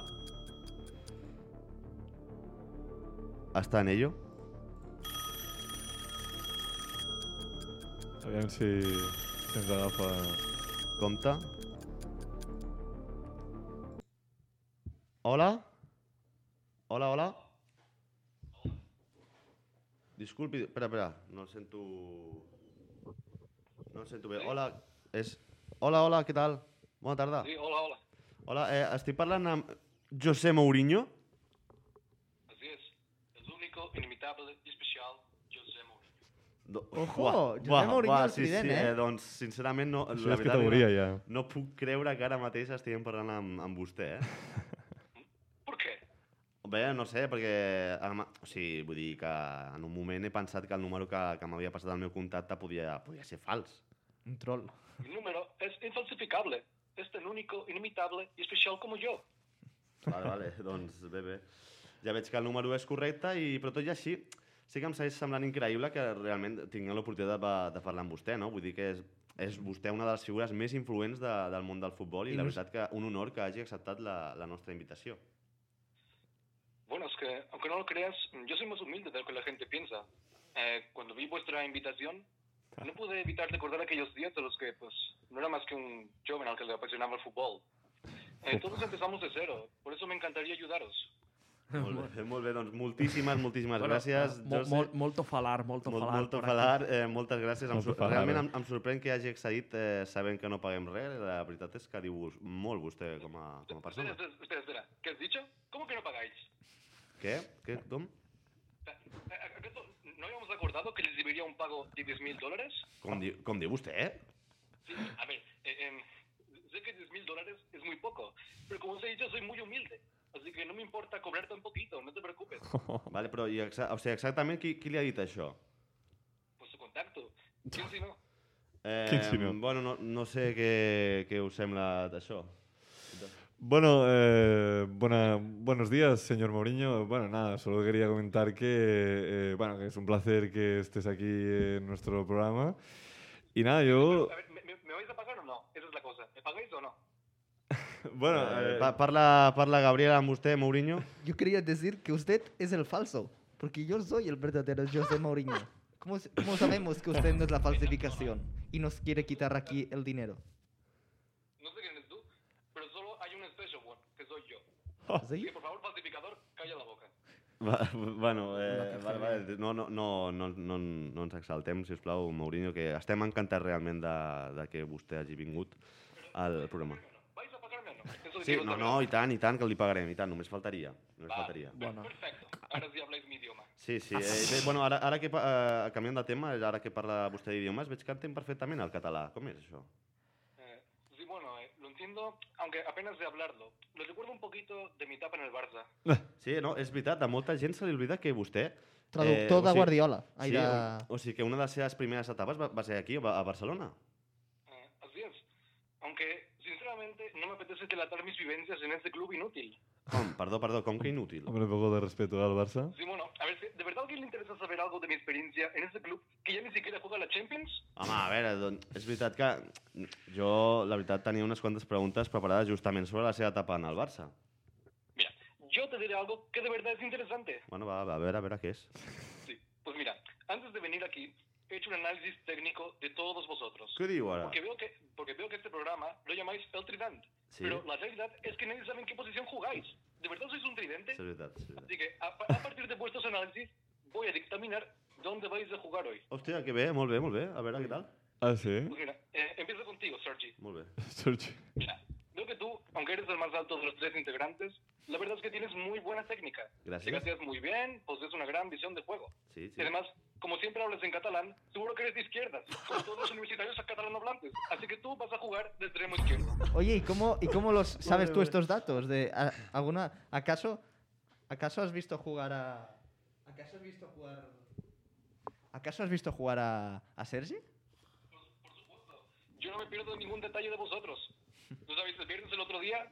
Speaker 4: Està en ello.
Speaker 5: Aviam si, si ens agafa...
Speaker 4: Compte. Hola? Hola, hola? Disculpi, espera, espera, no el sento... No el sento bé. Hola, és... Hola, hola, què tal? Bona tarda.
Speaker 2: Sí, hola, hola.
Speaker 4: Hola, eh, estic parlant amb José Mourinho.
Speaker 2: Así es. El único, inimitable y especial José Mourinho.
Speaker 4: Do-
Speaker 3: Ojo,
Speaker 4: Buah,
Speaker 3: José
Speaker 4: buah,
Speaker 3: Mourinho
Speaker 4: buah,
Speaker 3: al
Speaker 4: sí,
Speaker 3: Trident,
Speaker 4: sí,
Speaker 3: eh?
Speaker 4: Doncs, sincerament, no...
Speaker 5: Això és categoria, ja.
Speaker 4: no, no puc creure que ara mateix estiguem parlant amb, amb vostè, eh?
Speaker 2: ¿Por qué?
Speaker 4: Bé, no sé, perquè... ara ma- O sigui, vull dir que en un moment he pensat que el número que, que m'havia passat al meu contacte podia, podia ser fals.
Speaker 3: Un troll.
Speaker 2: Mi número es infalsificable. Es tan único, inimitable y especial como yo.
Speaker 4: Vale, vale, doncs bé, bé. Ja veig que el número és correcte, i, però tot i així sí que em segueix semblant increïble que realment tinguem l'oportunitat de, de parlar amb vostè, no? Vull dir que és, és vostè una de les figures més influents de, del món del futbol i,
Speaker 3: I
Speaker 4: la
Speaker 3: nos-
Speaker 4: veritat que un honor que hagi acceptat la, la nostra invitació.
Speaker 2: Bueno, es que, aunque no lo creas, yo soy más humilde de lo que la gente piensa. Eh, cuando vi vuestra invitación, no pude evitar recordar aquellos días de los que, pues, no era más que un joven al que le apasionaba el fútbol. Eh, todos empezamos de cero, por eso me encantaria ayudaros.
Speaker 4: Molt bé, molt bé doncs moltíssimes, moltíssimes
Speaker 6: Bueno,
Speaker 4: gràcies.
Speaker 6: Ah, Mo,
Speaker 4: Josep.
Speaker 6: molt, molt falar, molt
Speaker 4: Molt,
Speaker 6: falar.
Speaker 4: molt falar, eh, moltes gràcies. Em,
Speaker 5: Molto
Speaker 4: sor-
Speaker 5: falar,
Speaker 4: realment
Speaker 5: eh?
Speaker 4: em, em sorprèn que hagi accedit eh, sabent que no paguem res. La veritat és que diu molt vostè com a, com
Speaker 2: Espera,
Speaker 4: a persona.
Speaker 2: espera, espera, espera. ¿Qué has dicho? ¿Cómo que no pagáis?
Speaker 4: Què? Què? Com?
Speaker 2: Eh, ¿acaso ¿No habíamos acordado que les debería un pago de 10 mil dólares?
Speaker 4: Com, di, com diu vostè, eh?
Speaker 2: Sí, a ver, eh, em, sé que 10 mil dólares es muy poco, pero como os he dicho, soy muy humilde. Así que no me importa cobrar tan poquito, no te preocupes.
Speaker 5: Oh.
Speaker 4: Vale, però i exa o sigui, exactament qui, qui li ha dit això?
Speaker 2: Por su contacto. Sí, sí, no.
Speaker 4: Eh,
Speaker 5: Quin sinó?
Speaker 4: Bueno, no, no sé què, què us sembla d'això.
Speaker 5: Bueno, eh, buena- buenos días, señor Mourinho. Bueno, nada, solo quería comentar que, eh, bueno, que es un placer que estés aquí en nuestro programa. Y nada, yo...
Speaker 2: A ver, ¿me, me, me vais a pagar o no? Esa es la cosa. ¿Me pagáis o no?
Speaker 5: Bueno,
Speaker 4: eh,
Speaker 5: eh,
Speaker 4: pa parla, parla Gabriel amb vostè, Mourinho.
Speaker 3: Yo quería decir que usted es el falso, porque yo soy el verdadero José Mourinho. ¿Cómo, s- cómo sabemos que usted no es la falsificación y nos quiere quitar aquí el dinero?
Speaker 2: No sé quién eres tú, pero solo hay un special one, que soy yo.
Speaker 4: Oh.
Speaker 2: Así
Speaker 3: ¿Sí?
Speaker 2: que, por favor, falsificador, calla la boca.
Speaker 4: Va, bueno, eh, vale, vale. No, no, no, no, no, no ens exaltem, si us plau, Mourinho, que estem encantats realment de, de que vostè hagi vingut al programa.
Speaker 2: Bueno, ¿Vais a pagarme o no? Eso
Speaker 4: Sí,
Speaker 2: quiero
Speaker 4: no,
Speaker 2: saber.
Speaker 4: no, i tant, i tant, que li pagarem, i tant, només faltaria. Només
Speaker 2: Va,
Speaker 4: faltaria.
Speaker 2: per-
Speaker 6: Bueno.
Speaker 2: perfecto. Ahora sí habláis mi idioma.
Speaker 4: Sí, sí. Eh,
Speaker 3: Ah.
Speaker 4: bé, bueno, ara, ara que, pa- eh, canviant de tema, ara que parla vostè d'idiomes, veig que entén perfectament el català. Com és això?
Speaker 2: Eh, sí, bueno, eh, lo entiendo, aunque apenas de hablarlo. Lo recuerdo un poquito de mi etapa en el Barça.
Speaker 4: Sí, no, és veritat, a molta gent se li oblida que vostè...
Speaker 3: Traductor de
Speaker 4: Eh, o sigui-
Speaker 3: Guardiola. Ai,
Speaker 4: Sí,
Speaker 3: de...
Speaker 4: o, o sigui que una de les seves primeres etapes va, va ser aquí, a Ba- a Barcelona.
Speaker 2: Eh, así es. Aunque, sinceramente, no me apetece delatar mis vivencias en este club inútil.
Speaker 4: Com? Perdó, perdó, com que inútil.
Speaker 5: hombre, un poco de respeto al Barça.
Speaker 2: Sí, bueno, a ver, si ¿de verdad a alguien le interesa saber algo de mi experiencia en este club que ya ni siquiera juega la Champions?
Speaker 4: Home, a veure, doncs, és veritat que jo, la veritat, tenia unes quantes preguntes preparades justament sobre la seva etapa en el Barça.
Speaker 2: Mira, yo te diré algo que de verdad es interesante.
Speaker 4: Bueno, va, va a veure, a veure què és.
Speaker 2: Sí, pues mira, antes de venir aquí, he hecho un análisis técnico de todos vosotros.
Speaker 4: Què diu ara?
Speaker 2: Porque veo que, porque veo que este programa lo llamáis el Trident.
Speaker 4: Sí.
Speaker 2: Pero la realidad es que nadie sabe en qué posición jugáis. ¿De verdad sois un tridente?
Speaker 4: És veritat, és veritat.
Speaker 2: Así que a, pa- a partir de vuestros análisis voy a dictaminar dónde vais a jugar hoy.
Speaker 4: Hòstia, que bé, molt bé, molt bé. A veure, què tal?
Speaker 5: Ah, sí.
Speaker 2: Pues mira, eh, empiezo contigo, Sergi.
Speaker 4: Molt bé.
Speaker 5: Sergi.
Speaker 2: Mira, veo que tú, aunque eres el más alto de los tres integrantes, la verdad es que tienes muy buena técnica.
Speaker 4: Gracias.
Speaker 2: Te gateas muy bien, posees una gran visión de juego.
Speaker 4: Sí,
Speaker 2: Y
Speaker 4: sí.
Speaker 2: además, como siempre hablas en catalán, seguro que eres de izquierdas, como todos los universitarios catalanohablantes. Así que tú vas a jugar de extremo izquierdo.
Speaker 3: Oye, ¿y cómo, ¿y cómo los sabes tú estos datos? De, a- alguna, ¿acaso, ¿Acaso has visto jugar a... ¿Acaso has visto jugar... ¿Acaso has visto jugar a, a Sergi?
Speaker 2: Yo no me pierdo ningún detalle de vosotros. Tú sabéis, el viernes el otro día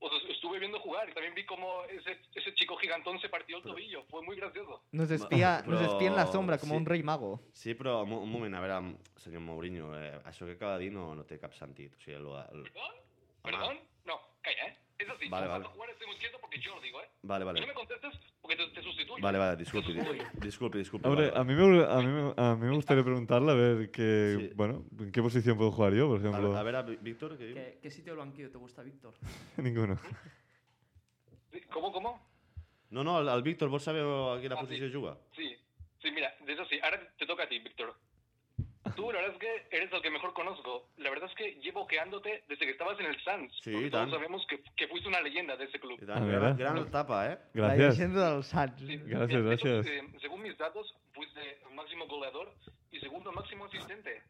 Speaker 2: os es- estuve viendo jugar y también vi cómo ese, ese chico gigantón se partió el tobillo. Fue muy gracioso.
Speaker 3: Nos espía, nos
Speaker 4: Pero-
Speaker 3: espía en la sombra como
Speaker 4: sí.
Speaker 3: un rey mago.
Speaker 4: Sí, però un, mo- un moment, a veure, m- senyor Mourinho, eh, això que acaba de dir no, no té cap sentit. O sigui, lo, lo...
Speaker 2: ¿Perdón? ¿Perdón? No, calla, ¿eh? Es así,
Speaker 4: Vale,
Speaker 2: yo
Speaker 4: vale.
Speaker 2: cuando Juárez estoy muy quieto porque yo lo digo, ¿eh?
Speaker 4: Vale, vale.
Speaker 2: Si no me contestas, porque te, te sustituyo.
Speaker 4: Vale, vale, disculpi, di- disculpi, disculpi.
Speaker 5: A ver,
Speaker 4: vale,
Speaker 5: a mí, me, a, mí, me- a mí me gustaría preguntarle a ver qué,
Speaker 4: Sí.
Speaker 5: bueno, en qué posición puedo jugar yo, por
Speaker 4: vale.
Speaker 5: ejemplo.
Speaker 4: A ver, a ver, a Víctor, ¿qué diu?
Speaker 6: ¿Qué, qué sitio del banquillo te gusta, Víctor?
Speaker 5: Ninguno.
Speaker 2: Sí, ¿Cómo, cómo?
Speaker 4: No, no, el, el Víctor, vols saber a quina
Speaker 2: Ah,
Speaker 4: posició juga?
Speaker 2: Sí. Sí, mira, es así. Ahora te toca a ti, Víctor. Tú, la verdad es que eres el que mejor conozco. La verdad es que llevo ojeándote desde que estabas en el Sanz.
Speaker 4: Sí, Eh,
Speaker 2: porque
Speaker 4: i
Speaker 2: todos
Speaker 4: tant.
Speaker 2: sabemos que, que fuiste una leyenda de ese club.
Speaker 4: I tant,
Speaker 5: A veure.
Speaker 4: gran, gran etapa, eh?
Speaker 7: La
Speaker 5: Gracias.
Speaker 7: leyenda del Sants.
Speaker 2: Sí,
Speaker 5: Gracias,
Speaker 2: mira, esto,
Speaker 5: gracias.
Speaker 2: eh, según mis datos, fuiste máximo goleador y segundo máximo asistente.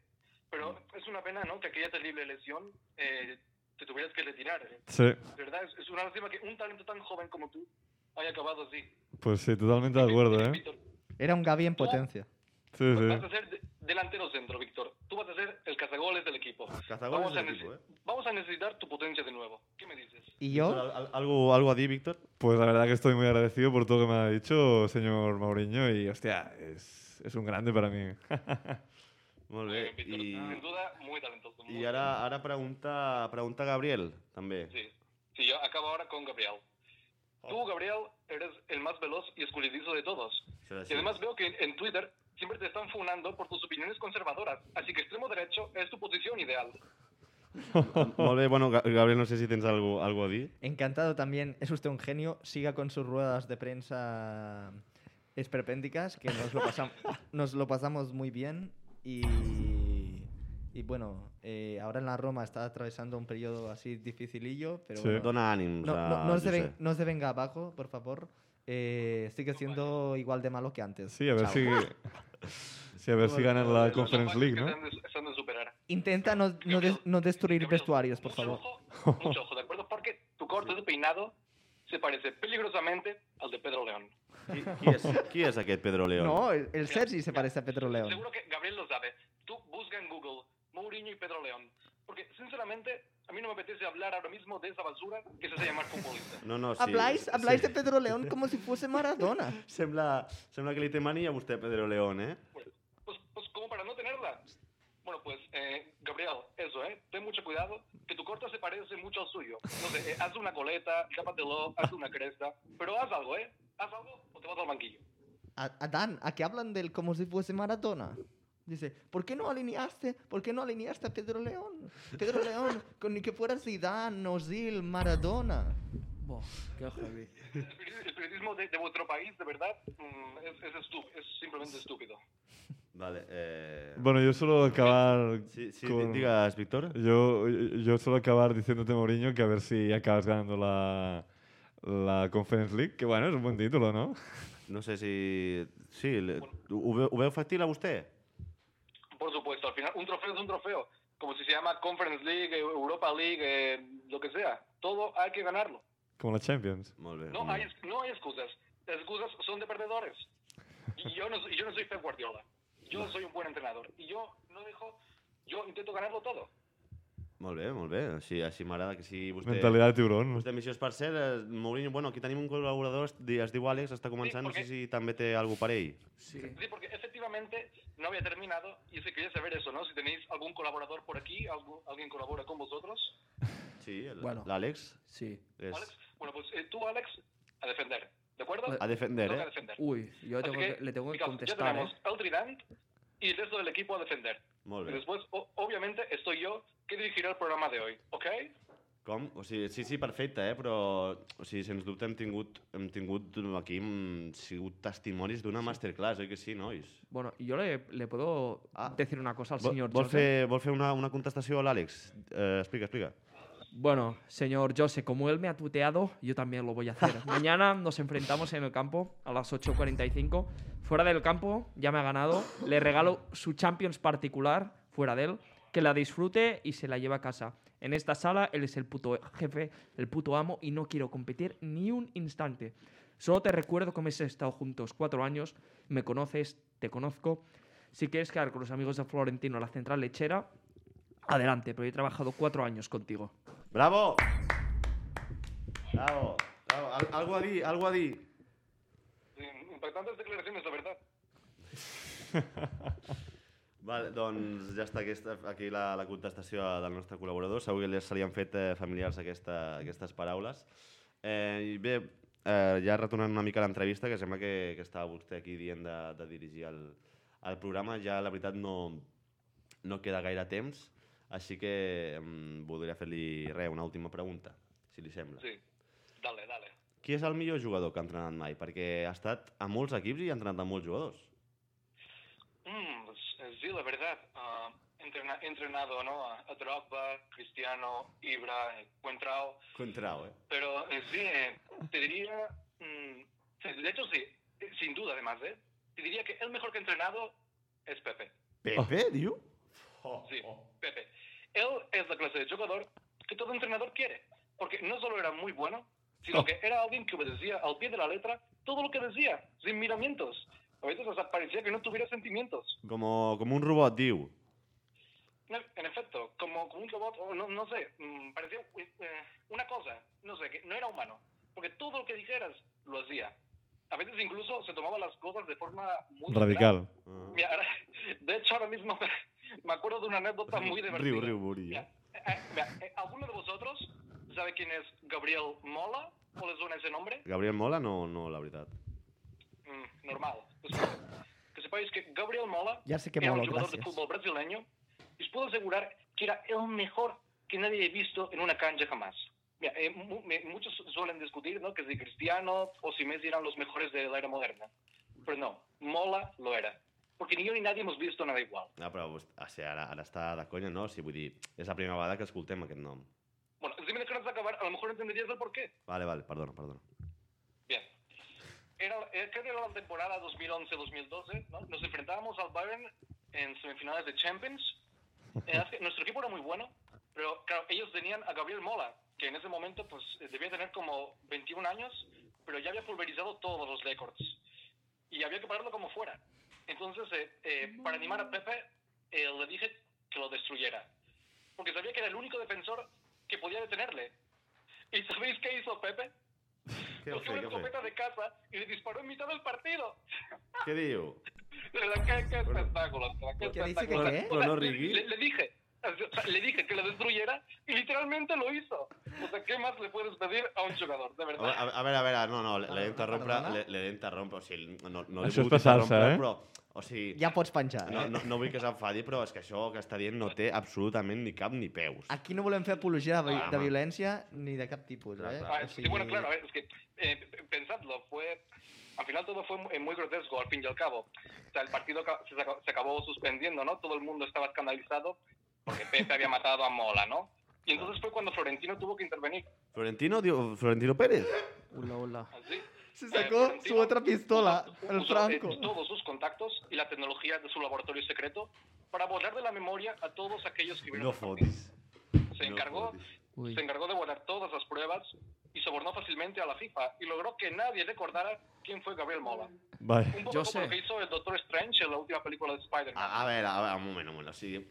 Speaker 2: Pero
Speaker 4: Mm.
Speaker 2: es una pena, ¿no? Que aquella terrible lesión eh, te tuvieras que retirar. De
Speaker 5: Sí,
Speaker 2: verdad, es, es una lástima que un talento tan joven como tú haya acabado así.
Speaker 5: pues sí, totalmente de acuerdo, ¿eh?
Speaker 2: Víctor, pues
Speaker 3: Era un Gavi en potencia.
Speaker 5: Sí,
Speaker 2: Vas
Speaker 5: sí.
Speaker 2: a ser de- delantero centro, Víctor. Tú vas a ser el cazagoles del equipo.
Speaker 4: Cazagoles
Speaker 2: Vamos a
Speaker 4: del equipo,
Speaker 2: necesi-
Speaker 4: eh.
Speaker 2: Vamos a necesitar tu potencia de nuevo. ¿Qué me dices?
Speaker 3: Y
Speaker 4: Víctor,
Speaker 3: yo,
Speaker 4: al- al- algo, algo a dir, Víctor?
Speaker 5: Pues la verdad que estoy muy agradecido por todo lo que me ha dicho, señor Mauriño, y hostia, es, es un grande para mí.
Speaker 4: Molt
Speaker 2: Muy
Speaker 4: bé.
Speaker 2: bien, Víctor. ah, Sin
Speaker 4: I,
Speaker 2: duda, muy talentoso. muy
Speaker 4: i ara, ara pregunta, pregunta Gabriel, també.
Speaker 2: Sí, sí, yo acabo ahora con Gabriel. Tú, Gabriel, eres el más veloz y escurridizo de todos.
Speaker 4: Això és
Speaker 2: Y
Speaker 4: així.
Speaker 2: además veo que en Twitter siempre te están funando por tus opiniones conservadoras. Así que extremo derecho es tu posición ideal.
Speaker 4: Molt bé, bueno, Ga- Gabriel, no sé si tens algo, algo a dir.
Speaker 3: encantado también. Es usted un genio. Siga con sus ruedas de prensa esperpénticas, que nos lo, pasam- nos lo pasamos muy bien. Y, y bueno, eh, ahora en la Roma está atravesando un periodo así dificilillo, pero
Speaker 5: Sí.
Speaker 3: bueno,
Speaker 4: Dona ànims
Speaker 3: no,
Speaker 4: a
Speaker 3: no, no se
Speaker 4: Josep.
Speaker 3: ven- no se venga abajo, por favor. Eh, sigue siendo igual de malo que antes.
Speaker 5: Sí, a ver
Speaker 3: Chao.
Speaker 5: si, sí, a ver si ganas la Conference League,
Speaker 2: Los
Speaker 5: ¿no?
Speaker 2: ataques que Están de, están de superar.
Speaker 3: Intenta no, no des- no destruir
Speaker 2: Gabriel,
Speaker 3: vestuarios, por
Speaker 2: mucho
Speaker 3: favor.
Speaker 2: Ojo, mucho ojo, ¿de acuerdo? Porque tu corte de peinado se parece peligrosamente al de Pedro León.
Speaker 4: Qui, qui, és, qui és aquest Pedro León?
Speaker 3: No, el, el Sergi se parece a Pedro León.
Speaker 2: Seguro que Gabriel lo sabe. Tú busca en Google Mourinho y Pedro León. Porque, sinceramente, a mí no me apetece hablar ahora mismo de esa basura que se hace llamar futbolista.
Speaker 4: no, no sí,
Speaker 3: Habláis,
Speaker 4: sí.
Speaker 3: habláis de Pedro León como si fuese Maradona.
Speaker 4: Sembla, sembla que li té mania a vostè, Pedro León, eh?
Speaker 2: Pues, pues, pues, como para no tenerla. Bueno, pues, eh, Gabriel, eso, ¿eh? Ten mucho cuidado, que tu corte se parece mucho al suyo. No sé, eh, haz una coleta, tápatelo, haz una cresta, pero haz algo, ¿eh? Haz algo o te vas al banquillo.
Speaker 3: A- Adán, a que hablan de él como si fuese Maradona. Dice, ¿por qué no alineaste? ¿Por qué no alineaste a Pedro León? Pedro León, con ni que fuera Zidane, Ozil, Maradona.
Speaker 6: Buah, qué heavy.
Speaker 2: El periodismo- el periodismo de, de vuestro país, de verdad, mm, es, es, estu- es simplemente estúpido.
Speaker 4: Vale, eh...
Speaker 5: Bueno, yo solo acabar
Speaker 4: Sí, sí,
Speaker 5: con-
Speaker 4: digues, Víctor.
Speaker 5: Yo, yo solo acabar diciéndote, Mourinho, que a ver si acabas ganando la, la Conference League, que bueno, es un buen título, ¿no?
Speaker 4: No sé si... Sí, le- ho, veu, ho veu factible a vostè?
Speaker 2: Por supuesto, al final un trofeo es un trofeo. Como si se llama Conference League, eh, Europa League, eh, lo que sea. Todo hay que ganarlo.
Speaker 5: Como la Champions.
Speaker 4: Molt bé.
Speaker 2: No
Speaker 4: molt
Speaker 2: hay,
Speaker 4: bé.
Speaker 2: ex- no hay excusas. Las excusas son de perdedores. Y yo no, soy- yo no soy Pep Guardiola. Yo soy un buen entrenador. Y yo no dejo... Yo intento ganarlo todo.
Speaker 4: Molt bé, molt bé. Així, així m'agrada que sigui vostè...
Speaker 5: Mentalidad de tiburón.
Speaker 4: Vostè, missió Esparcer, eh, Mourinho, bueno, aquí tenim un col·laborador, es di- es diu Àlex, està començant, no sé
Speaker 2: perquè-
Speaker 4: si també té algú per ell.
Speaker 6: Sí.
Speaker 2: Sí, porque efectivamente no había terminado. Y si quería saber eso, ¿no? Si tenéis algún colaborador por aquí, algú- alguien colabora con vosotros.
Speaker 4: Sí, el-
Speaker 6: Bueno.
Speaker 4: l'Àlex
Speaker 6: Sí.
Speaker 4: és...
Speaker 2: Alex, bueno, pues eh, tú, Alex, a defender. ¿De acuerdo?
Speaker 6: Vale.
Speaker 4: A defender,
Speaker 2: Toca
Speaker 4: eh?
Speaker 2: defender.
Speaker 6: Uy, yo
Speaker 2: Así
Speaker 6: tengo que- le tengo que
Speaker 2: digamos, Ya
Speaker 6: contestar,
Speaker 2: tenemos
Speaker 6: ¿eh?
Speaker 2: al Trident y el resto del equipo a defender.
Speaker 4: Molt
Speaker 2: Y
Speaker 4: bé.
Speaker 2: después, o- obviamente, estoy yo que dirigiré el programa de hoy, ¿ok?
Speaker 4: Com? O sigui, sí, sí, perfecte, eh? però o sigui, sens dubte hem tingut, hem tingut aquí, hem sigut testimonis d'una masterclass, oi que sí, nois?
Speaker 6: Bueno, yo le, le puedo
Speaker 4: Ah.
Speaker 6: decir una cosa al
Speaker 4: Vol,
Speaker 6: señor
Speaker 4: vol,
Speaker 6: Jose.
Speaker 4: fer, vol fer una, una contestació a l'Àlex? Eh, explica, explica.
Speaker 6: Bueno, señor Jose, como él me ha tuteado, yo también lo voy a hacer. Mañana nos enfrentamos en el campo a las 8.45. Fuera del campo, ya me ha ganado. Le regalo su Champions particular, fuera de él, que la disfrute y se la lleva a casa. En esta sala, él es el puto jefe, el puto amo, y no quiero competir ni un instante. Solo te recuerdo que hemos estado juntos cuatro años, me conoces, te conozco. Si quieres quedar con los amigos de Florentino a la central lechera, adelante, pero he trabajado cuatro años contigo.
Speaker 4: Bravo! Bravo! Bravo. Al, algo a dir, algo a dir.
Speaker 2: Eh, Impactantes declaraciones, la verdad.
Speaker 4: Vale, doncs ja està aquesta, aquí la, la contestació del nostre col·laborador. Segur que li- se li han fet eh, familiars aquesta, aquestes paraules. Eh, I bé, eh, ja retornant una mica a l'entrevista, que sembla que, que estava vostè aquí dient de, de dirigir el, el programa, ja la veritat no, no queda gaire temps, així que mm, voldria fer-li res, una última pregunta, si li sembla.
Speaker 2: Sí. Dale, dale.
Speaker 4: Qui és el millor jugador que ha entrenat mai? Perquè ha estat a molts equips i ha entrenat a molts jugadors.
Speaker 2: Mm, pues, eh, sí, la verdad. ah, entrena- entrenado ¿no? a, a Drogba, Cristiano, Ibra, eh, Cuentrao.
Speaker 4: Contrao, eh?
Speaker 2: Pero eh, sí, eh, te diría. mm, sí, de hecho, sí, eh, sin duda, además, ¿eh? Te diría que el mejor que he entrenado es Pepe.
Speaker 4: Pepe, diu?
Speaker 2: Sí, Pepe. Él es la clase de jugador que todo entrenador quiere. Porque no solo era muy bueno, sino que era alguien que obedecía al pie de la letra todo lo que decía, sin miramientos. A veces hasta parecía que no tuviera sentimientos.
Speaker 4: Como, como un robot, diu.
Speaker 2: En efecto, como, como un robot, o no, no sé, mm, parecía eh, una cosa, no sé, que no era humano. Porque todo lo que dijeras lo hacía. A veces incluso se tomaba las cosas de forma muy
Speaker 5: Radical.
Speaker 4: Ah.
Speaker 2: Mira, ahora- de hecho, ahora mismo me acuerdo de una anécdota muy divertida.
Speaker 4: Riu, riu, Borí.
Speaker 2: Mira, eh, mira, eh, ¿Alguno de vosotros sabe quién es Gabriel Mola? ¿O les suena ese nombre?
Speaker 4: Gabriel Mola no, no la veritat.
Speaker 2: Mm, normal. Pues, que sepáis que Gabriel Mola
Speaker 7: Ya sé que
Speaker 2: era un
Speaker 7: Molo,
Speaker 2: jugador de
Speaker 7: gracias.
Speaker 2: fútbol brasileño y os puedo asegurar que era el mejor que nadie he visto en una cancha jamás. Mira, eh, mu- me- muchos suelen discutir ¿no? que si Cristiano o si Messi eran los mejores de la era moderna. Pero no, Mola lo era. Porque ni yo ni nadie hemos visto nada igual.
Speaker 4: Ah, però vos- o sigui, ara, ara està de conya, no? O sigui, vull dir, és la primera vegada que escoltem aquest nom.
Speaker 2: Bueno, si me dejaras acabar, a lo mejor entenderías el porqué.
Speaker 4: Vale, vale, perdona, perdona.
Speaker 2: Bien. Era, eh, creo que era la temporada 2011-2012, ¿no? Nos enfrentábamos al Bayern en semifinales de Champions. Eh, hace- nuestro equipo era muy bueno, pero claro, ellos tenían a Gabriel Mola, que en ese momento pues eh, debía tener como 21 años, pero ya había pulverizado todos los récords. Y había que pararlo como fuera. Entonces, eh, eh, para animar a Pepe, eh, le dije que lo destruyera. Porque sabía que era el único defensor que podía detenerle. ¿Y sabéis qué hizo Pepe?
Speaker 4: Què
Speaker 2: cogió una escopeta de casa y le disparó en mitad del partido.
Speaker 4: Què diu?
Speaker 2: De verdad, qué, qué espectáculo. de verdad, Qué
Speaker 7: ¿Qué dice
Speaker 2: espectáculo.
Speaker 7: que qué?
Speaker 2: O sea,
Speaker 4: ¿Lo no
Speaker 2: le,
Speaker 4: rigui?
Speaker 2: le- le dije, o sea, le dije que lo destruyera y literalmente lo hizo. O sea, ¿qué más le puedes pedir a un jugador? De
Speaker 4: A,
Speaker 2: verdad.
Speaker 4: a, a veure, a veure, no, no, l'he d'interrompre,
Speaker 7: perdona?
Speaker 4: l'he- l'he d'interrompre, o sigui, no, no l'he
Speaker 5: Això és
Speaker 4: volgut
Speaker 5: passar-se,
Speaker 4: interrompre,
Speaker 5: eh?
Speaker 4: però, o sigui,
Speaker 7: Ja pots penjar,
Speaker 4: no,
Speaker 7: eh?
Speaker 4: no, no vull que s'enfadi, però és que això que està dient no té absolutament ni cap ni peus.
Speaker 7: Aquí no volem fer apologia de,
Speaker 4: Ah,
Speaker 7: de
Speaker 4: home.
Speaker 7: violència ni de cap tipus, eh?
Speaker 4: Clar,
Speaker 2: Ah,
Speaker 7: O
Speaker 2: sí,
Speaker 7: sigui,
Speaker 2: bueno, claro, a ver, es que eh, pensadlo, fue. Al final todo fue muy, muy grotesco, al fin y al cabo. O sea, el partido ca- se, saca- se acabó suspendiendo, ¿no? Todo el mundo estaba escandalizado porque Pepe había matado a Mola, ¿no? Y entonces fue cuando Florentino tuvo que intervenir.
Speaker 4: Florentino, diu, Florentino Pérez?
Speaker 6: Hola, hola.
Speaker 2: Así.
Speaker 7: Se sacó
Speaker 2: Eh,
Speaker 7: su otra pistola, el
Speaker 2: usó, eh,
Speaker 7: Franco.
Speaker 2: todos sus contactos y la tecnología de su laboratorio secreto para borrar de la memoria a todos aquellos que vieron
Speaker 4: No
Speaker 2: el partido.
Speaker 4: fotis.
Speaker 2: Se encargó,
Speaker 4: No fotis.
Speaker 6: Ui.
Speaker 2: se encargó de borrar todas las pruebas y sobornó fácilmente a la FIFA y logró que nadie recordara quién fue Gabriel Mola.
Speaker 5: Vale.
Speaker 2: Un poco
Speaker 6: Yo
Speaker 2: como
Speaker 6: sé.
Speaker 2: lo que hizo el Doctor Strange en la última película de Spider-Man.
Speaker 4: A, a veure, a veure, un moment, un moment. O sigui,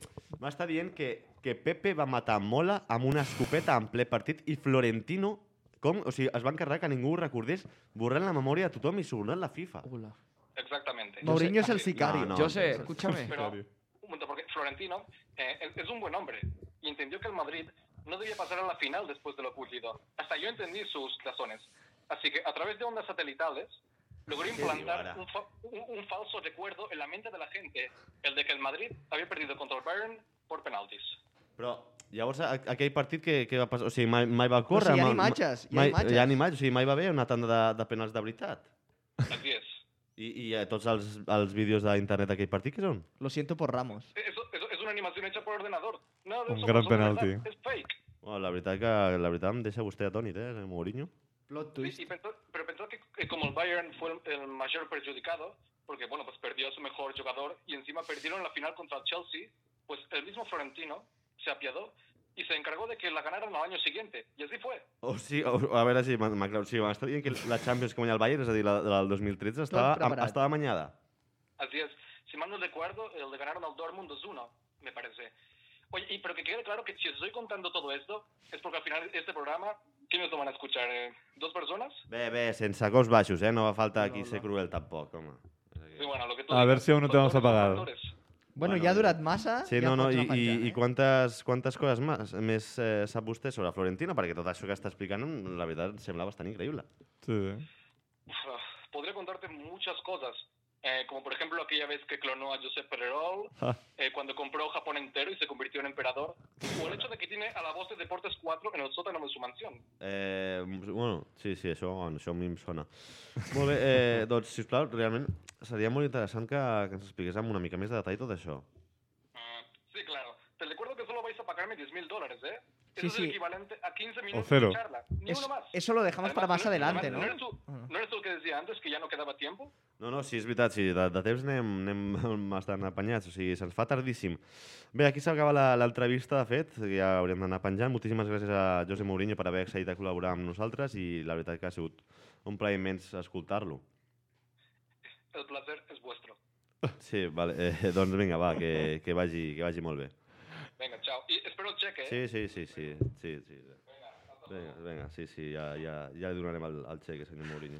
Speaker 4: m'està dient que, que Pepe va matar Mola amb una escopeta en ple partit i Florentino com? O sigui, es va encarregar que ningú ho recordés borrant la memòria de tothom i subornant la FIFA.
Speaker 6: Hola.
Speaker 2: Exactamente.
Speaker 7: Mourinho es el
Speaker 2: Sí.
Speaker 7: sicario.
Speaker 4: No,
Speaker 6: Yo sé, escúchame.
Speaker 2: Pero, un momento, porque Florentino eh, es- es un buen hombre y entendió que el Madrid no debía pasar a la final después de lo ocurrido. Hasta yo entendí sus razones. Así que a través de ondas satelitales logró
Speaker 4: serio,
Speaker 2: implantar
Speaker 4: ahora?
Speaker 2: un, fa- un- un falso recuerdo en la mente de la gente, el de que el Madrid había perdido contra el Bayern por penaltis.
Speaker 4: Però llavors a- aquell partit que, que va passar? O sigui, mai, mai va córrer?
Speaker 7: sigui, hi ha
Speaker 4: ma- ma-
Speaker 7: imatges, hi ha
Speaker 4: mai,
Speaker 7: imatges.
Speaker 4: Hi ha imatges, o sigui, mai va haver una tanda de, de penals de veritat.
Speaker 2: Así es.
Speaker 4: I, i eh, tots els, els vídeos d'internet d'aquell partit, què són?
Speaker 7: Lo siento por Ramos.
Speaker 2: Eso, eso- es una animación hecha por ordenador. Nada de
Speaker 5: Un
Speaker 2: eso
Speaker 5: gran
Speaker 2: pasó de verdad,
Speaker 5: penalti.
Speaker 2: Es fake.
Speaker 4: Bueno, la veritat que la veritat em deixa vostè atònit, eh, Mourinho?
Speaker 7: Plot
Speaker 2: Sí,
Speaker 7: twist.
Speaker 2: y pensó- pero pensó que, que como el Bayern fue el, el mayor perjudicado, porque bueno, pues perdió a su mejor jugador y encima perdieron la final contra el Chelsea, pues el mismo Florentino se apiadó y se encargó de que la ganaran al año siguiente. Y así fue.
Speaker 4: O sí, o, a veure si m'ha- m'aclau. Sí, m'està dient que la Champions que guanya el Bayern, és a dir, la, la del 2013, estava, am,
Speaker 7: preparat.
Speaker 4: estava amanyada.
Speaker 2: Así es. Si mal no recuerdo, eh, le ganaron al Dortmund 2-1, me parece. Oye, y, pero que quede claro que si estoy contando todo esto, es porque al final este programa, ¿quiénes lo van a escuchar? eh? ¿Dos personas?
Speaker 4: Bé, bé, sense cos baixos, eh? No va falta aquí ser cruel, tampoc, home.
Speaker 2: Sí, bueno, lo que tú
Speaker 5: A ver
Speaker 2: digas.
Speaker 5: si aún no te vamos a
Speaker 2: Factores,
Speaker 5: pagar.
Speaker 2: factores.
Speaker 7: Bueno,
Speaker 4: Bueno,
Speaker 7: ja ha durat massa.
Speaker 4: Sí,
Speaker 7: Ah, ja
Speaker 4: no, no,
Speaker 7: pots
Speaker 4: i,
Speaker 7: anar
Speaker 4: i,
Speaker 7: penjant,
Speaker 4: i
Speaker 7: eh?
Speaker 4: quantes, quantes coses més, més eh, sap vostè sobre Florentino? Perquè tot això que està explicant, la veritat, sembla bastant increïble.
Speaker 5: Sí.
Speaker 2: Ah, Podría contarte muchas cosas, eh, como por ejemplo aquella vez que clonó a Josep Pererol,
Speaker 5: Ah.
Speaker 2: eh, cuando compró Japón entero y se convirtió en emperador, o el hecho de que tiene a la voz de Deportes 4 en el sótano de su mansión.
Speaker 4: Eh, bueno, sí, sí, això, això a mi em sona. Molt bé, eh, doncs, sisplau, realment seria molt interessant que, que ens expliqués amb una mica més de detall tot això.
Speaker 2: Ah, sí, claro. Te recuerdo que solo vais a pagarme 10 mil dólares, ¿eh? Eso
Speaker 7: Sí,
Speaker 2: es
Speaker 7: sí.
Speaker 2: el equivalente a 15 minutos
Speaker 5: cero.
Speaker 2: de charla. Ni
Speaker 7: Es-
Speaker 2: uno más.
Speaker 7: eso lo dejamos
Speaker 2: Además,
Speaker 7: para más
Speaker 2: ¿no eres-
Speaker 7: adelante,
Speaker 2: además,
Speaker 7: ¿no?
Speaker 2: eres tú-
Speaker 7: Ah, no.
Speaker 2: ¿No eres tú el que decía antes que ya no quedaba tiempo?
Speaker 4: No, no, sí, és veritat, sí, de, de temps anem, anem bastant apanyats, o sigui, se'ns fa tardíssim. Bé, aquí s'acaba la- l'entrevista, de fet, que ja hauríem d'anar penjant. Moltíssimes gràcies a José Mourinho per haver accedit a col·laborar amb nosaltres i la veritat que ha sigut un plaer immens escoltar-lo.
Speaker 2: El placer es vuestro.
Speaker 4: Sí, vale, eh, doncs vinga, va, que, que, vagi, que vagi molt bé.
Speaker 2: Venga, chao. Y espero el cheque, ¿eh?
Speaker 4: Sí, sí, sí, sí, sí, sí. Vinga, vinga, sí, sí, ja, ja, ja li donarem el, el xeque, senyor Mourinho.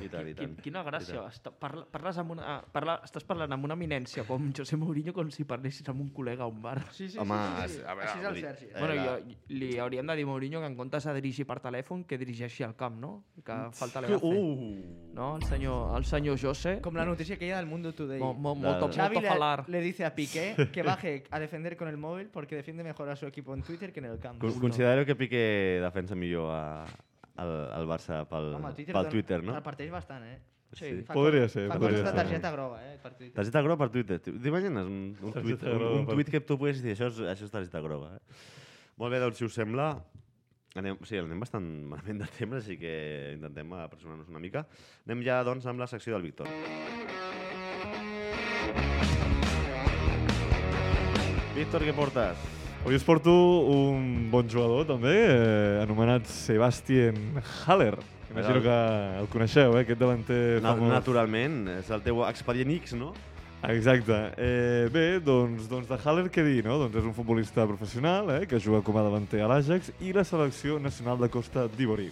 Speaker 4: I tant, i tant.
Speaker 6: Quin, quina gràcia. Està, parla, parles amb una, ah, parla, estàs parlant amb una eminència, com José Mourinho, com si parlessis amb un col·lega a un bar.
Speaker 7: Sí, sí,
Speaker 4: Home,
Speaker 7: sí, sí, sí.
Speaker 4: a veure,
Speaker 7: Així és
Speaker 4: vull
Speaker 7: el
Speaker 4: dir-
Speaker 7: Sergi.
Speaker 4: Eh,
Speaker 6: bueno,
Speaker 4: la-
Speaker 6: jo, li hauríem de dir a Mourinho que en comptes de dirigir per telèfon, que dirigeixi al camp, no? Que falta
Speaker 4: Mm,
Speaker 6: l'agafe.
Speaker 4: Uh!
Speaker 6: No, el senyor, el senyor José, com
Speaker 7: Como la noticia aquella del Mundo Today.
Speaker 6: mo, mo, molto,
Speaker 7: Xavi
Speaker 6: molto
Speaker 7: le,
Speaker 6: falar.
Speaker 7: le dice a Piqué que baje a defender con el móvil porque defiende mejor a su equipo en Twitter que en el campo.
Speaker 4: Con- Considero que Piqué defensa millor a, al, al Barça pel,
Speaker 7: Home, el
Speaker 4: Twitter, pel
Speaker 7: dona-
Speaker 4: Twitter, no?
Speaker 7: El parteix bastant, eh?
Speaker 4: Sí.
Speaker 7: Fa
Speaker 5: Podria
Speaker 7: coses-
Speaker 5: ser,
Speaker 7: Fa
Speaker 5: podria
Speaker 7: coses de
Speaker 5: ser.
Speaker 7: targeta groga, eh? El partit.
Speaker 4: Targeta groga per Twitter. tio. T'imagines un, un,
Speaker 5: Targeta
Speaker 4: tuit, un,
Speaker 5: groga
Speaker 4: un
Speaker 5: per-
Speaker 4: tuit que tu puguis dir això és, això és targeta groga. Eh? Molt bé, doncs, si us sembla, anem, sí, anem bastant malament de temps, així que intentem apressionar-nos una mica. Anem ja, doncs, amb la secció del Víctor. Víctor, què portes?
Speaker 5: Avui us porto un bon jugador, també, eh, anomenat Sebastian Haller. Imagino que el coneixeu, eh, aquest davanter
Speaker 4: Na
Speaker 5: famós.
Speaker 4: naturalment, és el teu expedient X, no?
Speaker 5: Exacte. Eh, bé, doncs, doncs de Haller què dir, no? Doncs és un futbolista professional eh, que juga com a davanter a l'Ajax i la selecció nacional de Costa d'Ivori.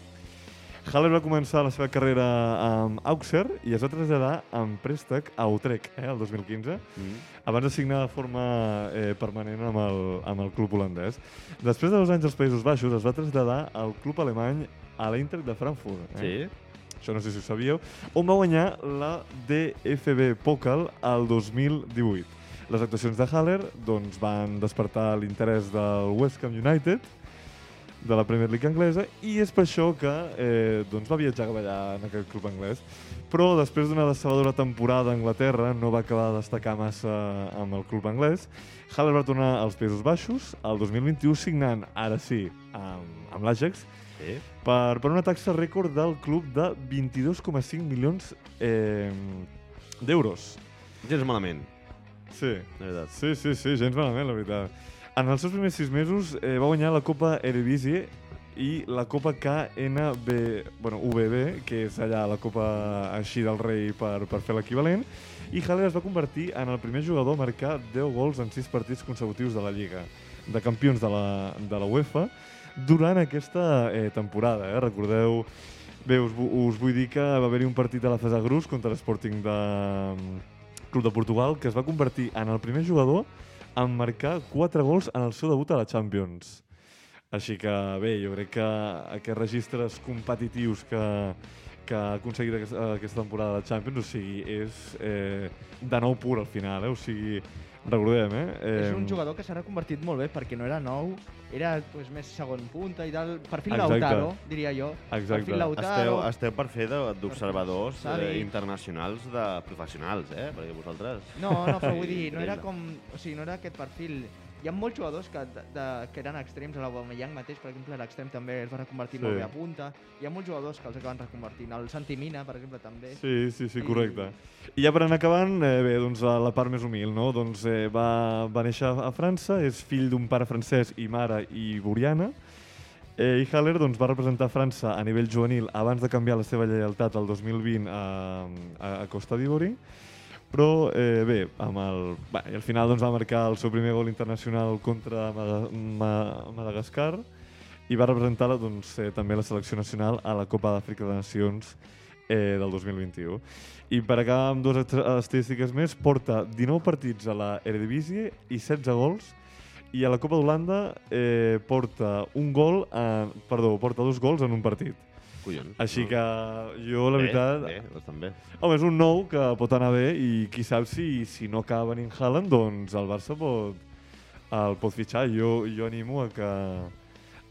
Speaker 5: Haller va començar la seva carrera amb Auxerre i es va traslladar en préstec a Utrecht eh, el 2015
Speaker 4: Mm.
Speaker 5: abans de signar de forma eh, permanent amb el, amb el club holandès. Després de dos anys als Països Baixos es va traslladar al club alemany a l'Eintracht de Frankfurt. Eh?
Speaker 4: Sí.
Speaker 5: això no sé si ho sabíeu, on va guanyar la DFB Pokal al 2018. Les actuacions de Haller doncs, van despertar l'interès del West Ham United, de la Premier League anglesa, i és per això que eh, doncs, va viatjar cap allà en aquest club anglès. Però després d'una decebedora temporada a Anglaterra no va acabar de destacar massa amb el club anglès. Haller va tornar als Països Baixos, el 2021 signant, ara sí, amb, amb l'Ajax,
Speaker 4: Sí.
Speaker 5: per, per una taxa rècord del club de 22,5 milions eh, d'euros.
Speaker 4: Gens malament,
Speaker 5: Sí.
Speaker 4: de veritat.
Speaker 5: sí, sí, sí, gens malament, la veritat. En els seus primers sis mesos eh, va guanyar la Copa Eredivisie i la Copa KNB, bueno, UBB, que és allà la Copa així del rei per, per fer l'equivalent, i Haller es va convertir en el primer jugador a marcar 10 gols en 6 partits consecutius de la Lliga de campions de la, de la UEFA durant aquesta eh, temporada. Eh? Recordeu, bé, us, vu- us vull dir que va haver-hi un partit a la Fesa Grus contra l'Sporting de mm, Club de Portugal que es va convertir en el primer jugador en marcar 4 gols en el seu debut a la Champions. Així que bé, jo crec que aquests registres competitius que, que ha aconseguit aquest, aquesta temporada de la Champions, o sigui, és eh, de nou pur al final, eh? o sigui, recordem, eh? eh
Speaker 7: És un jugador que s'ha reconvertit molt bé perquè no era nou, era pues, més segon punta i tal. Perfil
Speaker 5: Exacte.
Speaker 7: Lautaro, diria jo.
Speaker 5: Exacte.
Speaker 7: Perfil Lautaro.
Speaker 4: Esteu, esteu per fer de- d'observadors eh,
Speaker 7: Sadik.
Speaker 4: internacionals de professionals, eh? Perquè vosaltres...
Speaker 7: No, no, però vull dir, no era
Speaker 4: Increïble.
Speaker 7: com... O sigui, no era aquest perfil. Hi ha molts jugadors que, de, de- que eren extrems, a l'Aubameyang mateix, per exemple, l'extrem també es va reconvertir
Speaker 5: Sí.
Speaker 7: molt bé a punta. Hi ha molts jugadors que els acaben reconvertint. El Santi Mina, per exemple, també.
Speaker 5: Sí, sí, sí, correcte. I ja per anar acabant, eh, bé, doncs a la part més humil, no? Doncs eh, va, va néixer a França, és fill d'un pare francès i mare iboriana, eh, i Haller doncs, va representar França a nivell juvenil abans de canviar la seva lleialtat el 2020 a, a, a Costa d'Ivori, però eh, bé, amb el, va, i al final doncs, va marcar el seu primer gol internacional contra Mada- Ma- Madagascar i va representar doncs, eh, també la selecció nacional a la Copa d'Àfrica de Nacions eh, del 2021. I per acabar amb dues estra- estadístiques més, porta 19 partits a la Eredivisie i 16 gols, i a la Copa d'Holanda eh, porta un gol, en, perdó, porta dos gols en un partit.
Speaker 4: Collons.
Speaker 5: Així
Speaker 4: No.
Speaker 5: que jo, la
Speaker 4: Bé,
Speaker 5: veritat...
Speaker 4: Bé, doncs bastant bé.
Speaker 5: Home, és un nou que pot anar bé i qui sap si, si no acaba venint Haaland, doncs el Barça pot, el pot fitxar. Jo, jo animo a que,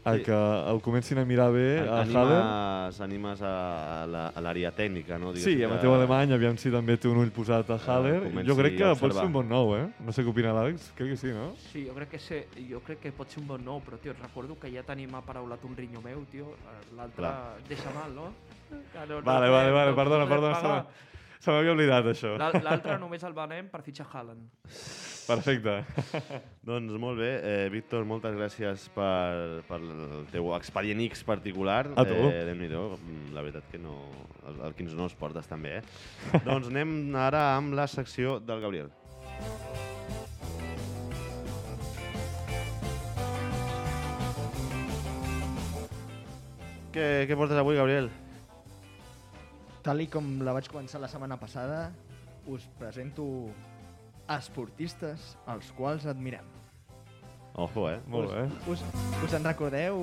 Speaker 5: a
Speaker 4: Sí.
Speaker 5: que el comencin a mirar bé Eh, a Haaland.
Speaker 4: Animes, animes a la- a l'àrea tècnica, no?
Speaker 5: Sí, a
Speaker 4: que- Ah,
Speaker 5: Mateu Alemany, aviam si també té un ull posat a Haller.
Speaker 4: comenci
Speaker 5: jo crec que
Speaker 4: a
Speaker 5: pot
Speaker 4: observar.
Speaker 5: ser un bon nou, eh? No sé què opina l'Àlex, crec que sí, no?
Speaker 6: Sí, jo crec que, sé, jo crec que pot ser un bon nou, però, tio, et recordo que ja tenim aparaulat un rinyó meu, tio. Eh, L'altre
Speaker 4: Clar.
Speaker 6: deixa mal, no? Que no- no
Speaker 5: Vale,
Speaker 6: podem-
Speaker 3: eh,
Speaker 5: vale, vale,
Speaker 6: no
Speaker 5: perdona,
Speaker 6: podem
Speaker 5: perdona, se
Speaker 6: pagar.
Speaker 5: m'ha- se m'havia oblidat això.
Speaker 6: L'al- L'altre només el venem per fitxar Haaland.
Speaker 5: Perfecte.
Speaker 4: Doncs molt bé, eh, Víctor, moltes gràcies per, per el teu expedient X particular.
Speaker 5: A tu.
Speaker 4: Eh, Déu-n'hi-do, mm, la veritat que no... El, el quins nous portes també, eh? doncs anem ara amb la secció del Gabriel. Què, què portes avui, Gabriel?
Speaker 3: Tal i com la vaig començar la setmana passada, us presento esportistes als quals admirem.
Speaker 4: Ojo, eh?
Speaker 5: Molt bé.
Speaker 3: Us, us en recordeu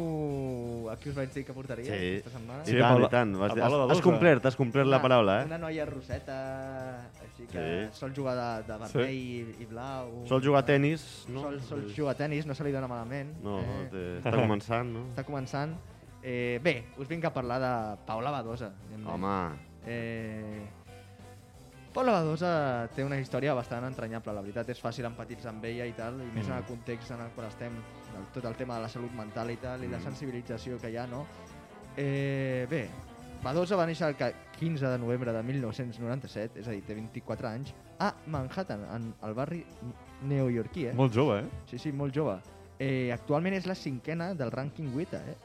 Speaker 3: a qui us vaig dir que portaria
Speaker 4: Sí.
Speaker 3: aquesta setmana?
Speaker 5: Sí,
Speaker 4: I tant,
Speaker 5: Paula-
Speaker 4: i tant. Vas,
Speaker 5: a
Speaker 4: dir-
Speaker 5: Paula de
Speaker 4: has, has
Speaker 5: Dolça.
Speaker 4: complert, has complert la
Speaker 3: Una-
Speaker 4: paraula, eh?
Speaker 3: Una noia roseta, així que
Speaker 4: Sí.
Speaker 3: sol jugar de, de vermell sí. i, i blau.
Speaker 4: Sol jugar a tennis, no? Doncs
Speaker 3: No? Sol, sol jugar a tenis, no se li dona malament.
Speaker 4: No,
Speaker 3: eh,
Speaker 4: té, està començant, no?
Speaker 3: Està començant. Eh, bé, us vinc a parlar de Paula Badosa. diguem-ne.
Speaker 4: Home,
Speaker 3: Eh, Paula Badosa té una història bastant entranyable, la veritat és fàcil empatitzar amb ella i tal, i més en el context en el qual estem, del, tot el tema de la salut mental i tal, i la sensibilització que hi ha, no? Eh, bé, Badosa va néixer el ca- 15 de novembre de 1997, és a dir, té 24 anys, a Manhattan, en el barri neoyorquí, eh?
Speaker 5: Molt jove, eh?
Speaker 3: Sí, sí, molt jove. Eh, actualment és la cinquena del rànquing WTA, eh?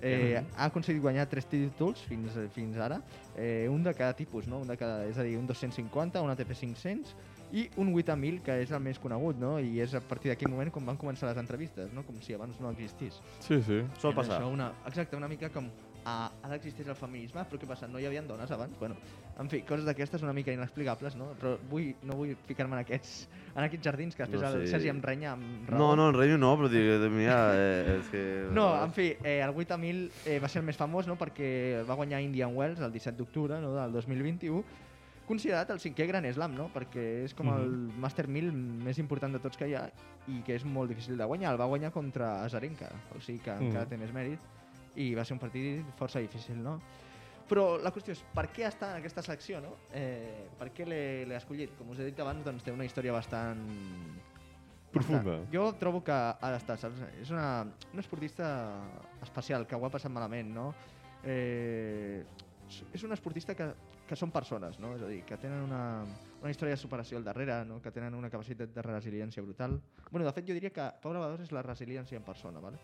Speaker 3: Eh, ha aconseguit guanyar tres títols fins, fins ara, eh, un de cada tipus, no? un de cada, és a dir, un 250, un ATP 500 i un 8000, que és el més conegut, no? i és a partir d'aquell moment com van començar les entrevistes, no? com si abans no existís.
Speaker 5: Sí, sí.
Speaker 4: Sol
Speaker 3: Era
Speaker 4: passar.
Speaker 3: Això una, exacte, una mica com ah, ara existeix el feminisme, però què passa? No hi havia dones abans? Bueno, en fi, coses d'aquestes una mica inexplicables, no? Però vull, no vull ficar-me en aquests, en aquests jardins que després
Speaker 4: No
Speaker 3: no sé.
Speaker 4: sé.
Speaker 3: el Sergi em renya amb raó.
Speaker 4: No, no, en Reino no, però dic, mira, eh, és que...
Speaker 3: No, en fi, eh, el 8000 eh, va ser el més famós no? perquè el va guanyar Indian Wells el 17 d'octubre no? del 2021 considerat el cinquè gran slam, no? perquè és com mm -hmm. el Master 1000 més important de tots que hi ha i que és molt difícil de guanyar. El va guanyar contra Azarenka, o sigui que mm -hmm. encara té més mèrit i va ser un partit força difícil, no? Però la qüestió és, per què està en aquesta secció, no? Eh, per què l'he l'he escollit? Com us he dit abans, doncs té una història bastant
Speaker 5: Profunda.
Speaker 3: Està. Jo trobo que ha d'estar, saps? És una, una esportista especial, que ho ha passat malament, no? Eh, és- és una esportista que, que són persones, no? És a dir, que tenen una, una història de superació al darrere, no? que tenen una capacitat de resiliència brutal. bueno, de fet, jo diria que Paula Badós és la resiliència en persona, vale?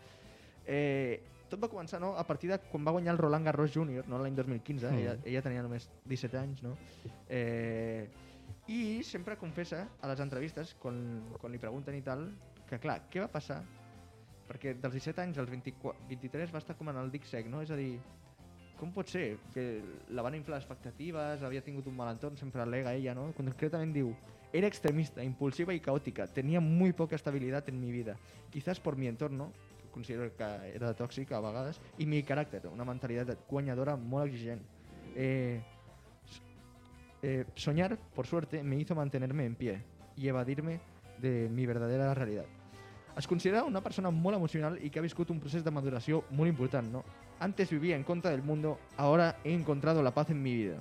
Speaker 3: Eh, tot va començar no? a partir de quan va guanyar el Roland Garros Júnior, no? l'any 2015, mm. ella, ella tenia només 17 anys, no? Eh, i sempre confessa a les entrevistes, quan, quan li pregunten i tal, que clar, què va passar? Perquè dels 17 anys als 24, 23 va estar com en el dic sec, no? És a dir, com pot ser? Que la van inflar expectatives, havia tingut un mal entorn, sempre al·lega ella, no? Concretament diu, era extremista, impulsiva y caótica, tenía muy poca estabilidad en mi vida, quizás por mi entorno, considero que era tòxica a vegades, i mi caràcter, una mentalitat guanyadora molt exigent. Eh, Eh, soñar, por suerte, me hizo mantenerme en pie y evadirme de mi verdadera realidad. Es considera una persona molt emocional i que ha viscut un procés de maduració molt important, no? Antes vivia en contra del mundo, ahora he encontrado la paz en mi vida.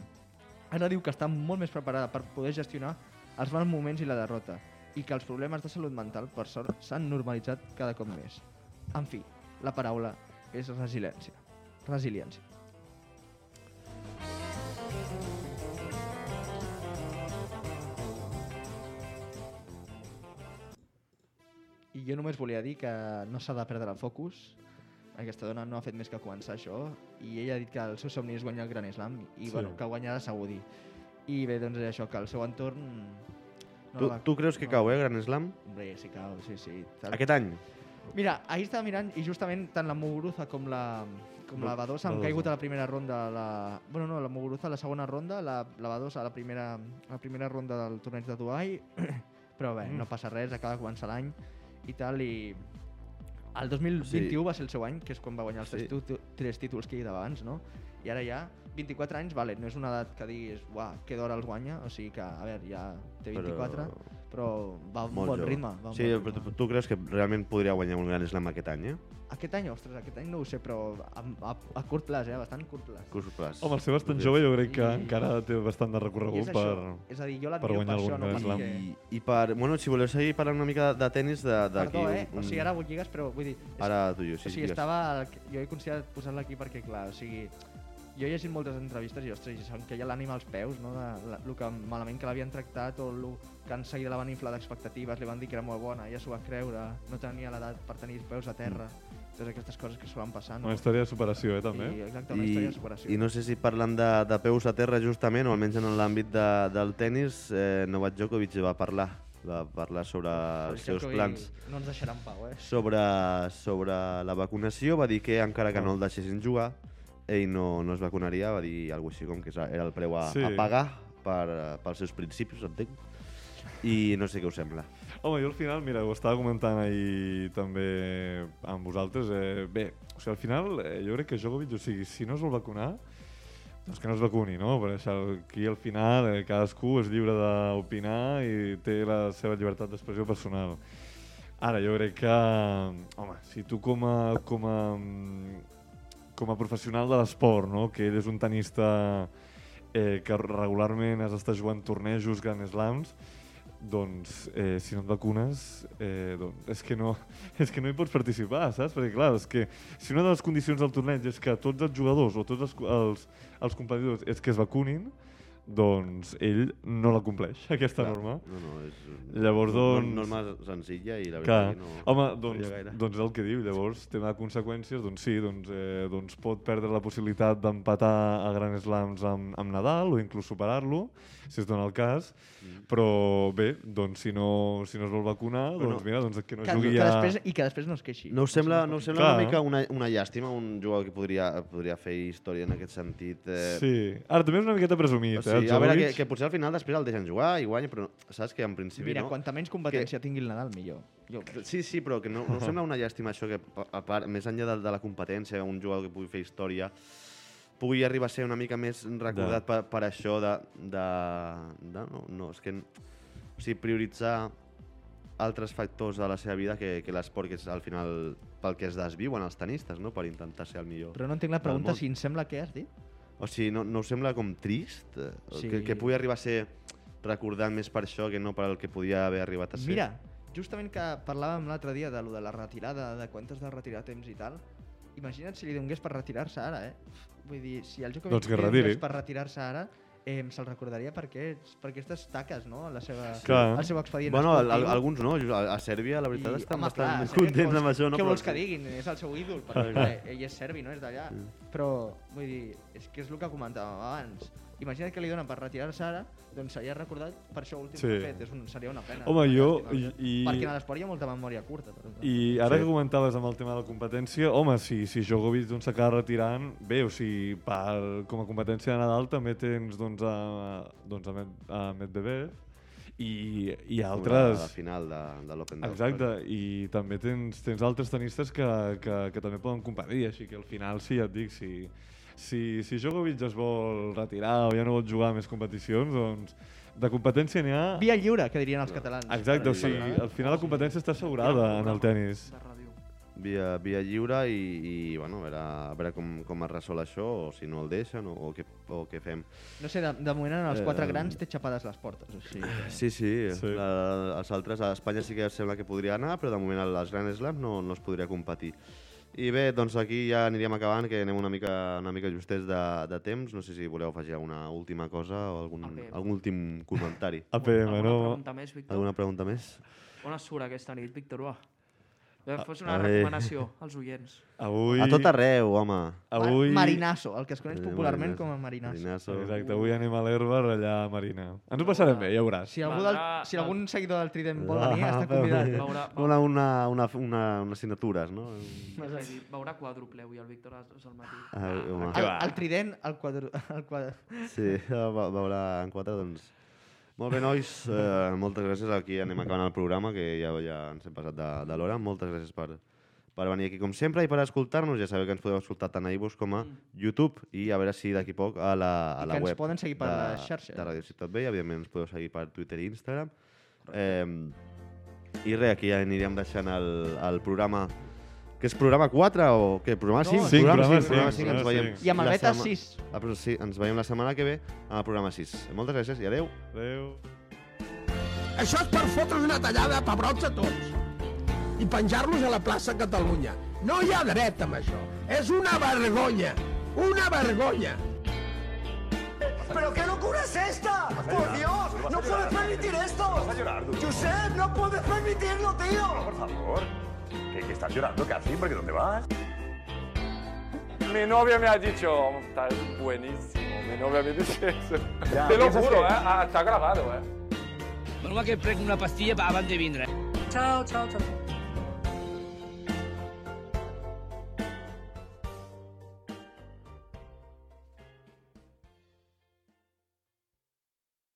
Speaker 3: Ara diu que està molt més preparada per poder gestionar els mals moments i la derrota i que els problemes de salut mental, per sort, s'han normalitzat cada cop més. En fi, la paraula és resiliència. Resiliència. I jo només volia dir que no s'ha de perdre el focus. Aquesta dona no ha fet més que començar això i ella ha dit que el seu somni és guanyar el Gran Slam i
Speaker 5: Sí.
Speaker 3: sí. bueno, que guanyarà Saudi. I bé, doncs és això, que el seu entorn... No
Speaker 4: Tu,
Speaker 3: la va-
Speaker 4: tu creus que
Speaker 3: no.
Speaker 4: cau, eh, Gran Slam?
Speaker 3: Hombre, sí, cau, sí, sí. Tal.
Speaker 4: Aquest any?
Speaker 3: Mira, ahir estava mirant i justament tant la Muguruza com la, Com la Badosa, han
Speaker 5: Badosa.
Speaker 3: caigut a la primera ronda. La... Bueno, no, la Muguruza a la segona ronda, la, la Badosa a la primera, a la primera ronda del torneig de Dubai. Però bé,
Speaker 4: Mm.
Speaker 3: no passa res, acaba de començar l'any i tal, i... El 2021
Speaker 4: Sí.
Speaker 3: va ser el seu any, que és quan va guanyar els
Speaker 4: Sí.
Speaker 3: tres, tu- tres títols que hi d'abans, no? I ara ja, 24 anys, vale, no és una edat que diguis, uah, que d'hora els guanya, o sigui que, a veure, ja té 24, però, va a un
Speaker 4: Molt
Speaker 3: bon
Speaker 4: jove.
Speaker 3: ritme. Va a un
Speaker 4: Sí,
Speaker 3: bon
Speaker 4: però
Speaker 3: ritme.
Speaker 4: tu, tu creus que realment podria guanyar un gran slam aquest any, eh?
Speaker 3: Aquest any, ostres, aquest any no ho sé, però a, a, a curt plaç, eh? Bastant curt plaç.
Speaker 4: Que us ho fas?
Speaker 5: Home, el Sebas tan jove jo crec que
Speaker 3: I-
Speaker 5: encara té bastant de
Speaker 3: I és
Speaker 5: recorregut per...
Speaker 3: això. És a dir, jo
Speaker 5: per
Speaker 3: l'admiro per,
Speaker 5: guanyar
Speaker 3: això,
Speaker 5: algun
Speaker 3: no
Speaker 5: Grand
Speaker 3: per
Speaker 5: Slam.
Speaker 3: que...
Speaker 4: I per... Bueno, si voleu seguir parlant una mica de tennis de- d'aquí...
Speaker 3: Perdó, eh?
Speaker 4: un-
Speaker 3: O sigui, ara ho lligues, però vull dir... és-
Speaker 4: Ara tu i jo,
Speaker 3: o
Speaker 4: sí.
Speaker 3: sigui,
Speaker 4: digues.
Speaker 3: estava... al- Jo he considerat posar-la aquí perquè, clar, o sigui... Jo he llegit moltes entrevistes i, ostres, i se'm queia l'ànima als peus, no? De, la, lo que malament que l'havien tractat o lo que en seguida la van inflar d'expectatives, li van dir que era molt bona, ella s'ho va creure, no tenia l'edat per tenir els peus a terra.
Speaker 4: Mm.
Speaker 3: Totes aquestes coses que solen passar, no?
Speaker 5: Una història de superació, eh, també.
Speaker 3: I, exacte, una Tota història de superació.
Speaker 4: I, I no sé si parlant de, de peus a terra, justament, o almenys en l'àmbit de, del tennis, eh, Novak Djokovic va parlar, va parlar sobre
Speaker 3: El
Speaker 4: els seus
Speaker 3: Djokovic
Speaker 4: plans.
Speaker 3: No ens deixarà en pau, eh?
Speaker 4: Sobre, sobre la vacunació, va dir que encara que no el deixessin jugar, ell no, no es vacunaria, va dir alguna cosa així com que era el preu a,
Speaker 5: Sí.
Speaker 4: a pagar per, eh, pels seus principis, entenc. I no sé què us sembla.
Speaker 5: Home, jo al final, mira, ho estava comentant ahir també amb vosaltres. Eh, bé, o sigui, al final eh, jo crec que Djokovic, o sigui, si no es vol vacunar, doncs que no es vacuni, no? Per això aquí al final eh, cadascú és lliure d'opinar i té la seva llibertat d'expressió personal. Ara, jo crec que, home, si tu com a, com a, mm, com a professional de l'esport, no? que ell és un tenista eh, que regularment has d'estar jugant tornejos, Grand Slams, doncs eh, si no et vacunes eh, doncs, és, que no, és que no hi pots participar, saps? Perquè clar, és que si una de les condicions del torneig és que tots els jugadors o tots els, co- els, els competidors és que es vacunin, doncs ell no la compleix, aquesta clar. norma.
Speaker 4: No, no, és un-
Speaker 5: Llavors,
Speaker 4: no-
Speaker 5: doncs-
Speaker 4: norma senzilla i la
Speaker 5: Clar.
Speaker 4: veritat que no...
Speaker 5: Home,
Speaker 4: no
Speaker 5: doncs,
Speaker 4: hi ha gaire.
Speaker 5: doncs el que diu, llavors, tema de conseqüències, doncs sí, doncs, eh, doncs pot perdre la possibilitat d'empatar a Grand Slams amb, amb Nadal o inclús superar-lo, si es dona el cas,
Speaker 4: Mm.
Speaker 5: però bé, doncs si no, si no es vol vacunar,
Speaker 4: Bueno,
Speaker 5: doncs mira, doncs que no
Speaker 3: que,
Speaker 5: jugui
Speaker 3: que
Speaker 5: a...
Speaker 3: després, I que després no es queixi.
Speaker 4: No us sembla, no us sembla una
Speaker 5: Clar.
Speaker 4: mica una, una llàstima un jugador que podria, podria fer història en aquest sentit? Eh,
Speaker 5: Sí. Ara, també és una miqueta presumit,
Speaker 4: O
Speaker 5: eh?
Speaker 4: sigui,
Speaker 5: el
Speaker 4: a veure, que,
Speaker 5: Djokovic.
Speaker 4: que potser al final després el deixen jugar i guanya, però saps que en principi
Speaker 3: Mira,
Speaker 4: no.
Speaker 3: quanta menys competència tingui el Nadal, millor. Jo,
Speaker 4: Sí, sí, però que no, no us sembla una llàstima això que, pa- a part, més enllà de, de la competència, un jugador que pugui fer història, pugui arribar a ser una mica més recordat per, per això de... de, de no, no, és que... n- O sigui, prioritzar altres factors de la seva vida que, que l'esport, que és al final pel que es desviuen els tenistes, no? per intentar ser el millor.
Speaker 3: però no entenc la
Speaker 4: Del
Speaker 3: pregunta
Speaker 4: món.
Speaker 3: si em sembla que has dit.
Speaker 4: O sigui, no, no us sembla com trist? Eh,
Speaker 3: Sí.
Speaker 4: Que, que pugui arribar a ser recordat més per això que no per el que podia haver arribat a ser.
Speaker 3: Mira, justament que parlàvem l'altre dia de lo de la retirada, de quantes de retirar temps i tal, imagina't si li donés per retirar-se ara, eh? Vull dir, si el Djokovic
Speaker 5: Doncs que
Speaker 3: li
Speaker 5: retiri.
Speaker 3: donés per retirar-se ara, eh, se'l recordaria per, aquests, per aquestes taques, no? La seva,
Speaker 5: Clar.
Speaker 3: El seu expedient
Speaker 4: Bueno, al, al,
Speaker 3: esportiu.
Speaker 4: alguns no, a, a Sèrbia la veritat
Speaker 3: I,
Speaker 4: estan
Speaker 3: home,
Speaker 4: bastant
Speaker 3: clar, Sèrbia,
Speaker 4: contents
Speaker 3: què
Speaker 4: amb
Speaker 3: vols-
Speaker 4: això. No?
Speaker 3: Què
Speaker 4: Però
Speaker 3: vols que
Speaker 4: sí.
Speaker 3: diguin? És el seu ídol, perquè ell és serbi, no és d'allà. Però, vull dir, és que és el que comentàvem abans. Imagina't que li donen per retirar-se ara, doncs seria recordat per això últim
Speaker 5: Sí.
Speaker 3: que ha fet. És un, seria una pena.
Speaker 5: Home, jo-
Speaker 3: pràcticament.
Speaker 5: i- i-
Speaker 3: Perquè en l'esport hi ha molta memòria curta. Per exemple.
Speaker 5: I ara
Speaker 4: Sí.
Speaker 5: sí. que comentaves amb el tema de la competència, home, si, si Djokovic doncs, s'acaba retirant, bé, o sigui, per, com a competència de Nadal també tens doncs, a, doncs, a, Med, a Medvedev i, i
Speaker 4: Com
Speaker 5: altres...
Speaker 4: La, la final de, de l'Open
Speaker 5: Exacte, i també tens, tens altres tenistes que, que, que també poden competir, així que al final sí, ja et dic, si, si, si Djokovic es vol retirar o ja no vol jugar a més competicions, doncs de competència n'hi ha...
Speaker 3: Via lliure, que dirien els catalans.
Speaker 5: Exacte, o sigui, al final la competència està assegurada en el tennis.
Speaker 6: De ràdio.
Speaker 4: Via, via lliure i, i bueno, a veure, a veure com, com es resol això, o si no el deixen, o, o, què, o què fem.
Speaker 3: No sé, de, de moment en els quatre
Speaker 4: Eh,
Speaker 3: grans té xapades les portes. O sigui,
Speaker 4: Sí, sí,
Speaker 5: Sí.
Speaker 4: sí. La, els altres a Espanya sí que sembla que podria anar, però de moment al- als Grand Slams no, no es podria competir. I bé, doncs aquí ja aniríem acabant, que anem una mica, una mica justets de, de temps. No sé si voleu afegir alguna última cosa o algun,
Speaker 6: Apa.
Speaker 4: algun últim comentari.
Speaker 5: APM,
Speaker 6: alguna
Speaker 5: no?
Speaker 6: pregunta més, Víctor?
Speaker 4: alguna pregunta més?
Speaker 6: On es surt aquesta nit, Víctor? Va. Fos una
Speaker 4: a ver.
Speaker 6: recomanació als oients.
Speaker 5: Avui...
Speaker 4: A tota tot arreu, home.
Speaker 5: Avui...
Speaker 7: Marinasso, el que es coneix
Speaker 4: Eh,
Speaker 7: popularment
Speaker 4: Marinasso.
Speaker 7: com a marinasso.
Speaker 4: Marinasso.
Speaker 5: Exacte, avui anem a l'herba a allà a Marina. Ens ho passarem bé, ja veuràs.
Speaker 7: Si, algú del,
Speaker 6: Valdrà-
Speaker 7: si algun seguidor del Trident vol
Speaker 4: Ah,
Speaker 7: venir, està
Speaker 4: va
Speaker 3: Eh,
Speaker 4: bé.
Speaker 7: convidat.
Speaker 6: Veurà, veurà,
Speaker 4: Una, una, una, una, unes signatures, no?
Speaker 6: veurà quàdruple avui el Víctor a les dos del matí.
Speaker 4: Ah, home.
Speaker 7: El, el Trident, el quadru... El quadru...
Speaker 4: Sí, va, veurà en quatre, doncs. Molt bé, nois, eh, moltes gràcies. Aquí anem acabant el programa, que ja, ja ens hem passat de, de l'hora. Moltes gràcies per, per venir aquí, com sempre, i per escoltar-nos. Ja sabeu que ens podeu escoltar tant a iVoox com a YouTube i a veure si d'aquí a poc a la, a
Speaker 7: Mm. I
Speaker 4: la
Speaker 7: que ens
Speaker 4: web.
Speaker 7: poden seguir per
Speaker 4: de,
Speaker 7: les xarxes.
Speaker 4: De Radio Ciutat Vella, evidentment ens podeu seguir per Twitter i Instagram. Eh, I res, aquí ja anirem deixant el, el programa que és programa 4 o què? Programa
Speaker 7: No,
Speaker 4: 5?
Speaker 5: cinc, programa
Speaker 4: cinc, programa
Speaker 5: cinc,
Speaker 4: 5, ens
Speaker 5: programa
Speaker 4: veiem.
Speaker 5: cinc.
Speaker 7: I amb el
Speaker 4: la
Speaker 7: beta
Speaker 4: sema-
Speaker 7: 6.
Speaker 4: Ah, però sí, ens veiem la setmana que ve al programa 6. Moltes gràcies i adeu.
Speaker 5: Adéu.
Speaker 8: Això és per fotre's una tallada de pebrots a tots i penjar-los a la plaça Catalunya. No hi ha dret amb això. És una vergonya. Una vergonya.
Speaker 9: ¿Pero qué locura es esta? Por Dios, no puedes permitir esto. Josep, no puedes permitirlo, tío.
Speaker 10: Por favor. ¿Qué, que estás llorando casi? ¿Porque dónde vas? Mi novia me ha dicho, estás buenísimo. Mi novia me dice eso. Te lo juro, ¿eh? Ah, Está grabado, ¿eh?
Speaker 11: Me'n va que prec una pastilla abans de vindre.
Speaker 9: Chao, chao, chao.